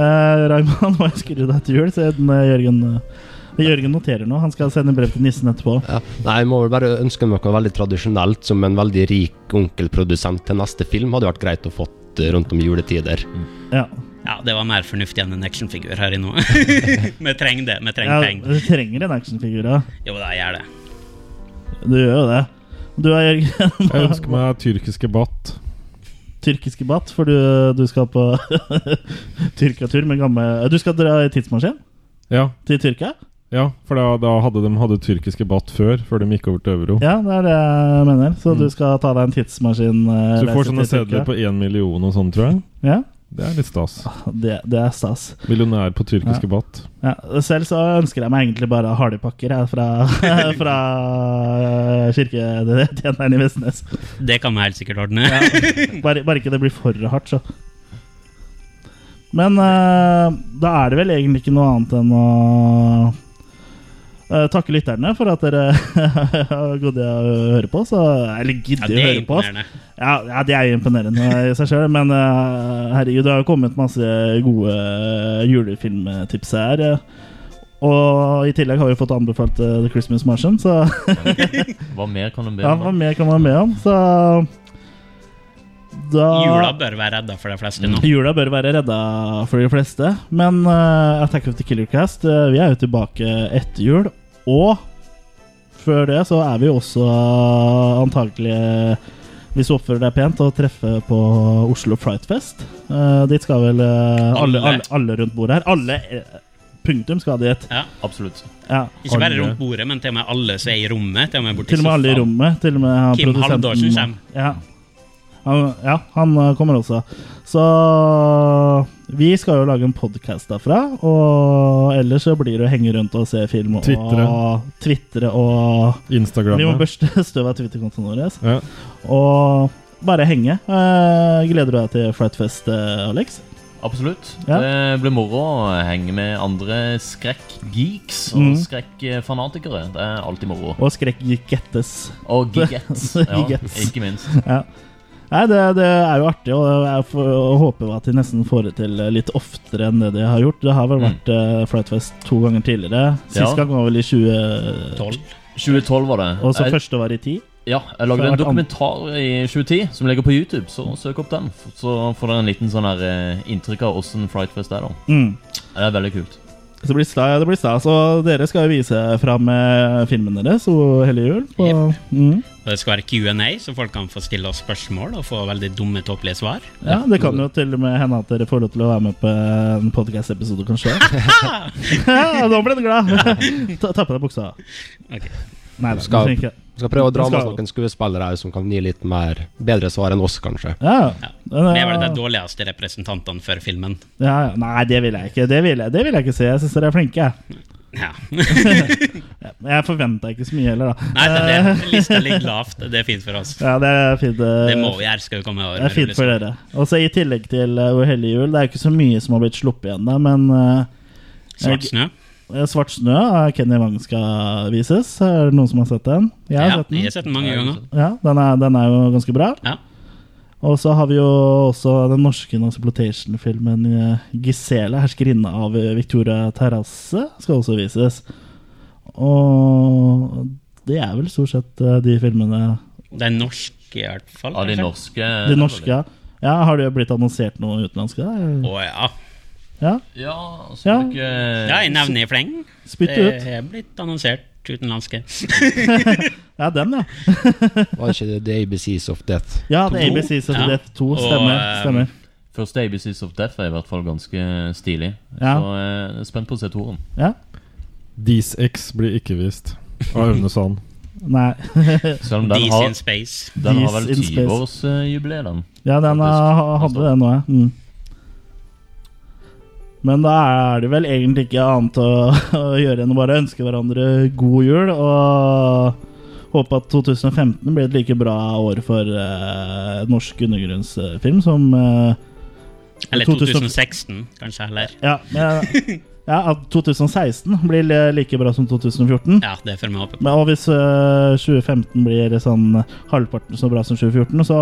Eh, Raymond, hva ønsker du deg til jul? Siden eh, Jørgen eh, Jørgen noterer nå. Han skal sende brev til nissen etterpå. Nei, jeg må vel bare ønske meg noe veldig tradisjonelt som en veldig rik onkelprodusent til neste film. Hadde vært greit å fått eh, rundt om juletider. Ja, Ja, det var mer fornuftig enn en actionfigur her i nå. Vi trenger det. Vi trenger Ja, penger. du trenger en actionfigur, ja. Jo da, jeg gjør det. Du gjør jo det. Du er Jørgen. Jeg ønsker meg tyrkisk kebab. Tyrkisk debatt, for du, du skal på Tyrkatur med gammel Du skal dra i tidsmaskin? Ja. Til Tyrkia? Ja, for da, da hadde de hadde tyrkisk kebab før, før de gikk over til euro. Ja, det er det jeg mener. Så du skal ta deg en tidsmaskin? eh, Mm. Så du får reise sånne til Tyrkia. sedler på én million og sånn, tror jeg. Ja. Det er litt stas. Det, det er stas. Millionær på Ja. tyrkisk kebab. Ja, selv så ønsker jeg meg egentlig bare hardepakker jeg, fra, fra eh, kirketjeneren i Vestnes. Det kan vi helt sikkert ordne. Ja, bare, bare ikke det blir for hardt, så. Men eh, da er det vel egentlig ikke noe annet enn å eh, takke lytterne for at dere har gått i å høre på oss. og- Eller Ja, gidder det å er høre på altså. oss. imponerende. Ja, ja, det er jo imponerende i seg sjøl, men eh, herregud, det har jo kommet masse gode julefilmtips her. eh. Og i tillegg har vi fått anbefalt eh, The Christmas Martian, så Hva mer kan de be Ja, om? hva mer kan man be om? Så da Jula bør være redda for de fleste nå. Jula bør være redda for de fleste. Men eh, Attack of the Killer Cast eh, Vi er jo tilbake etter jul. Og før det så er vi også antagelig hvis du oppfører deg pent, å treffe på Oslo Frightfest. Eh, dit skal vel eh, alle, Alle. alle, alle rundt bordet her. Alle eh, punktum skal dit. Ja. Absolutt. Ja. Ikke bare Alle. rundt bordet, men til og med alle som er i rommet. Til og med, borte i Til og med alle i sofaen. rommet. Til og med han Kim produsenten. Halvorsen kommer. Ja. Han, ja, han eh, kommer også. Så vi skal jo lage en podkast derfra. Og ellers så blir det å henge rundt og se film og Twittere. Twittere og Instagramme. Vi må børste støv av Twitter-kontoen vår. altså. Ja. Og bare henge. Eh, gleder du deg til Frightfest, eh, Alex? Absolutt. Ja. Det blir moro å henge med andre skrekk-geeks og Mm. skrekk-fanatikere. Det er alltid moro. Og skrekk gettes. Og gigettes, ja, Gigettes. ikke minst. Ja. Nei, det, det er jo artig, og jeg får, og håper at de nesten får det til litt oftere enn det de har gjort. Det har vel vært eh, Frightfest to ganger tidligere. Sist Ja. gang var vel i 2012. 2012 var det. Og så Jeg- første var i 10. Ja, jeg lagde Så en det har vært dokumentar i 2010 som ligger på YouTube, så søk opp den. F- Så får dere en liten sånn her eh, inntrykk av åssen Frightfest er, da. Mm. Det er veldig kult. Så det blir stas. Det blir stas. Og dere skal jo vise fram eh, filmen deres og hele jul. På, mm. Og det skal være Q&A, så folk kan få stille oss spørsmål og få veldig dumme, tåpelige svar. Ja, Det kan jo til og med hende at dere får lov til å være med på en podcast-episode, kanskje. ja, nå ble du glad! ta, ta på deg buksa. Nei, da, du skal, trenger ikke. skal prøve å dra Du med skal- oss noen skuespillere her som kan gi litt mer bedre svar enn oss, kanskje. Ja. eh, Det er vel de dårligste representantene for filmen. Ja, ja. Nei, det vil jeg ikke. Det vil jeg, det vil jeg ikke se. Jeg syns dere er flinke. jeg. Ja. jeg forventa ikke så mye heller, da. Nei, det er det. Lista ligger lavt. Det er fint for oss. Ja, det er fint. eh, Det må vi gjøre, skal vi komme i år Det er med fint for rullestol. dere. Og så i tillegg til eh, O hellige jul, det er jo ikke så mye som har blitt sluppet igjen, da, men eh, Svart jeg- snø? eh, Svart snø av Kenny Wang skal vises. Er det noen som har sett den? Jeg har Ja, sett den. jeg har sett den mange ganger. Ja, den er, den er jo ganske bra. Og så har vi jo også den norske Noxploitation-filmen eh, 'Gisela, herskerinne av eh, Victoria Terrasse', skal også vises. Og det er vel stort sett eh, de filmene Det er norsk i hvert fall. Ja, de kanskje? norske De norske, ja. ja. Har det blitt annonsert noen utenlandske? Å da? ja. Ja. Ja, altså, så Ja. må dere Ja, jeg nevner i fleng. Spytt Det ut. er blitt annonsert utenlandske. ja, den, ja. Var det ikke det The ABCs of Death? Ja, The ABCs of Death 2, stemmer, stemmer. Første ABCs of Death er i hvert fall ganske stilig. Ja. Så eh, jeg er spent på å se toeren. These X blir ikke vist av Aune Sand. Nei. Selv om den These har, in space. den har These vel eh, in space. 20-årsjubileet, den. Ja, den eh, hadde det nå, ja. Mm. Men da er det vel egentlig ikke annet å, å gjøre enn å bare ønske hverandre god jul og håpe at 2015 blir et like bra år for eh, norsk undergrunnsfilm som eh, Eller 2016, kanskje. Eller. Ja, men, ja, at 2016 blir li- like bra som 2014. Ja, det får vi håpe på. Men, og hvis eh, 2015 blir sånn halvparten så bra som 2014, så,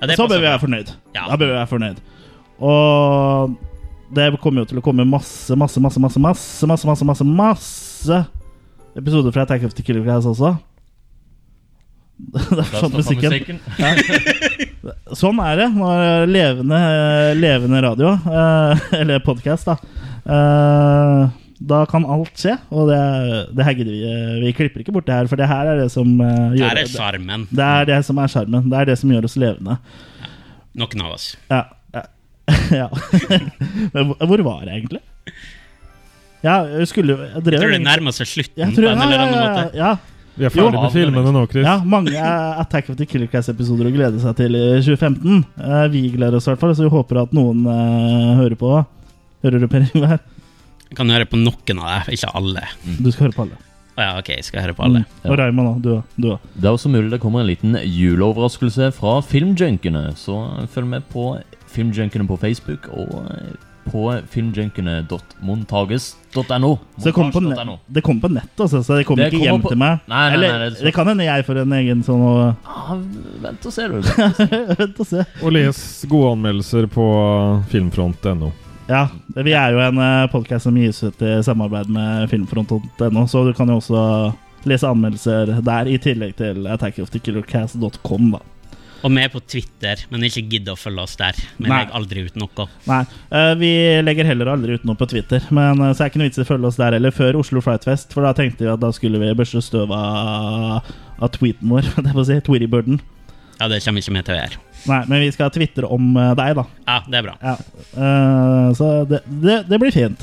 Ja, det så passer bør vi bra. være fornøyd. Ja. Da bør vi være fornøyd. Og det kommer jo til å komme masse, masse, masse, masse, masse, masse, masse, masse, masse episoder fra Attack of the Killer Class også. Der Der forsvant stopper musikken. Ja. Sånn er det når levende, levende radio, eh, eller podkast, da. Eh, Da kan alt skje, og det, det her gidder vi. eh, Vi klipper ikke bort det her, for det her er det som eh, Der gjør er sjarmen. Det er det som er sjarmen. Det er det som gjør oss levende. Noen av oss. Ja. ja. ja. Men hvor- hvor var jeg egentlig? Ja, jeg skulle jeg drev, Jeg tror det egentlig- nærmer seg slutten Jeg tror- på en eller annen ja, ja, måte. Ja. Vi er ferdig med filmene nå, Chris. Ja, mange eh, Attack of the Killer Class-episoder å glede seg til i 2015. Eh, Vi gleder oss i hvert fall, så vi håper at noen eh, hører på. Hører du, Per Ingvar? Jeg kan høre på noen av dem, ikke alle. Du skal høre på alle. Å ja, ok, jeg skal høre på alle. Og Raymond òg. Du òg. Du òg. Det er også mulig det kommer en liten juleoverraskelse fra Filmjunkene, så følg med på Filmjunkene på Facebook og eh, på filmjunkene.montages.no. Så det kommer på, ne Montage.no. det kommer på nett, altså, så det kommer Det ikke kommer hjem på- til meg. Nei, nei, nei, Eller det er det, sant. kan hende jeg får en egen sånn og Ah, vent og se, du. Vent og se. Og les gode anmeldelser på filmfront.no. Ja, vi er jo en podkast som gis ut i samarbeid med filmfront.no, så du kan jo også lese anmeldelser der, i tillegg til attackofthekillercast.com, da. Og vi er på Twitter, men ikke gidd å følge oss der. Vi Mm. Nei. legger aldri ut noe. Nei, eh, vi legger heller aldri ut noe på Twitter, men eh, så er det ikke noe vits i å følge oss der heller før Oslo Frightfest, for da tenkte vi at da skulle vi børste støv av, av tweeten vår, det får si, Tweetybirden. Ja, det kommer ikke vi til å gjøre. Nei, men vi skal tvitre om eh, deg, da. Ja, det er bra. Ja, eh, så det, det, det blir fint.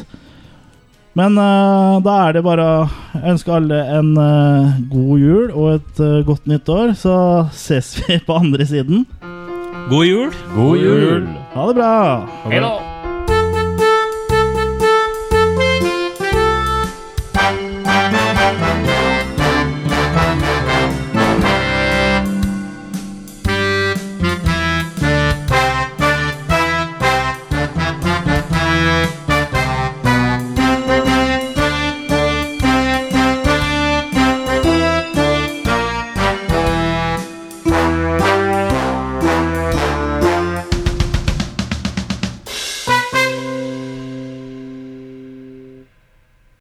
Men eh, da er det bare å ønske alle en eh, god jul og et eh, godt nytt år. Så ses vi på andre siden. God jul! God jul! Ha det bra! Hei da!